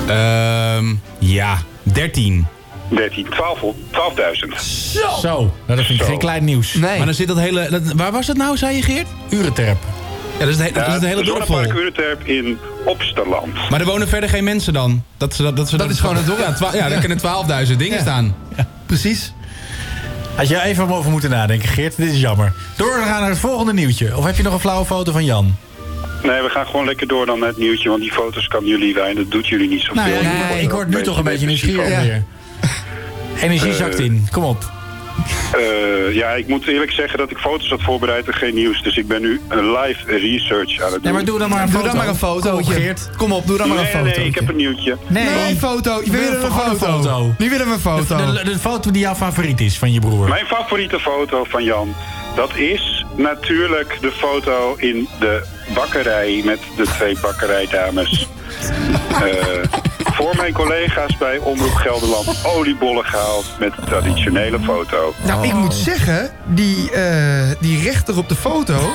Speaker 6: Ehm ja, 13.
Speaker 15: 13, 12, 12.000.
Speaker 1: Zo! nou, dat vind ik
Speaker 15: Zo.
Speaker 1: geen klein nieuws.
Speaker 6: Maar dan zit dat hele... dat- waar was dat nou, zei je Geert?
Speaker 1: Urenterp.
Speaker 6: Ja, dat is het, he-
Speaker 15: Eh,
Speaker 6: dat is het hele dorp vol.
Speaker 15: Zonnepark Euroterp in Opsterland.
Speaker 6: Maar er wonen verder geen mensen dan. Dat, ze, dat, dat, ze, dat is gewoon het dorp. Ja, twa- ja, daar kunnen 12.000 dingen staan.
Speaker 2: Precies.
Speaker 1: Had jij even over moeten nadenken, Geert. Dit is jammer. Doorgaan naar het volgende nieuwtje. Of heb je nog een flauwe foto van Jan?
Speaker 15: Nee, we gaan gewoon lekker door dan met het nieuwtje, want die foto's kan jullie weinig. Dat doet jullie niet zoveel.
Speaker 1: Nou ja, ik word- ik word nu toch een beetje nieuwsgierig weer. Energie
Speaker 15: Eh.
Speaker 1: zakt in. Kom op.
Speaker 15: Eh, ja, ik moet eerlijk zeggen dat ik foto's had voorbereid en geen nieuws. Dus ik ben nu een live research aan het doen.
Speaker 1: Ja, maar doe dan maar een
Speaker 2: Doe
Speaker 1: foto.
Speaker 2: dan maar een
Speaker 1: Kom,
Speaker 2: fotootje.
Speaker 1: Geert.
Speaker 2: Kom op, doe dan maar een
Speaker 15: nee,
Speaker 2: foto.
Speaker 15: Nee, ik heb een nieuwtje.
Speaker 2: Nee, een foto. We willen een
Speaker 1: Gewoon
Speaker 2: foto. Nu willen we een foto.
Speaker 1: De, de- de foto die jouw favoriet is van je broer.
Speaker 15: Mijn favoriete foto van Jan, dat is natuurlijk de foto in de bakkerij met de twee bakkerijdames. Eh, voor mijn collega's bij Omroep Gelderland oliebollen gehaald met de traditionele foto.
Speaker 2: Nou, ik
Speaker 1: oh.
Speaker 2: moet zeggen, die, eh, die rechter op de foto... Ah,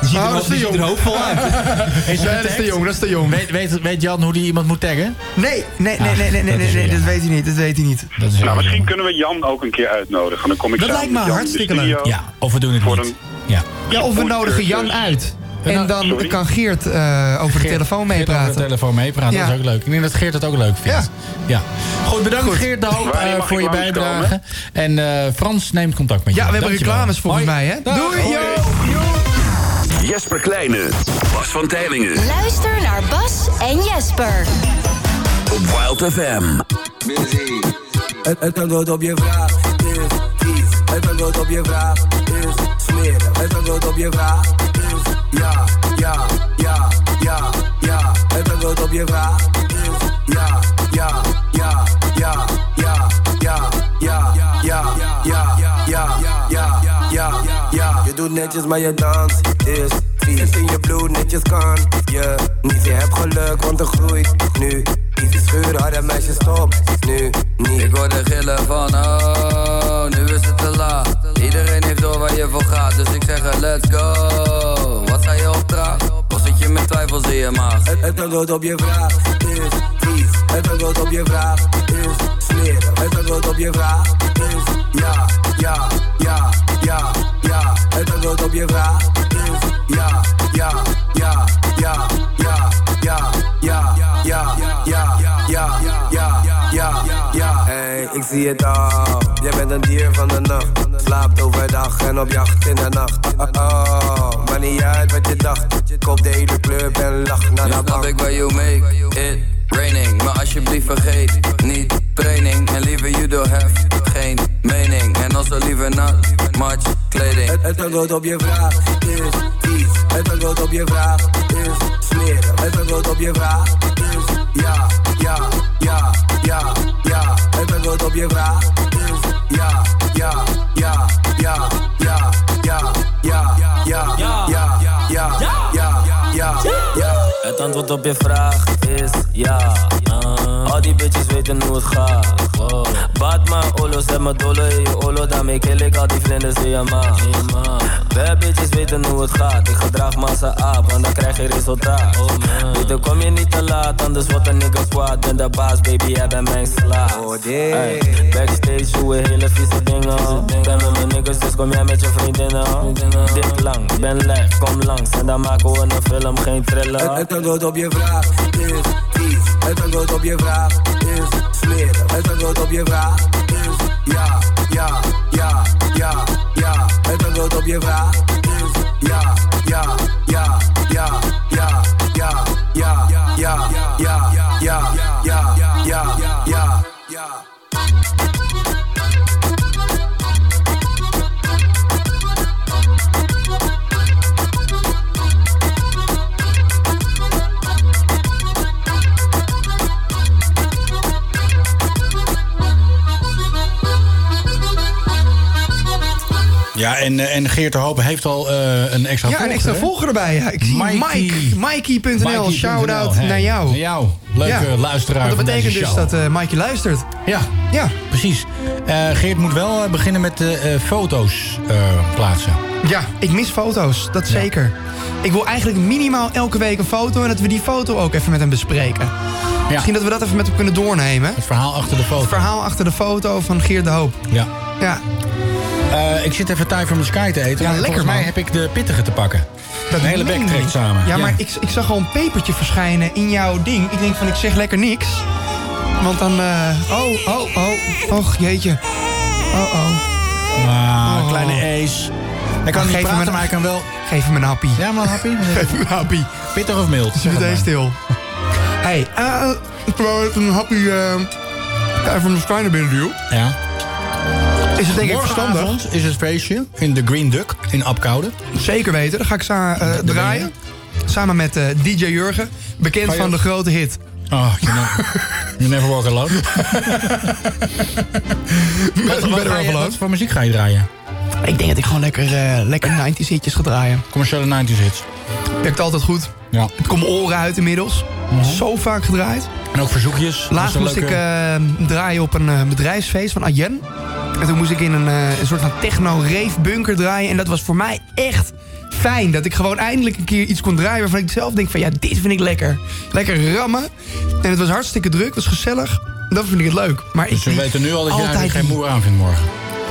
Speaker 2: Die
Speaker 1: ziet er wel- die ziet er hoopvol uit.
Speaker 2: Is
Speaker 1: hij
Speaker 2: ja, dat is
Speaker 1: getagd?
Speaker 2: te jong, dat is te jong.
Speaker 1: Weet, weet, weet Jan hoe die iemand moet taggen? Ah,
Speaker 2: Nee, nee, nee, nee, nee, nee, nee, nee, dat weet hij niet, dat weet hij niet.
Speaker 15: Nou, misschien kunnen we Jan ook een keer uitnodigen. Dan kom ik
Speaker 2: Dat
Speaker 15: samen
Speaker 2: lijkt me
Speaker 15: met Jan in de
Speaker 2: hartstikke
Speaker 15: studio.
Speaker 2: leuk.
Speaker 1: Ja, of we doen het
Speaker 15: Voor
Speaker 1: niet.
Speaker 15: een-
Speaker 1: Ja.
Speaker 2: Ja, of we nodigen Jan uit. En dan
Speaker 1: nou, sorry?
Speaker 2: kan Geert eh, over de telefoon
Speaker 1: Geert over de
Speaker 2: meepraten.
Speaker 1: telefoon meepraten,
Speaker 2: Ja.
Speaker 1: dat is ook leuk. Ik denk dat Geert het ook leuk vindt. Ja. Goed, bedankt
Speaker 2: Goed.
Speaker 1: Geert de Hoop
Speaker 2: Waar
Speaker 1: eh,
Speaker 2: mag
Speaker 1: voor
Speaker 2: ik
Speaker 1: je
Speaker 2: langskomen?
Speaker 1: bijdrage. En eh, Frans neemt contact met je.
Speaker 2: Ja, we hebben
Speaker 1: Dankjewel.
Speaker 2: reclames volgens
Speaker 1: Hoi.
Speaker 2: mij, hè?
Speaker 1: Dag.
Speaker 2: Doei,
Speaker 1: Hoi.
Speaker 2: yo!
Speaker 10: Jesper Kleine, Bas van Tijlingen
Speaker 16: Luister naar Bas en Jesper.
Speaker 10: op Wild FM.
Speaker 8: Het, het antwoord op je vraag is kies. Het antwoord op je vraag is smeren. Het antwoord op je vraag is ja, ja, ja, ja, ja. E, Het antwoord op je vraag is ja, ja, ja, ja, ja, ja, ja, ja, ja, ja, ja, ja, ja, ja. Je doet netjes, maar je dans is vies. Het in je bloed netjes kan je niet. Je hebt geluk, want er groeit nu iets. niet. Die schuur, harde meisje, stop, nu niet. Ik hoor de gillen van, oh, nu is het te laat. Iedereen heeft door waar je voor gaat, dus ik zeg er, let's go. Wat zei je op draag? Of zit je met twijfels in je maag? Het, het antwoord op je vraag is vies. Het antwoord op je vraag is smeren. Het antwoord op je vraag is ja, ja, ja, ja, ja. Het antwoord op je vraag is ja, ja, ja, ja, ja, ja, ja, ja, ja, ja, ja, ja, ja. Hey, ik zie het al. Jij bent een dier van de nacht. Slaapt overdag en op jacht in de nacht. Oh, oh, maar niet uit wat je dacht. Koop de hele club en lach naar de bank. ik waar you make it raining. Maar alsjeblieft vergeet niet training. En liever you don't have geen mening. En also liever not much kleding. Het, het antwoord op je vraag is vies. Het antwoord op je vraag is smeren. Het antwoord op je vraag is ja, ja, ja, ja, ja. Het antwoord op je vraag is ja, ja, ja, ja, ja, ja, ja, ja, ja, ja, ja, ja, ja, ja.
Speaker 17: Het antwoord op je vraag is ja. Ah, al die bitches weten hoe het gaat. Wow. Baat maar olo, zet me dolle in je olo. Daarmee kill ik al die vlinders in je maag. Bad bitches weten hoe het gaat. Ik gedraag massa aap, want dan krijg je resultaat. Beter kom je niet te laat, anders wordt een nigga kwaad. Ben de baas, baby, jij bent mijn slaaf. Ey, backstage hoe we hele vieze dingen. Ben met mijn niggas, dus kom jij met je vriendinnen. Dit lang, ben leg, kom langs. En dan maken we een film, geen thriller.
Speaker 8: Het, het antwoord op je vraag is vies. Het antwoord op je vraag is smeren. Het antwoord op je vraag is ja, ja, ja, ja, ja. Het antwoord op je vraag is ja, ja, ja, ja, ja, ja, ja, ja, ja, ja, ja, ja, ja, ja.
Speaker 1: Ja, en, eh, en Geert de Hoop heeft al eh, een extra
Speaker 2: Ja, een
Speaker 1: volger,
Speaker 2: extra
Speaker 1: hè?
Speaker 2: volger erbij. Ja, ik zie Mike. Mikey.nl.
Speaker 1: Mikey.nl,
Speaker 2: Shout-out
Speaker 1: hey.
Speaker 2: naar jou.
Speaker 1: Naar jou. Leuke luisteraar
Speaker 2: Want
Speaker 1: van
Speaker 2: dat betekent
Speaker 1: deze
Speaker 2: dus
Speaker 1: show.
Speaker 2: dat eh Mikey luistert.
Speaker 1: Ja.
Speaker 2: Ja.
Speaker 1: Precies. Eh, Geert moet wel eh, beginnen met eh, eh, foto's eh, plaatsen.
Speaker 2: Ja, ik mis foto's. Dat zeker. Ik wil eigenlijk minimaal elke week een foto... en dat we die foto ook even met hem bespreken. Misschien dat we dat even met hem kunnen doornemen. Het
Speaker 1: verhaal achter de foto.
Speaker 2: Het verhaal achter de foto van Geert de Hoop.
Speaker 1: Ja.
Speaker 2: Ja.
Speaker 1: Eh, ik zit even Time from the Sky te eten.
Speaker 2: Ja, lekker,
Speaker 1: maar volgens mij
Speaker 2: man.
Speaker 1: heb ik de pittige te pakken. Dat de hele
Speaker 2: meen
Speaker 1: bek
Speaker 2: je
Speaker 1: trekt
Speaker 2: niet.
Speaker 1: samen.
Speaker 2: Ja, maar ik, ik zag al een pepertje verschijnen in jouw ding. Ik denk van, ik zeg lekker niks. Want dan... eh, oh, oh, oh. Och, jeetje. Oh, oh.
Speaker 1: Ah, kleine ace. Hij kan niet praten, maar hij kan wel...
Speaker 2: Geef hem een happy.
Speaker 1: Ja, maar een happie.
Speaker 2: Geef hem een happie.
Speaker 1: Pittig of mild?
Speaker 2: Zit meteen stil. Hé, hey, eh, ik wou even een happy... eh even van de sky naar binnen duw.
Speaker 1: Ja.
Speaker 2: Is het denk ik
Speaker 1: Morgenavond
Speaker 2: verstandig?
Speaker 1: is het feestje in de Green Duck in Apkoude.
Speaker 2: Zeker weten. Dan ga ik sa- eh, draaien. Samen met eh, DJ Jurgen. Bekend
Speaker 1: Ga je-
Speaker 2: van de grote hit.
Speaker 1: Oh, you, never, you never walk alone. wat, wat, ga je, wat voor muziek ga je draaien?
Speaker 2: Ik denk dat ik gewoon lekker, eh, lekker 90s hitjes ga draaien.
Speaker 1: Commerciële 90s hits.
Speaker 2: Werkt altijd goed.
Speaker 1: Ja. Mhm.
Speaker 2: Het komt oren uit inmiddels. Zo vaak gedraaid.
Speaker 1: En ook verzoekjes.
Speaker 2: Dus Laatst
Speaker 1: Dat is
Speaker 2: moest
Speaker 1: een leuke-
Speaker 2: ik eh, draaien op een eh, bedrijfsfeest van Ayen. En toen moest ik in een, eh, een soort van techno-rave bunker draaien. En dat was voor mij echt fijn. Dat ik gewoon eindelijk een keer iets kon draaien waarvan ik zelf denk van... ja, dit vind ik lekker. Lekker rammen. En het was hartstikke druk, het was gezellig. Dat vind ik het leuk. Maar
Speaker 1: Dus
Speaker 2: ik
Speaker 1: we
Speaker 2: die-
Speaker 1: weten nu al dat je
Speaker 2: altijd
Speaker 1: eigenlijk geen
Speaker 2: die-
Speaker 1: moer aan vindt morgen.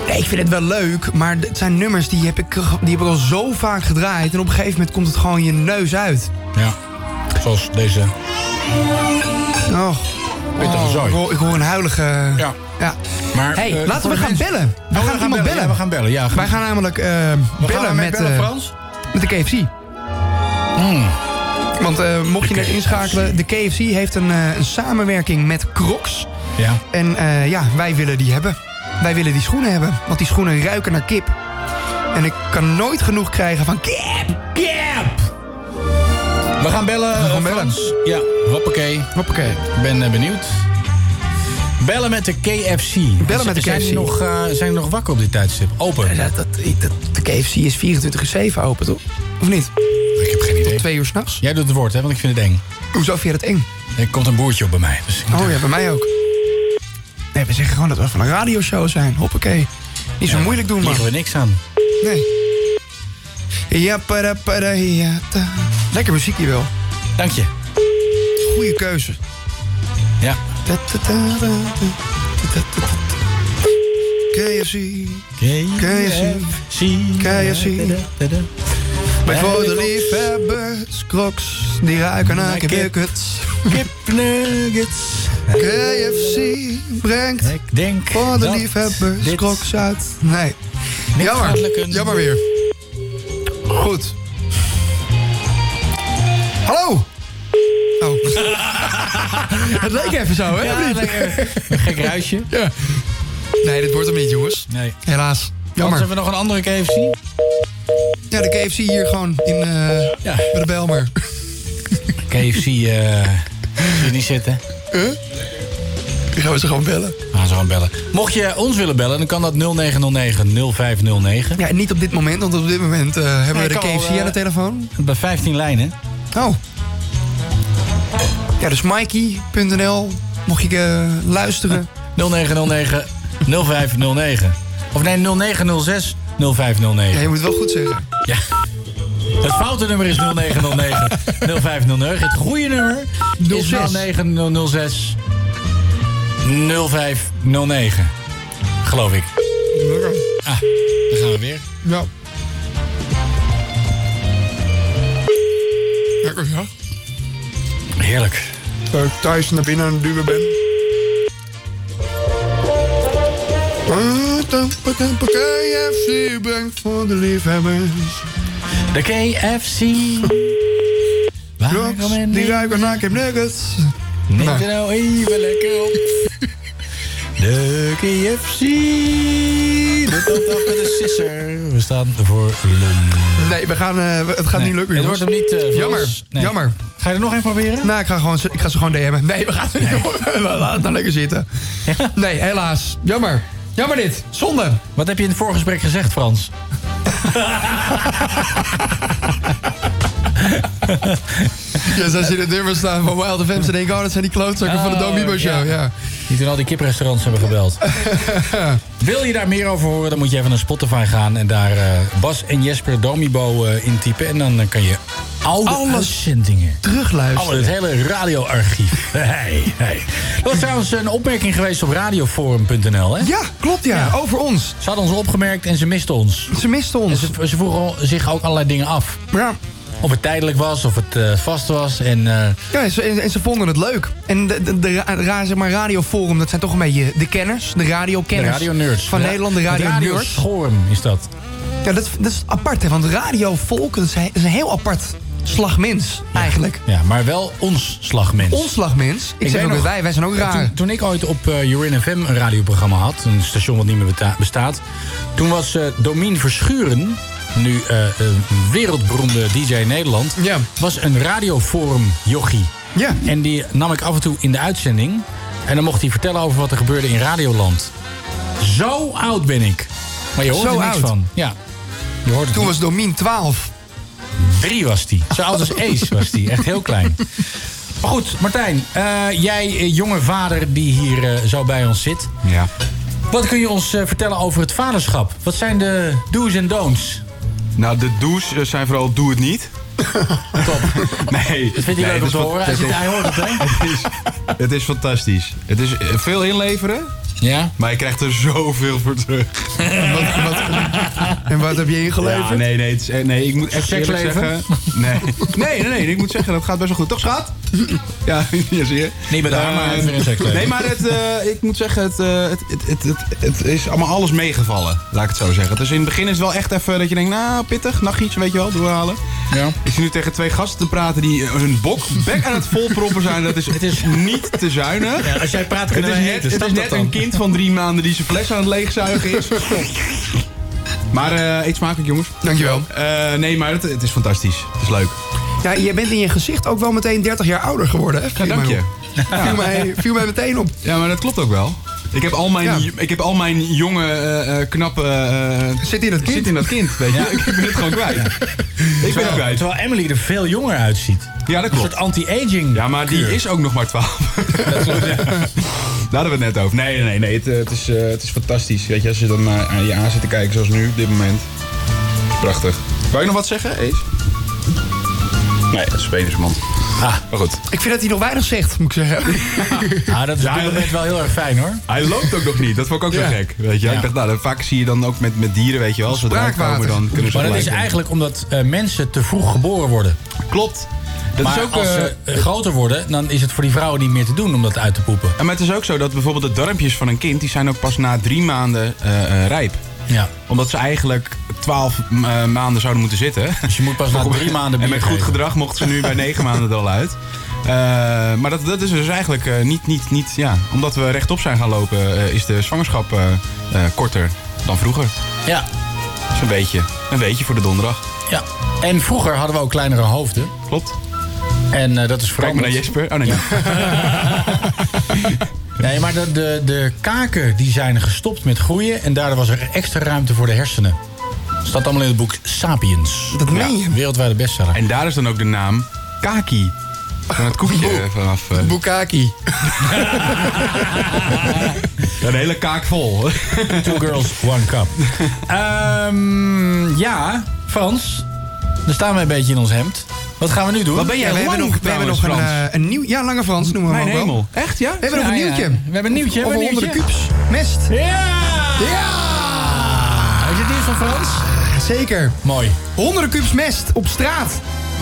Speaker 2: Nee, ik vind het wel leuk, maar het zijn nummers die heb, ik, die heb ik al zo vaak gedraaid. En op een gegeven moment komt het gewoon je neus uit.
Speaker 1: Ja. Zoals deze.
Speaker 2: Oh.
Speaker 1: Pittige
Speaker 2: Oh,
Speaker 1: zooi.
Speaker 2: Ik hoor, ik hoor een huilige...
Speaker 1: Ja.
Speaker 2: ja.
Speaker 1: Maar,
Speaker 2: hey,
Speaker 1: eh,
Speaker 2: laten
Speaker 1: voor
Speaker 2: we
Speaker 1: de
Speaker 2: gaan
Speaker 1: mensen-
Speaker 2: bellen. We gaan, iemand bellen.
Speaker 1: Ja, we gaan bellen. Ja,
Speaker 2: Wij gaan namelijk eh, bellen
Speaker 1: daarmee
Speaker 2: met...
Speaker 1: bellen,
Speaker 2: eh,
Speaker 1: Frans?
Speaker 2: Met de KFC.
Speaker 1: Hmm.
Speaker 2: Want eh, mocht je net inschakelen, de KFC heeft een, eh, een samenwerking met Crocs.
Speaker 1: Ja.
Speaker 2: En eh, ja, wij willen die hebben. Wij willen die schoenen hebben, want die schoenen ruiken naar kip. En ik kan nooit genoeg krijgen van kip, kip.
Speaker 1: We gaan bellen. We gaan bellen. Ja, hoppakee.
Speaker 2: Hoppakee.
Speaker 1: Ik ben eh, benieuwd. Bellen met de KFC.
Speaker 2: Bellen met de
Speaker 1: Zijn
Speaker 2: KFC.
Speaker 1: die nog, eh, zijn die nog wakker op dit tijdstip? Open.
Speaker 2: Dat, de KFC is 24 uur 7 open, toch? Of niet?
Speaker 1: Ik heb geen idee.
Speaker 2: Tot twee uur s'nachts.
Speaker 1: Jij doet het woord, hè, want ik vind het eng.
Speaker 2: Hoezo vind je dat eng?
Speaker 1: Er komt een boertje op bij mij. Dus ik moet
Speaker 2: Oh ja,
Speaker 1: even-
Speaker 2: bij mij ook. Nee, we zeggen gewoon dat we van een radioshow zijn. Hoppakee. Niet zo
Speaker 1: Ja,
Speaker 2: moeilijk doen, man.
Speaker 1: liggen we niks aan.
Speaker 2: Nee. Ja, para, para, ja, ta. Lekker muziek hier wel.
Speaker 1: Dank je.
Speaker 2: Goeie keuze.
Speaker 1: Ja.
Speaker 2: Ta, ta, ta, ta, ta, ta, ta, ta. KFC. KFC. KFC. Mijn voor de liefhebbers, crocs, die ruiken naar
Speaker 1: Naar kip.
Speaker 2: kipnuggets. Kipnuggets. KFC brengt
Speaker 1: Ik denk
Speaker 2: voor de
Speaker 1: dat
Speaker 2: liefhebbers,
Speaker 1: dit-
Speaker 2: crocs uit. Nee.
Speaker 1: Niet
Speaker 2: Jammer.
Speaker 1: makkelijk een-
Speaker 2: Jammer weer. Goed. Hallo! Oh. het leek even zo, hè?
Speaker 1: Ja,
Speaker 2: Of niet?
Speaker 1: het leek even- Een gek ruisje.
Speaker 2: Ja. Nee, dit wordt hem niet, jongens.
Speaker 1: Nee.
Speaker 2: Helaas.
Speaker 1: Anders
Speaker 2: Jammer.
Speaker 1: hebben we nog een andere KFC.
Speaker 2: Ja, de KFC hier gewoon in, eh
Speaker 1: Ja.
Speaker 2: bij de Belmer.
Speaker 1: KFC, eh zie je niet zitten.
Speaker 2: Huh? Die gaan we ze gewoon bellen.
Speaker 1: We gaan ze gewoon bellen. Mocht je ons willen bellen, dan kan dat 0909 0509.
Speaker 2: Ja, niet op dit moment, want op dit moment eh, hebben
Speaker 1: Nee,
Speaker 2: we de
Speaker 1: kan wel,
Speaker 2: KFC
Speaker 1: eh,
Speaker 2: aan de telefoon.
Speaker 1: Bij 15 lijnen.
Speaker 2: Oh. Ja, dus Mikey.nl, mocht je eh, luisteren.
Speaker 1: 0909 0509. Of nee, 0906 0509.
Speaker 2: Ja, je moet wel goed zeggen.
Speaker 1: Ja. Het foute nummer is 0909 0509. Het goede nummer is
Speaker 2: 06.
Speaker 1: 0906 0509. Geloof ik. Ah, daar gaan we weer.
Speaker 2: Ja. Lekker, ja.
Speaker 1: Heerlijk.
Speaker 2: Dat ik thuis naar binnen aan het duwen ben. KFC brengt voor de liefhebbers.
Speaker 1: De KFC.
Speaker 2: Crocs, die ruiken naar kipnuggets.
Speaker 1: Neem
Speaker 2: Nou.
Speaker 1: er nou even lekker op. De KFC. De top met de sisser. We staan voor lunch.
Speaker 2: Nee, we gaan, eh, we- het gaat
Speaker 1: Nee,
Speaker 2: niet lukken.
Speaker 1: het
Speaker 2: jongens.
Speaker 1: wordt hem niet, eh, voor
Speaker 2: jammer,
Speaker 1: ons. Nee.
Speaker 2: jammer.
Speaker 1: Ga je er nog even proberen?
Speaker 2: Nou, ik ga, gewoon, ik ga ze gewoon DM'en. Nee, we gaan het niet doen. Laat het nou lekker zitten. Nee, helaas. Jammer. Jammer dit. Zonde.
Speaker 1: Wat heb je in het voorgesprek gezegd, Frans?
Speaker 2: Dus als je in het nummer staan van Wild Fans, dan denk ik, oh, dat zijn die klootzakken van de
Speaker 1: Oh,
Speaker 2: Domibo Show. Ja.
Speaker 1: Die toen al die kiprestaurants hebben gebeld. Wil je daar meer over horen, dan moet je even naar Spotify gaan... en daar eh, Bas en Jesper Domibo eh, intypen. En dan eh, kan je oude
Speaker 2: Alles
Speaker 1: uitzendingen...
Speaker 2: Terugluisteren.
Speaker 1: Alle, het hele radioarchief. Hey, hey. Dat was trouwens een opmerking geweest op radioforum.nl. Hè?
Speaker 2: Ja, klopt ja. Over ons.
Speaker 1: Ze hadden ons opgemerkt en ze misten ons.
Speaker 2: Ze misten
Speaker 1: En
Speaker 2: ons.
Speaker 1: ze, ze vroegen al- zich ook allerlei dingen af.
Speaker 2: Ja.
Speaker 1: Of het tijdelijk was, of het eh, vast was. En eh,
Speaker 2: Ja, en ze, en- en ze vonden het leuk. En de, de, de ra- ra- zeg maar radioforum, dat zijn toch een beetje de kenners, de
Speaker 1: de
Speaker 2: radiokenners.
Speaker 1: radionerds.
Speaker 2: Van
Speaker 1: Ra-
Speaker 2: Nederland, de radio, nerds.
Speaker 1: Schorum is dat.
Speaker 2: Ja, dat, dat is apart, hè, want radiovolk dat is, he- is een heel apart slagmens, eigenlijk.
Speaker 1: Ja, maar wel ons slagmens.
Speaker 2: Ons slagmens. Ik, zeg
Speaker 1: weet
Speaker 2: ook dat
Speaker 1: nog,
Speaker 2: wij, wij zijn ook
Speaker 1: ja,
Speaker 2: raar.
Speaker 1: Toen, toen ik ooit op eh Urin FM een radioprogramma had, een station wat niet meer beta- bestaat, toen was eh Domien Verschuren, nu eh, een wereldberoemde DJ in Nederland,
Speaker 2: Ja.
Speaker 1: was een radioforum jochie.
Speaker 2: Ja.
Speaker 1: En die nam ik af en toe in de uitzending. En dan mocht hij vertellen over wat er gebeurde in Radioland. Zo oud ben ik. Maar je hoort
Speaker 2: Zo
Speaker 1: er niks
Speaker 2: oud.
Speaker 1: van. Ja. Je hoort het
Speaker 2: Toen
Speaker 1: niet.
Speaker 2: was Domien 12.
Speaker 1: Drie was die. Zo oud als Ace was die. Echt heel klein. Maar goed, Martijn. eh, jij, eh, jonge vader die hier eh, zo bij ons zit.
Speaker 6: Ja.
Speaker 1: Wat kun je ons eh, vertellen over het vaderschap? Wat zijn de do's en don'ts?
Speaker 6: Nou, de do's eh, zijn vooral doe het niet.
Speaker 1: Top.
Speaker 6: Nee.
Speaker 1: Dat vindt hij
Speaker 6: nee,
Speaker 1: leuk om
Speaker 6: dat
Speaker 1: te
Speaker 6: is
Speaker 1: horen. Hij,
Speaker 6: fant-
Speaker 1: zit, hij hoort het, hè?
Speaker 6: Het is, het is fantastisch. Het is eh, veel inleveren,
Speaker 1: Ja.
Speaker 6: maar je krijgt er zoveel voor terug.
Speaker 2: Wat, wat, en wat heb je ingeleverd?
Speaker 6: Ja, nee, nee, het is, eh, nee, ik moet echt eerlijk
Speaker 1: Seksleven?
Speaker 6: zeggen. Nee. nee, nee, nee, ik moet zeggen, dat gaat best wel goed. Toch, schat? Ja, ja zie je.
Speaker 1: Niet met haar,
Speaker 6: Eh,
Speaker 1: maar hij heeft weer een seksleven.
Speaker 6: Nee, maar het, eh, ik moet zeggen, het, eh, het, het, het, het, het is allemaal alles meegevallen, laat ik het zo zeggen. Dus in het begin is het wel echt even dat je denkt, nou, pittig, nachtjes, weet je wel, doorhalen.
Speaker 1: Ja.
Speaker 6: Ik zit nu tegen twee gasten te praten die eh, hun bok bek aan het volproppen zijn. Dat is, het is niet te zuinig.
Speaker 1: Ja, als jij praat
Speaker 6: Het
Speaker 1: kunnen
Speaker 6: is
Speaker 1: wij
Speaker 6: net,
Speaker 1: eten.
Speaker 6: het
Speaker 1: Snap
Speaker 6: is
Speaker 1: dat
Speaker 6: net
Speaker 1: dan?
Speaker 6: een kind van drie maanden die zijn fles aan het leegzuigen is. Maar eh eet smakelijk, jongens.
Speaker 2: Dankjewel.
Speaker 6: Eh, nee, maar het, het is fantastisch. Het is leuk.
Speaker 2: Ja, je bent in je gezicht ook wel meteen 30 jaar ouder geworden, hè? Viel
Speaker 6: dank
Speaker 2: mij
Speaker 6: je.
Speaker 2: op. Viel, mij, viel mij meteen op.
Speaker 6: Ja, maar dat klopt ook wel. Ik heb al mijn, ik heb al mijn jonge, eh, eh, knappe... eh,
Speaker 2: zit in dat
Speaker 6: kind. Zit in dat kind, weet je. Ik ben het gewoon kwijt. Ik ben het kwijt.
Speaker 1: Terwijl Emily er veel jonger uitziet.
Speaker 6: Ja, dat klopt.
Speaker 1: Een soort anti-aging.
Speaker 6: Ja, maar die is ook nog maar 12. Daar hadden we het net over. Nee, nee, nee. nee. Het, eh, het, is, eh, het is fantastisch. Weet je, als je dan eh, aan je aan zit te kijken, zoals nu, op dit moment. Prachtig. Wou je nog wat zeggen, Ace? Nee, dat is Spelersmand. Ah, maar goed.
Speaker 2: Ik vind dat hij nog weinig zegt, moet ik zeggen.
Speaker 1: Ah, dat is op dit moment wel heel erg fijn hoor.
Speaker 6: Hij loopt ook nog niet. Dat vond ik ook
Speaker 1: Ja.
Speaker 6: zo gek. Weet je?
Speaker 1: Ja.
Speaker 6: Ik dacht, nou, dan- vaak zie je dan ook met, met dieren, weet je wel. Als ze eruit komen, dan kunnen ze
Speaker 1: Maar dat
Speaker 6: gelijk
Speaker 1: is
Speaker 6: in.
Speaker 1: eigenlijk omdat eh, mensen te vroeg geboren worden.
Speaker 6: Klopt. Dat
Speaker 1: maar
Speaker 6: is ook,
Speaker 1: als
Speaker 6: eh,
Speaker 1: ze eh, groter worden, dan is het voor die vrouwen niet meer te doen om dat uit te poepen.
Speaker 6: Ja, maar het is ook zo dat bijvoorbeeld de darmpjes van een kind... die zijn ook pas na drie maanden eh, eh, rijp.
Speaker 1: Ja.
Speaker 6: Omdat ze eigenlijk twaalf eh, maanden zouden moeten zitten.
Speaker 1: Dus je moet pas na drie
Speaker 6: En
Speaker 1: maanden bier
Speaker 6: met goed
Speaker 1: geven.
Speaker 6: gedrag mochten ze nu bij negen maanden er al uit. Eh, maar dat, dat is dus eigenlijk eh, niet, niet, niet... Ja, omdat we rechtop zijn gaan lopen... eh, is de zwangerschap eh, eh, korter dan vroeger.
Speaker 1: Ja.
Speaker 6: Dat is een beetje, een beetje voor de donderdag.
Speaker 1: Ja. En vroeger hadden we ook kleinere hoofden.
Speaker 6: Klopt.
Speaker 1: En eh, dat is
Speaker 6: Kijk maar
Speaker 1: veranderd.
Speaker 6: naar Jesper. Oh nee, nee.
Speaker 1: Nee, maar de, de, de kaken die zijn gestopt met groeien en daardoor was er extra ruimte voor de hersenen. Staat allemaal in het boek Sapiens. Dat meen je. Wereldwijde bestseller.
Speaker 6: En daar is dan ook de naam Kaki. Van het koekje eh, vanaf... eh,
Speaker 2: Bukaki.
Speaker 6: een hele kaak vol.
Speaker 1: Two girls, one cup. Ehm, ja, Frans. Daar staan we een beetje in ons hemd. Wat gaan we nu doen?
Speaker 2: Wat ben jij We hebben lang nog- we hebben trouwens, nog een, Frans. eh, nieuw... Ja, Lange Frans noemen we
Speaker 1: Mijn
Speaker 2: hem ook wel.
Speaker 1: hemel.
Speaker 6: Echt, ja?
Speaker 2: We hebben nog een
Speaker 1: Ja, ja.
Speaker 2: nieuwtje.
Speaker 1: We hebben een nieuwtje. we
Speaker 2: Over
Speaker 1: hebben een
Speaker 2: onder de
Speaker 1: nieuwtje.
Speaker 2: kups. Mest.
Speaker 1: Ja! Ja! Is het nieuws van Frans?
Speaker 2: Eh, Zeker.
Speaker 1: Mooi.
Speaker 2: Honderden kubus mest op straat.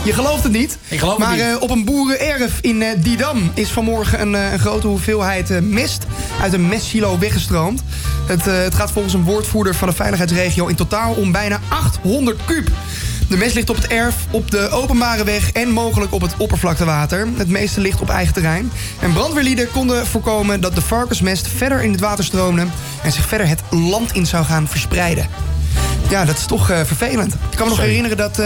Speaker 2: Je gelooft het niet.
Speaker 1: Ik geloof het
Speaker 2: maar,
Speaker 1: niet.
Speaker 2: eh, op een boerenerf in eh, Didam is vanmorgen een, eh, een grote hoeveelheid eh, mest uit een mestsilo weggestroomd. Het, eh, het gaat volgens een woordvoerder van de veiligheidsregio in totaal om bijna 800 kub. De mest ligt op het erf, op de openbare weg en mogelijk op het oppervlaktewater. Het meeste ligt op eigen terrein. En brandweerlieden konden voorkomen dat de varkensmest verder in het water stroomde en zich verder het land in zou gaan verspreiden. Ja, dat is toch eh, vervelend. Ik kan me nog
Speaker 6: Sorry.
Speaker 2: herinneren dat eh,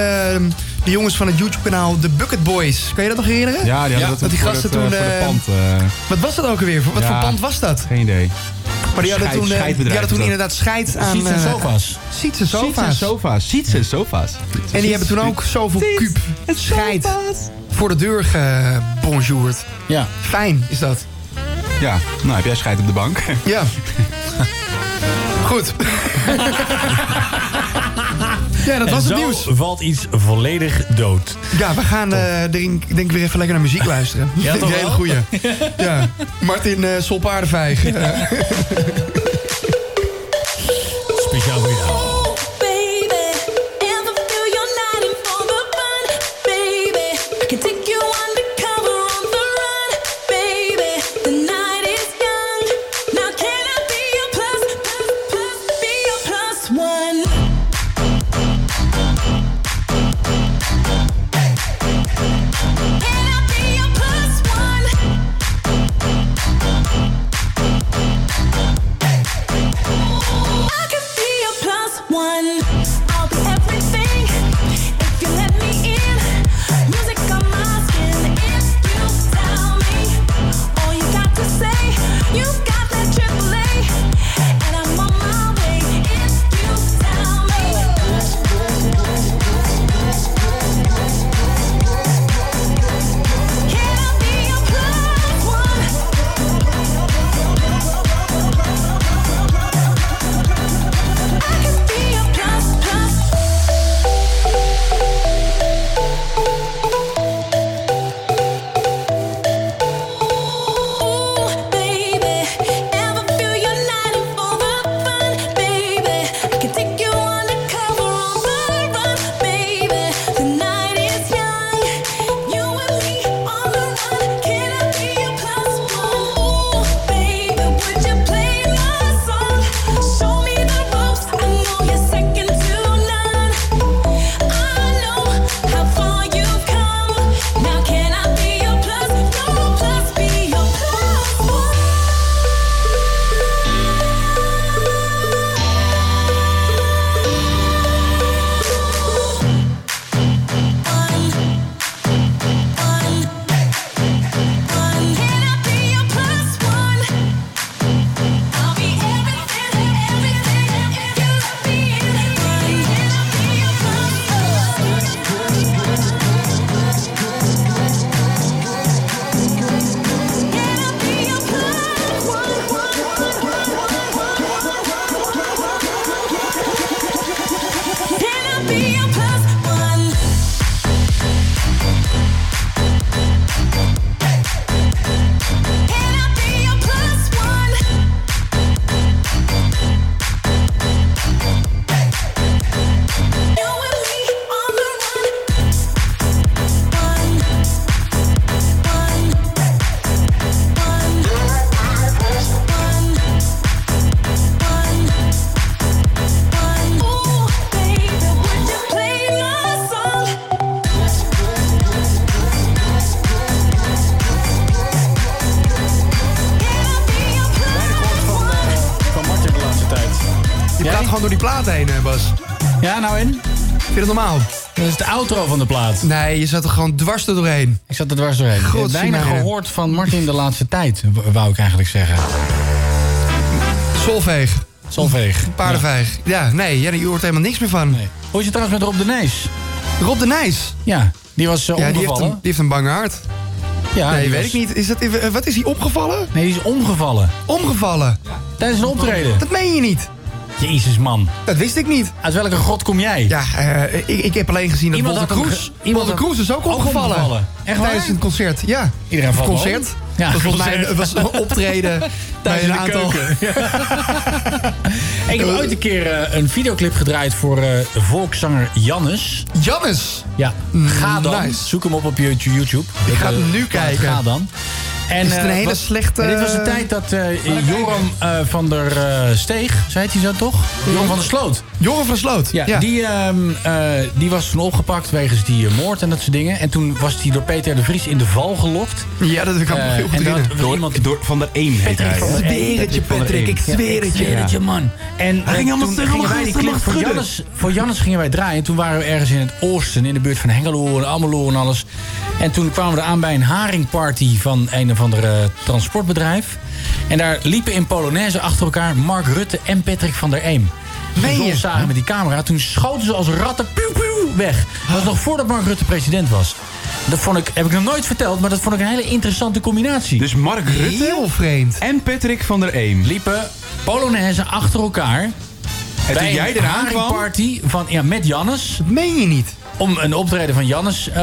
Speaker 2: de jongens van het YouTube-kanaal The Bucket Boys... Kan je dat nog herinneren?
Speaker 6: Ja, die hadden dat,
Speaker 2: dat die
Speaker 6: voor
Speaker 2: gasten
Speaker 6: het,
Speaker 2: toen...
Speaker 6: eh, voor het
Speaker 2: eh,
Speaker 6: pand. eh,
Speaker 2: wat was dat ook alweer? Wat
Speaker 6: Ja.
Speaker 2: voor pand was dat?
Speaker 6: geen idee.
Speaker 2: Maar die hadden
Speaker 6: Scheid-
Speaker 2: toen, eh, die
Speaker 6: scheidbedrijf
Speaker 2: hadden toen
Speaker 6: is dat.
Speaker 2: inderdaad scheid aan...
Speaker 6: Seats en
Speaker 2: eh,
Speaker 6: sofa's.
Speaker 2: Seats en
Speaker 6: Seats en
Speaker 2: sofa's.
Speaker 6: sofa's. Seats en sofa's.
Speaker 2: En die hebben toen ook zoveel kuub scheid voor de deur gebonjourd.
Speaker 1: Ja.
Speaker 2: Fijn is dat.
Speaker 6: Ja, nou heb jij scheid op de bank.
Speaker 2: Ja. Goed. ja, dat
Speaker 1: En
Speaker 2: was
Speaker 1: zo
Speaker 2: het nieuws.
Speaker 1: valt iets volledig dood.
Speaker 2: Ja, we gaan eh, denk, denk ik weer even lekker naar muziek luisteren.
Speaker 1: Ja,
Speaker 2: Dat
Speaker 1: toch
Speaker 2: is een hele
Speaker 1: wel?
Speaker 2: goeie. Ja. Martin eh Solpaardenvijg.
Speaker 1: Speciaal voor jou.
Speaker 12: Baby, ever feel you're not in for the fun? Baby, I can take you undercover on the run. Baby, the night is young. Now can I be your plus, plus, plus, be your plus one? Can I be your plus one?
Speaker 1: Van Martin de laatste tijd.
Speaker 2: Je praat gewoon door die plaat heen, eh, Bas.
Speaker 1: Ja, nou in?
Speaker 2: Vind je dat normaal?
Speaker 1: Dat is de outro van de plaat.
Speaker 2: Nee, je zat er gewoon dwars er doorheen.
Speaker 1: Ik zat er dwars doorheen. Ik heb weinig gehoord van Martin de laatste tijd, w- wou ik eigenlijk zeggen.
Speaker 2: Solveig.
Speaker 1: Solveig.
Speaker 2: Paardenveig. Ja, nee, ja, je hoort helemaal niks meer van.
Speaker 1: Hoe is het trouwens met Rob de Nijs?
Speaker 2: Rob de Nijs?
Speaker 1: Ja, die was eh,
Speaker 2: ja, die heeft,
Speaker 1: omgevallen.
Speaker 2: een, die heeft een bange hart.
Speaker 1: Ja,
Speaker 2: nee,
Speaker 1: die
Speaker 2: weet
Speaker 1: was-
Speaker 2: ik niet. Is dat, even- eh, wat is hij opgevallen?
Speaker 1: Nee, die is omgevallen.
Speaker 2: Omgevallen?
Speaker 1: Tijdens een optreden.
Speaker 2: Dat meen je niet.
Speaker 1: Jezus, man.
Speaker 2: Dat wist ik niet.
Speaker 1: Uit welke grot kom jij?
Speaker 2: Ja, eh, ik, ik heb alleen gezien dat
Speaker 1: Iemand
Speaker 2: Botte
Speaker 1: had hem
Speaker 2: Kroes...
Speaker 1: ge- iemand
Speaker 2: Botte
Speaker 1: had-
Speaker 2: Kroes is ook
Speaker 1: ook
Speaker 2: omgevallen.
Speaker 1: omgevallen. Echt waar?
Speaker 2: Tijdens een concert, ja.
Speaker 1: Iedereen
Speaker 2: Of
Speaker 1: valt
Speaker 2: concert.
Speaker 1: om. Ja,
Speaker 2: dat was volgens mij
Speaker 1: concert.
Speaker 2: een- was een optreden bij een
Speaker 1: in de
Speaker 2: aantal...
Speaker 1: keuken. Ik heb ooit een keer eh, een videoclip gedraaid voor eh, volkszanger Jannes.
Speaker 2: Jannes? Mm,
Speaker 1: Ja, ga dan.
Speaker 2: nice.
Speaker 1: Zoek hem op op YouTube.
Speaker 2: Ik ga
Speaker 1: Eh,
Speaker 2: het nu
Speaker 1: plaat
Speaker 2: kijken.
Speaker 1: Ga dan.
Speaker 2: Is het een
Speaker 1: eh,
Speaker 2: hele
Speaker 1: wat-
Speaker 2: slechte-
Speaker 1: en dit was de tijd dat eh, Joram eh, van der eh, Steeg, zo heet hij zo toch? Joram van der Sloot.
Speaker 2: Joram van der Sloot,
Speaker 1: ja.
Speaker 2: ja.
Speaker 1: Die, ehm, eh, die was toen opgepakt wegens die eh, moord en dat soort dingen. En toen was hij door Peter de Vries in de val gelokt.
Speaker 2: Ja, dat kan ik me
Speaker 1: Eh,
Speaker 2: heel goed
Speaker 1: en dat
Speaker 2: herinneren.
Speaker 1: was iemand
Speaker 6: Door van der Eén heet
Speaker 1: Patrick
Speaker 6: hij.
Speaker 1: van der Eem.
Speaker 2: zweer het je,
Speaker 1: van der
Speaker 2: Patrick,
Speaker 1: Eem.
Speaker 2: ik zweer het je.
Speaker 1: Ik zweer het je, man. En eh,
Speaker 2: ging allemaal
Speaker 1: toen
Speaker 2: zeggen,
Speaker 1: gingen
Speaker 2: allemaal
Speaker 1: wij die
Speaker 2: gasten,
Speaker 1: clip
Speaker 2: allemaal
Speaker 1: voor
Speaker 2: schudden.
Speaker 1: Jannes, voor Jannes gingen wij draaien. Toen waren we ergens in het oosten, in de buurt van Hengelo en Almelo en alles. En toen kwamen we aan bij een haringparty van een of ander eh, transportbedrijf. En daar liepen in Polonaise achter elkaar Mark Rutte en Patrick van der Eem.
Speaker 2: Meen
Speaker 1: Toen
Speaker 2: je?
Speaker 1: ons zagen met die camera. Toen schoten ze als ratten piu, piu, weg. Dat was nog voordat Mark Rutte president was. Dat vond ik, heb ik nog nooit verteld, maar dat vond ik een hele interessante combinatie.
Speaker 6: Dus Mark Rutte
Speaker 2: Heel vreemd.
Speaker 6: en Patrick van der Eem.
Speaker 1: liepen Polonaise achter elkaar.
Speaker 6: En toen
Speaker 1: bij
Speaker 6: jij
Speaker 1: een
Speaker 6: eraan kwam...
Speaker 1: haringparty van, ja, met Jannes.
Speaker 2: Dat meen je niet.
Speaker 1: Om een optreden van Jannes eh,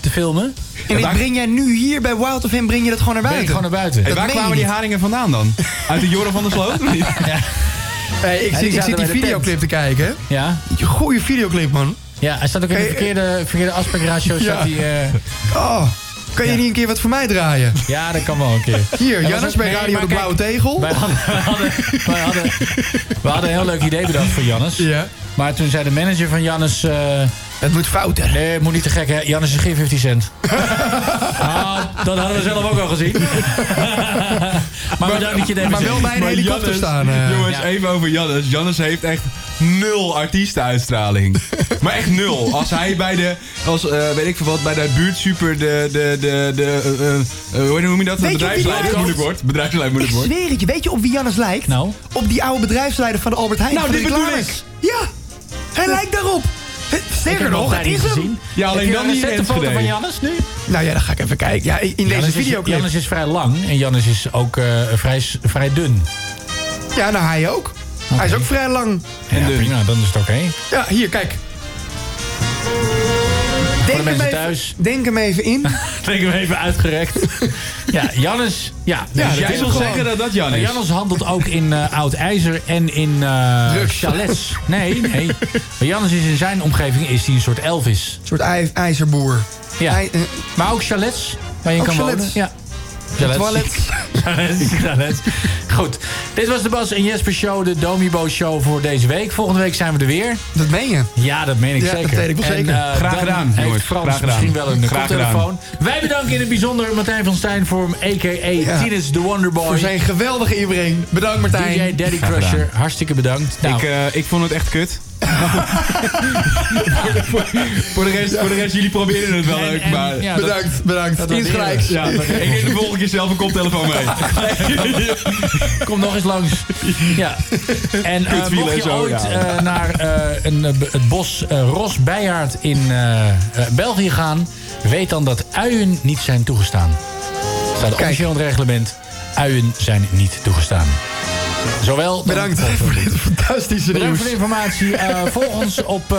Speaker 1: te filmen.
Speaker 2: En dit breng jij nu hier bij Wild of Him, breng je dat gewoon naar
Speaker 1: Ben ik
Speaker 2: buiten?
Speaker 1: gewoon naar buiten.
Speaker 6: Hey,
Speaker 2: dat
Speaker 6: waar
Speaker 2: meen je
Speaker 6: kwamen die
Speaker 2: niet.
Speaker 6: haringen vandaan dan? Uit de Joram van der Sloot? Ja.
Speaker 2: Hey, ik zit,
Speaker 1: Ja, die
Speaker 2: ik
Speaker 1: zaten
Speaker 2: zit die
Speaker 1: bij de
Speaker 2: videoclip te kijken.
Speaker 1: Ja.
Speaker 2: Goeie videoclip, man.
Speaker 1: ja, hij staat ook in de
Speaker 2: Hey,
Speaker 1: verkeerde, verkeerde aspectratio.
Speaker 2: Ja.
Speaker 1: Ja. Die, eh,
Speaker 2: Oh, kan je niet een keer wat voor mij draaien?
Speaker 1: ja, dat kan wel een keer.
Speaker 2: Hier,
Speaker 1: was
Speaker 2: Jannes
Speaker 1: ook-
Speaker 2: bij
Speaker 1: nee,
Speaker 2: Radio
Speaker 1: maar
Speaker 2: de
Speaker 1: kijk,
Speaker 2: Blauwe Tegel.
Speaker 1: Wij hadden, wij, hadden, wij, hadden, wij hadden een heel leuk idee bedacht voor Jannes.
Speaker 2: Ja.
Speaker 1: Maar toen zei de manager van Jannes... eh,
Speaker 2: Het moet fouter.
Speaker 1: Nee, het moet niet te gek, hè? Jannes is geen 50 cent. ah, dat hadden we zelf ook al gezien. maar, bedankt dat je het even
Speaker 2: maar wel
Speaker 1: zegt.
Speaker 2: bij een
Speaker 6: Maar
Speaker 2: helikopter
Speaker 6: Jannes-
Speaker 2: staan. eh.
Speaker 6: Jongens,
Speaker 1: Ja.
Speaker 6: even over Jannes. Jannes heeft echt nul artiestenuitstraling. maar echt nul. Als hij bij de, als, eh, weet ik veel wat, bij de buurtsuper de, de, de, de eh, eh, eh, hoe noem je dat?
Speaker 2: Weet je wie
Speaker 6: Bedrijfsleider
Speaker 2: die
Speaker 6: moeilijk wordt. Bedrijfsleider
Speaker 2: Ik
Speaker 6: moeilijk wordt.
Speaker 2: zweer het je, weet je op wie Jannes lijkt?
Speaker 1: Nou?
Speaker 2: Op die oude bedrijfsleider van de Albert Heijn.
Speaker 6: Nou,
Speaker 2: van de
Speaker 6: dit bedoel
Speaker 2: reclames.
Speaker 6: ik.
Speaker 2: Ja, hij lijkt daarop. He,
Speaker 1: Ik
Speaker 2: Sterker
Speaker 1: heb
Speaker 2: nog,
Speaker 1: nog
Speaker 2: het is hem.
Speaker 1: gezien.
Speaker 6: Ja, alleen
Speaker 1: Heb je
Speaker 6: dan
Speaker 1: een
Speaker 6: niet in
Speaker 1: recente foto
Speaker 6: Enschede.
Speaker 1: van Jannes nu?
Speaker 2: Nou ja, dan ga ik even kijken. Ja, in deze
Speaker 1: Jannes is-
Speaker 2: videoclip.
Speaker 1: Jannes is vrij lang en Jannes is ook eh, vrij, s- vrij dun.
Speaker 2: Ja, nou hij ook. Hij is ook vrij lang.
Speaker 1: En ja,
Speaker 6: dun.
Speaker 1: prima, dan is het oké.
Speaker 2: Ja, hier, kijk. Denk hem,
Speaker 1: mensen
Speaker 2: even,
Speaker 1: thuis.
Speaker 2: denk hem even in.
Speaker 1: Denk hem even uitgerekt. ja, Jannes. Ja, dus
Speaker 6: Ja,
Speaker 1: dat
Speaker 6: jij
Speaker 1: is
Speaker 6: wil
Speaker 1: gewoon-
Speaker 6: zeggen dat dat Jan
Speaker 1: Maar
Speaker 6: is.
Speaker 1: Jannes handelt ook in eh, oud ijzer en in eh
Speaker 2: Drugs.
Speaker 1: chalets. Nee, nee. Maar Jannes is in zijn omgeving is hij een soort Elvis.
Speaker 2: Een soort ij- ijzerboer.
Speaker 1: Ja.
Speaker 2: Hij, eh,
Speaker 1: Maar ook chalets, waar je
Speaker 2: Ook
Speaker 1: kan wonen.
Speaker 2: chalets.
Speaker 1: Ja.
Speaker 2: toilet.
Speaker 1: Chalets, chalets. Goed, dit was de Bas en Jesper Show, de Domibo Show voor deze week. Volgende week zijn we er weer.
Speaker 2: Dat meen je.
Speaker 1: Ja, dat meen ik
Speaker 2: Ja, dat
Speaker 1: zeker.
Speaker 2: weet ik wel
Speaker 1: En,
Speaker 2: zeker.
Speaker 1: eh,
Speaker 6: Graag
Speaker 1: dan
Speaker 6: gedaan,
Speaker 1: heeft
Speaker 6: jongens.
Speaker 1: Frans
Speaker 6: Graag gedaan.
Speaker 1: misschien wel een
Speaker 6: Graag
Speaker 1: koptelefoon. Wij bedanken in het bijzonder Martijn van Stijn voor hem, a.k.a. Tinus de
Speaker 2: Voor
Speaker 1: Wonderboy.
Speaker 2: zijn geweldige inbreng. Bedankt Martijn.
Speaker 1: DJ Daddy
Speaker 6: Graag gedaan.
Speaker 1: Crusher, hartstikke bedankt. Nou,
Speaker 6: Ik, eh, ik vond het echt kut. voor, de rest, voor de rest, jullie proberen het wel
Speaker 1: En-
Speaker 6: leuk,
Speaker 1: en-
Speaker 6: maar...
Speaker 1: ja, dat-
Speaker 2: bedankt, bedankt.
Speaker 1: waarderen we.
Speaker 2: Insgelijks.
Speaker 6: Ja, ik neem de volgende keer zelf een koptelefoon mee.
Speaker 1: Kom nog eens langs. Ja. En eh,
Speaker 6: Kutwielen
Speaker 1: mocht
Speaker 6: en
Speaker 1: je
Speaker 6: zo,
Speaker 1: ooit
Speaker 6: ja.
Speaker 1: eh, naar eh, een, eh, b- het bos eh, Ros Beijaard in eh, eh, België gaan... weet dan dat uien niet zijn toegestaan. Staat officieel in het reglement. Uien zijn niet toegestaan. Zowel. Bedankt voor dit fantastische Bedankt voor de informatie. Eh, volg ons op eh,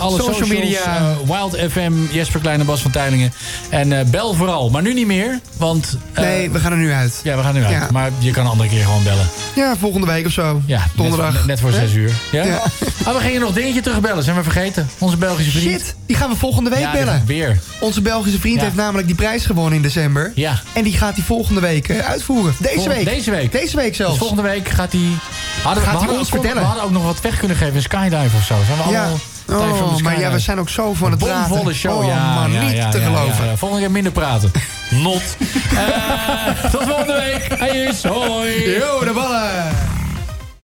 Speaker 1: alle
Speaker 2: Social
Speaker 1: socials,
Speaker 2: media.
Speaker 1: eh, Wild FM, Jesper Klein en Bas van Tijlingen. En eh, bel vooral, maar nu niet meer. Want, nee, we gaan er nu uit. Ja, we gaan er nu uit.
Speaker 2: Ja.
Speaker 1: Maar je kan een andere keer gewoon bellen.
Speaker 2: Ja, volgende week of zo.
Speaker 1: Ja, net
Speaker 2: Donderdag.
Speaker 1: voor- net voor
Speaker 2: Hè?
Speaker 1: zes uur. Ja?
Speaker 2: Ja.
Speaker 1: Ah, we gingen nog dingetje terugbellen. Zijn we vergeten? Onze Belgische vriend.
Speaker 2: Shit, die gaan we volgende week
Speaker 1: Ja, die
Speaker 2: bellen.
Speaker 1: gaan we weer.
Speaker 2: Onze Belgische vriend
Speaker 1: Ja.
Speaker 2: heeft namelijk die prijs gewonnen in december.
Speaker 1: Ja.
Speaker 2: En die gaat hij volgende week eh, uitvoeren. Deze
Speaker 1: Volgende-
Speaker 2: week.
Speaker 1: Deze week.
Speaker 2: Deze week zelfs.
Speaker 1: Dus volgende week gaat hij... Hadden, we-
Speaker 2: Gaat
Speaker 1: we
Speaker 2: hij
Speaker 1: hadden
Speaker 2: ons
Speaker 1: ook-
Speaker 2: vertellen?
Speaker 1: We hadden ook nog wat weg kunnen geven. Een skydive of zo. Zijn we
Speaker 2: Ja.
Speaker 1: allemaal...
Speaker 2: Oh, maar ja, we zijn ook zo van het praten.
Speaker 1: Bomvolle show,
Speaker 2: Oh,
Speaker 1: ja.
Speaker 2: man,
Speaker 1: ja,
Speaker 2: niet
Speaker 1: ja,
Speaker 2: te
Speaker 1: ja,
Speaker 2: geloven.
Speaker 1: ja, ja. Volgende keer minder praten. Not. Eh, tot volgende week. Hey, hoi.
Speaker 2: Yo, de ballen.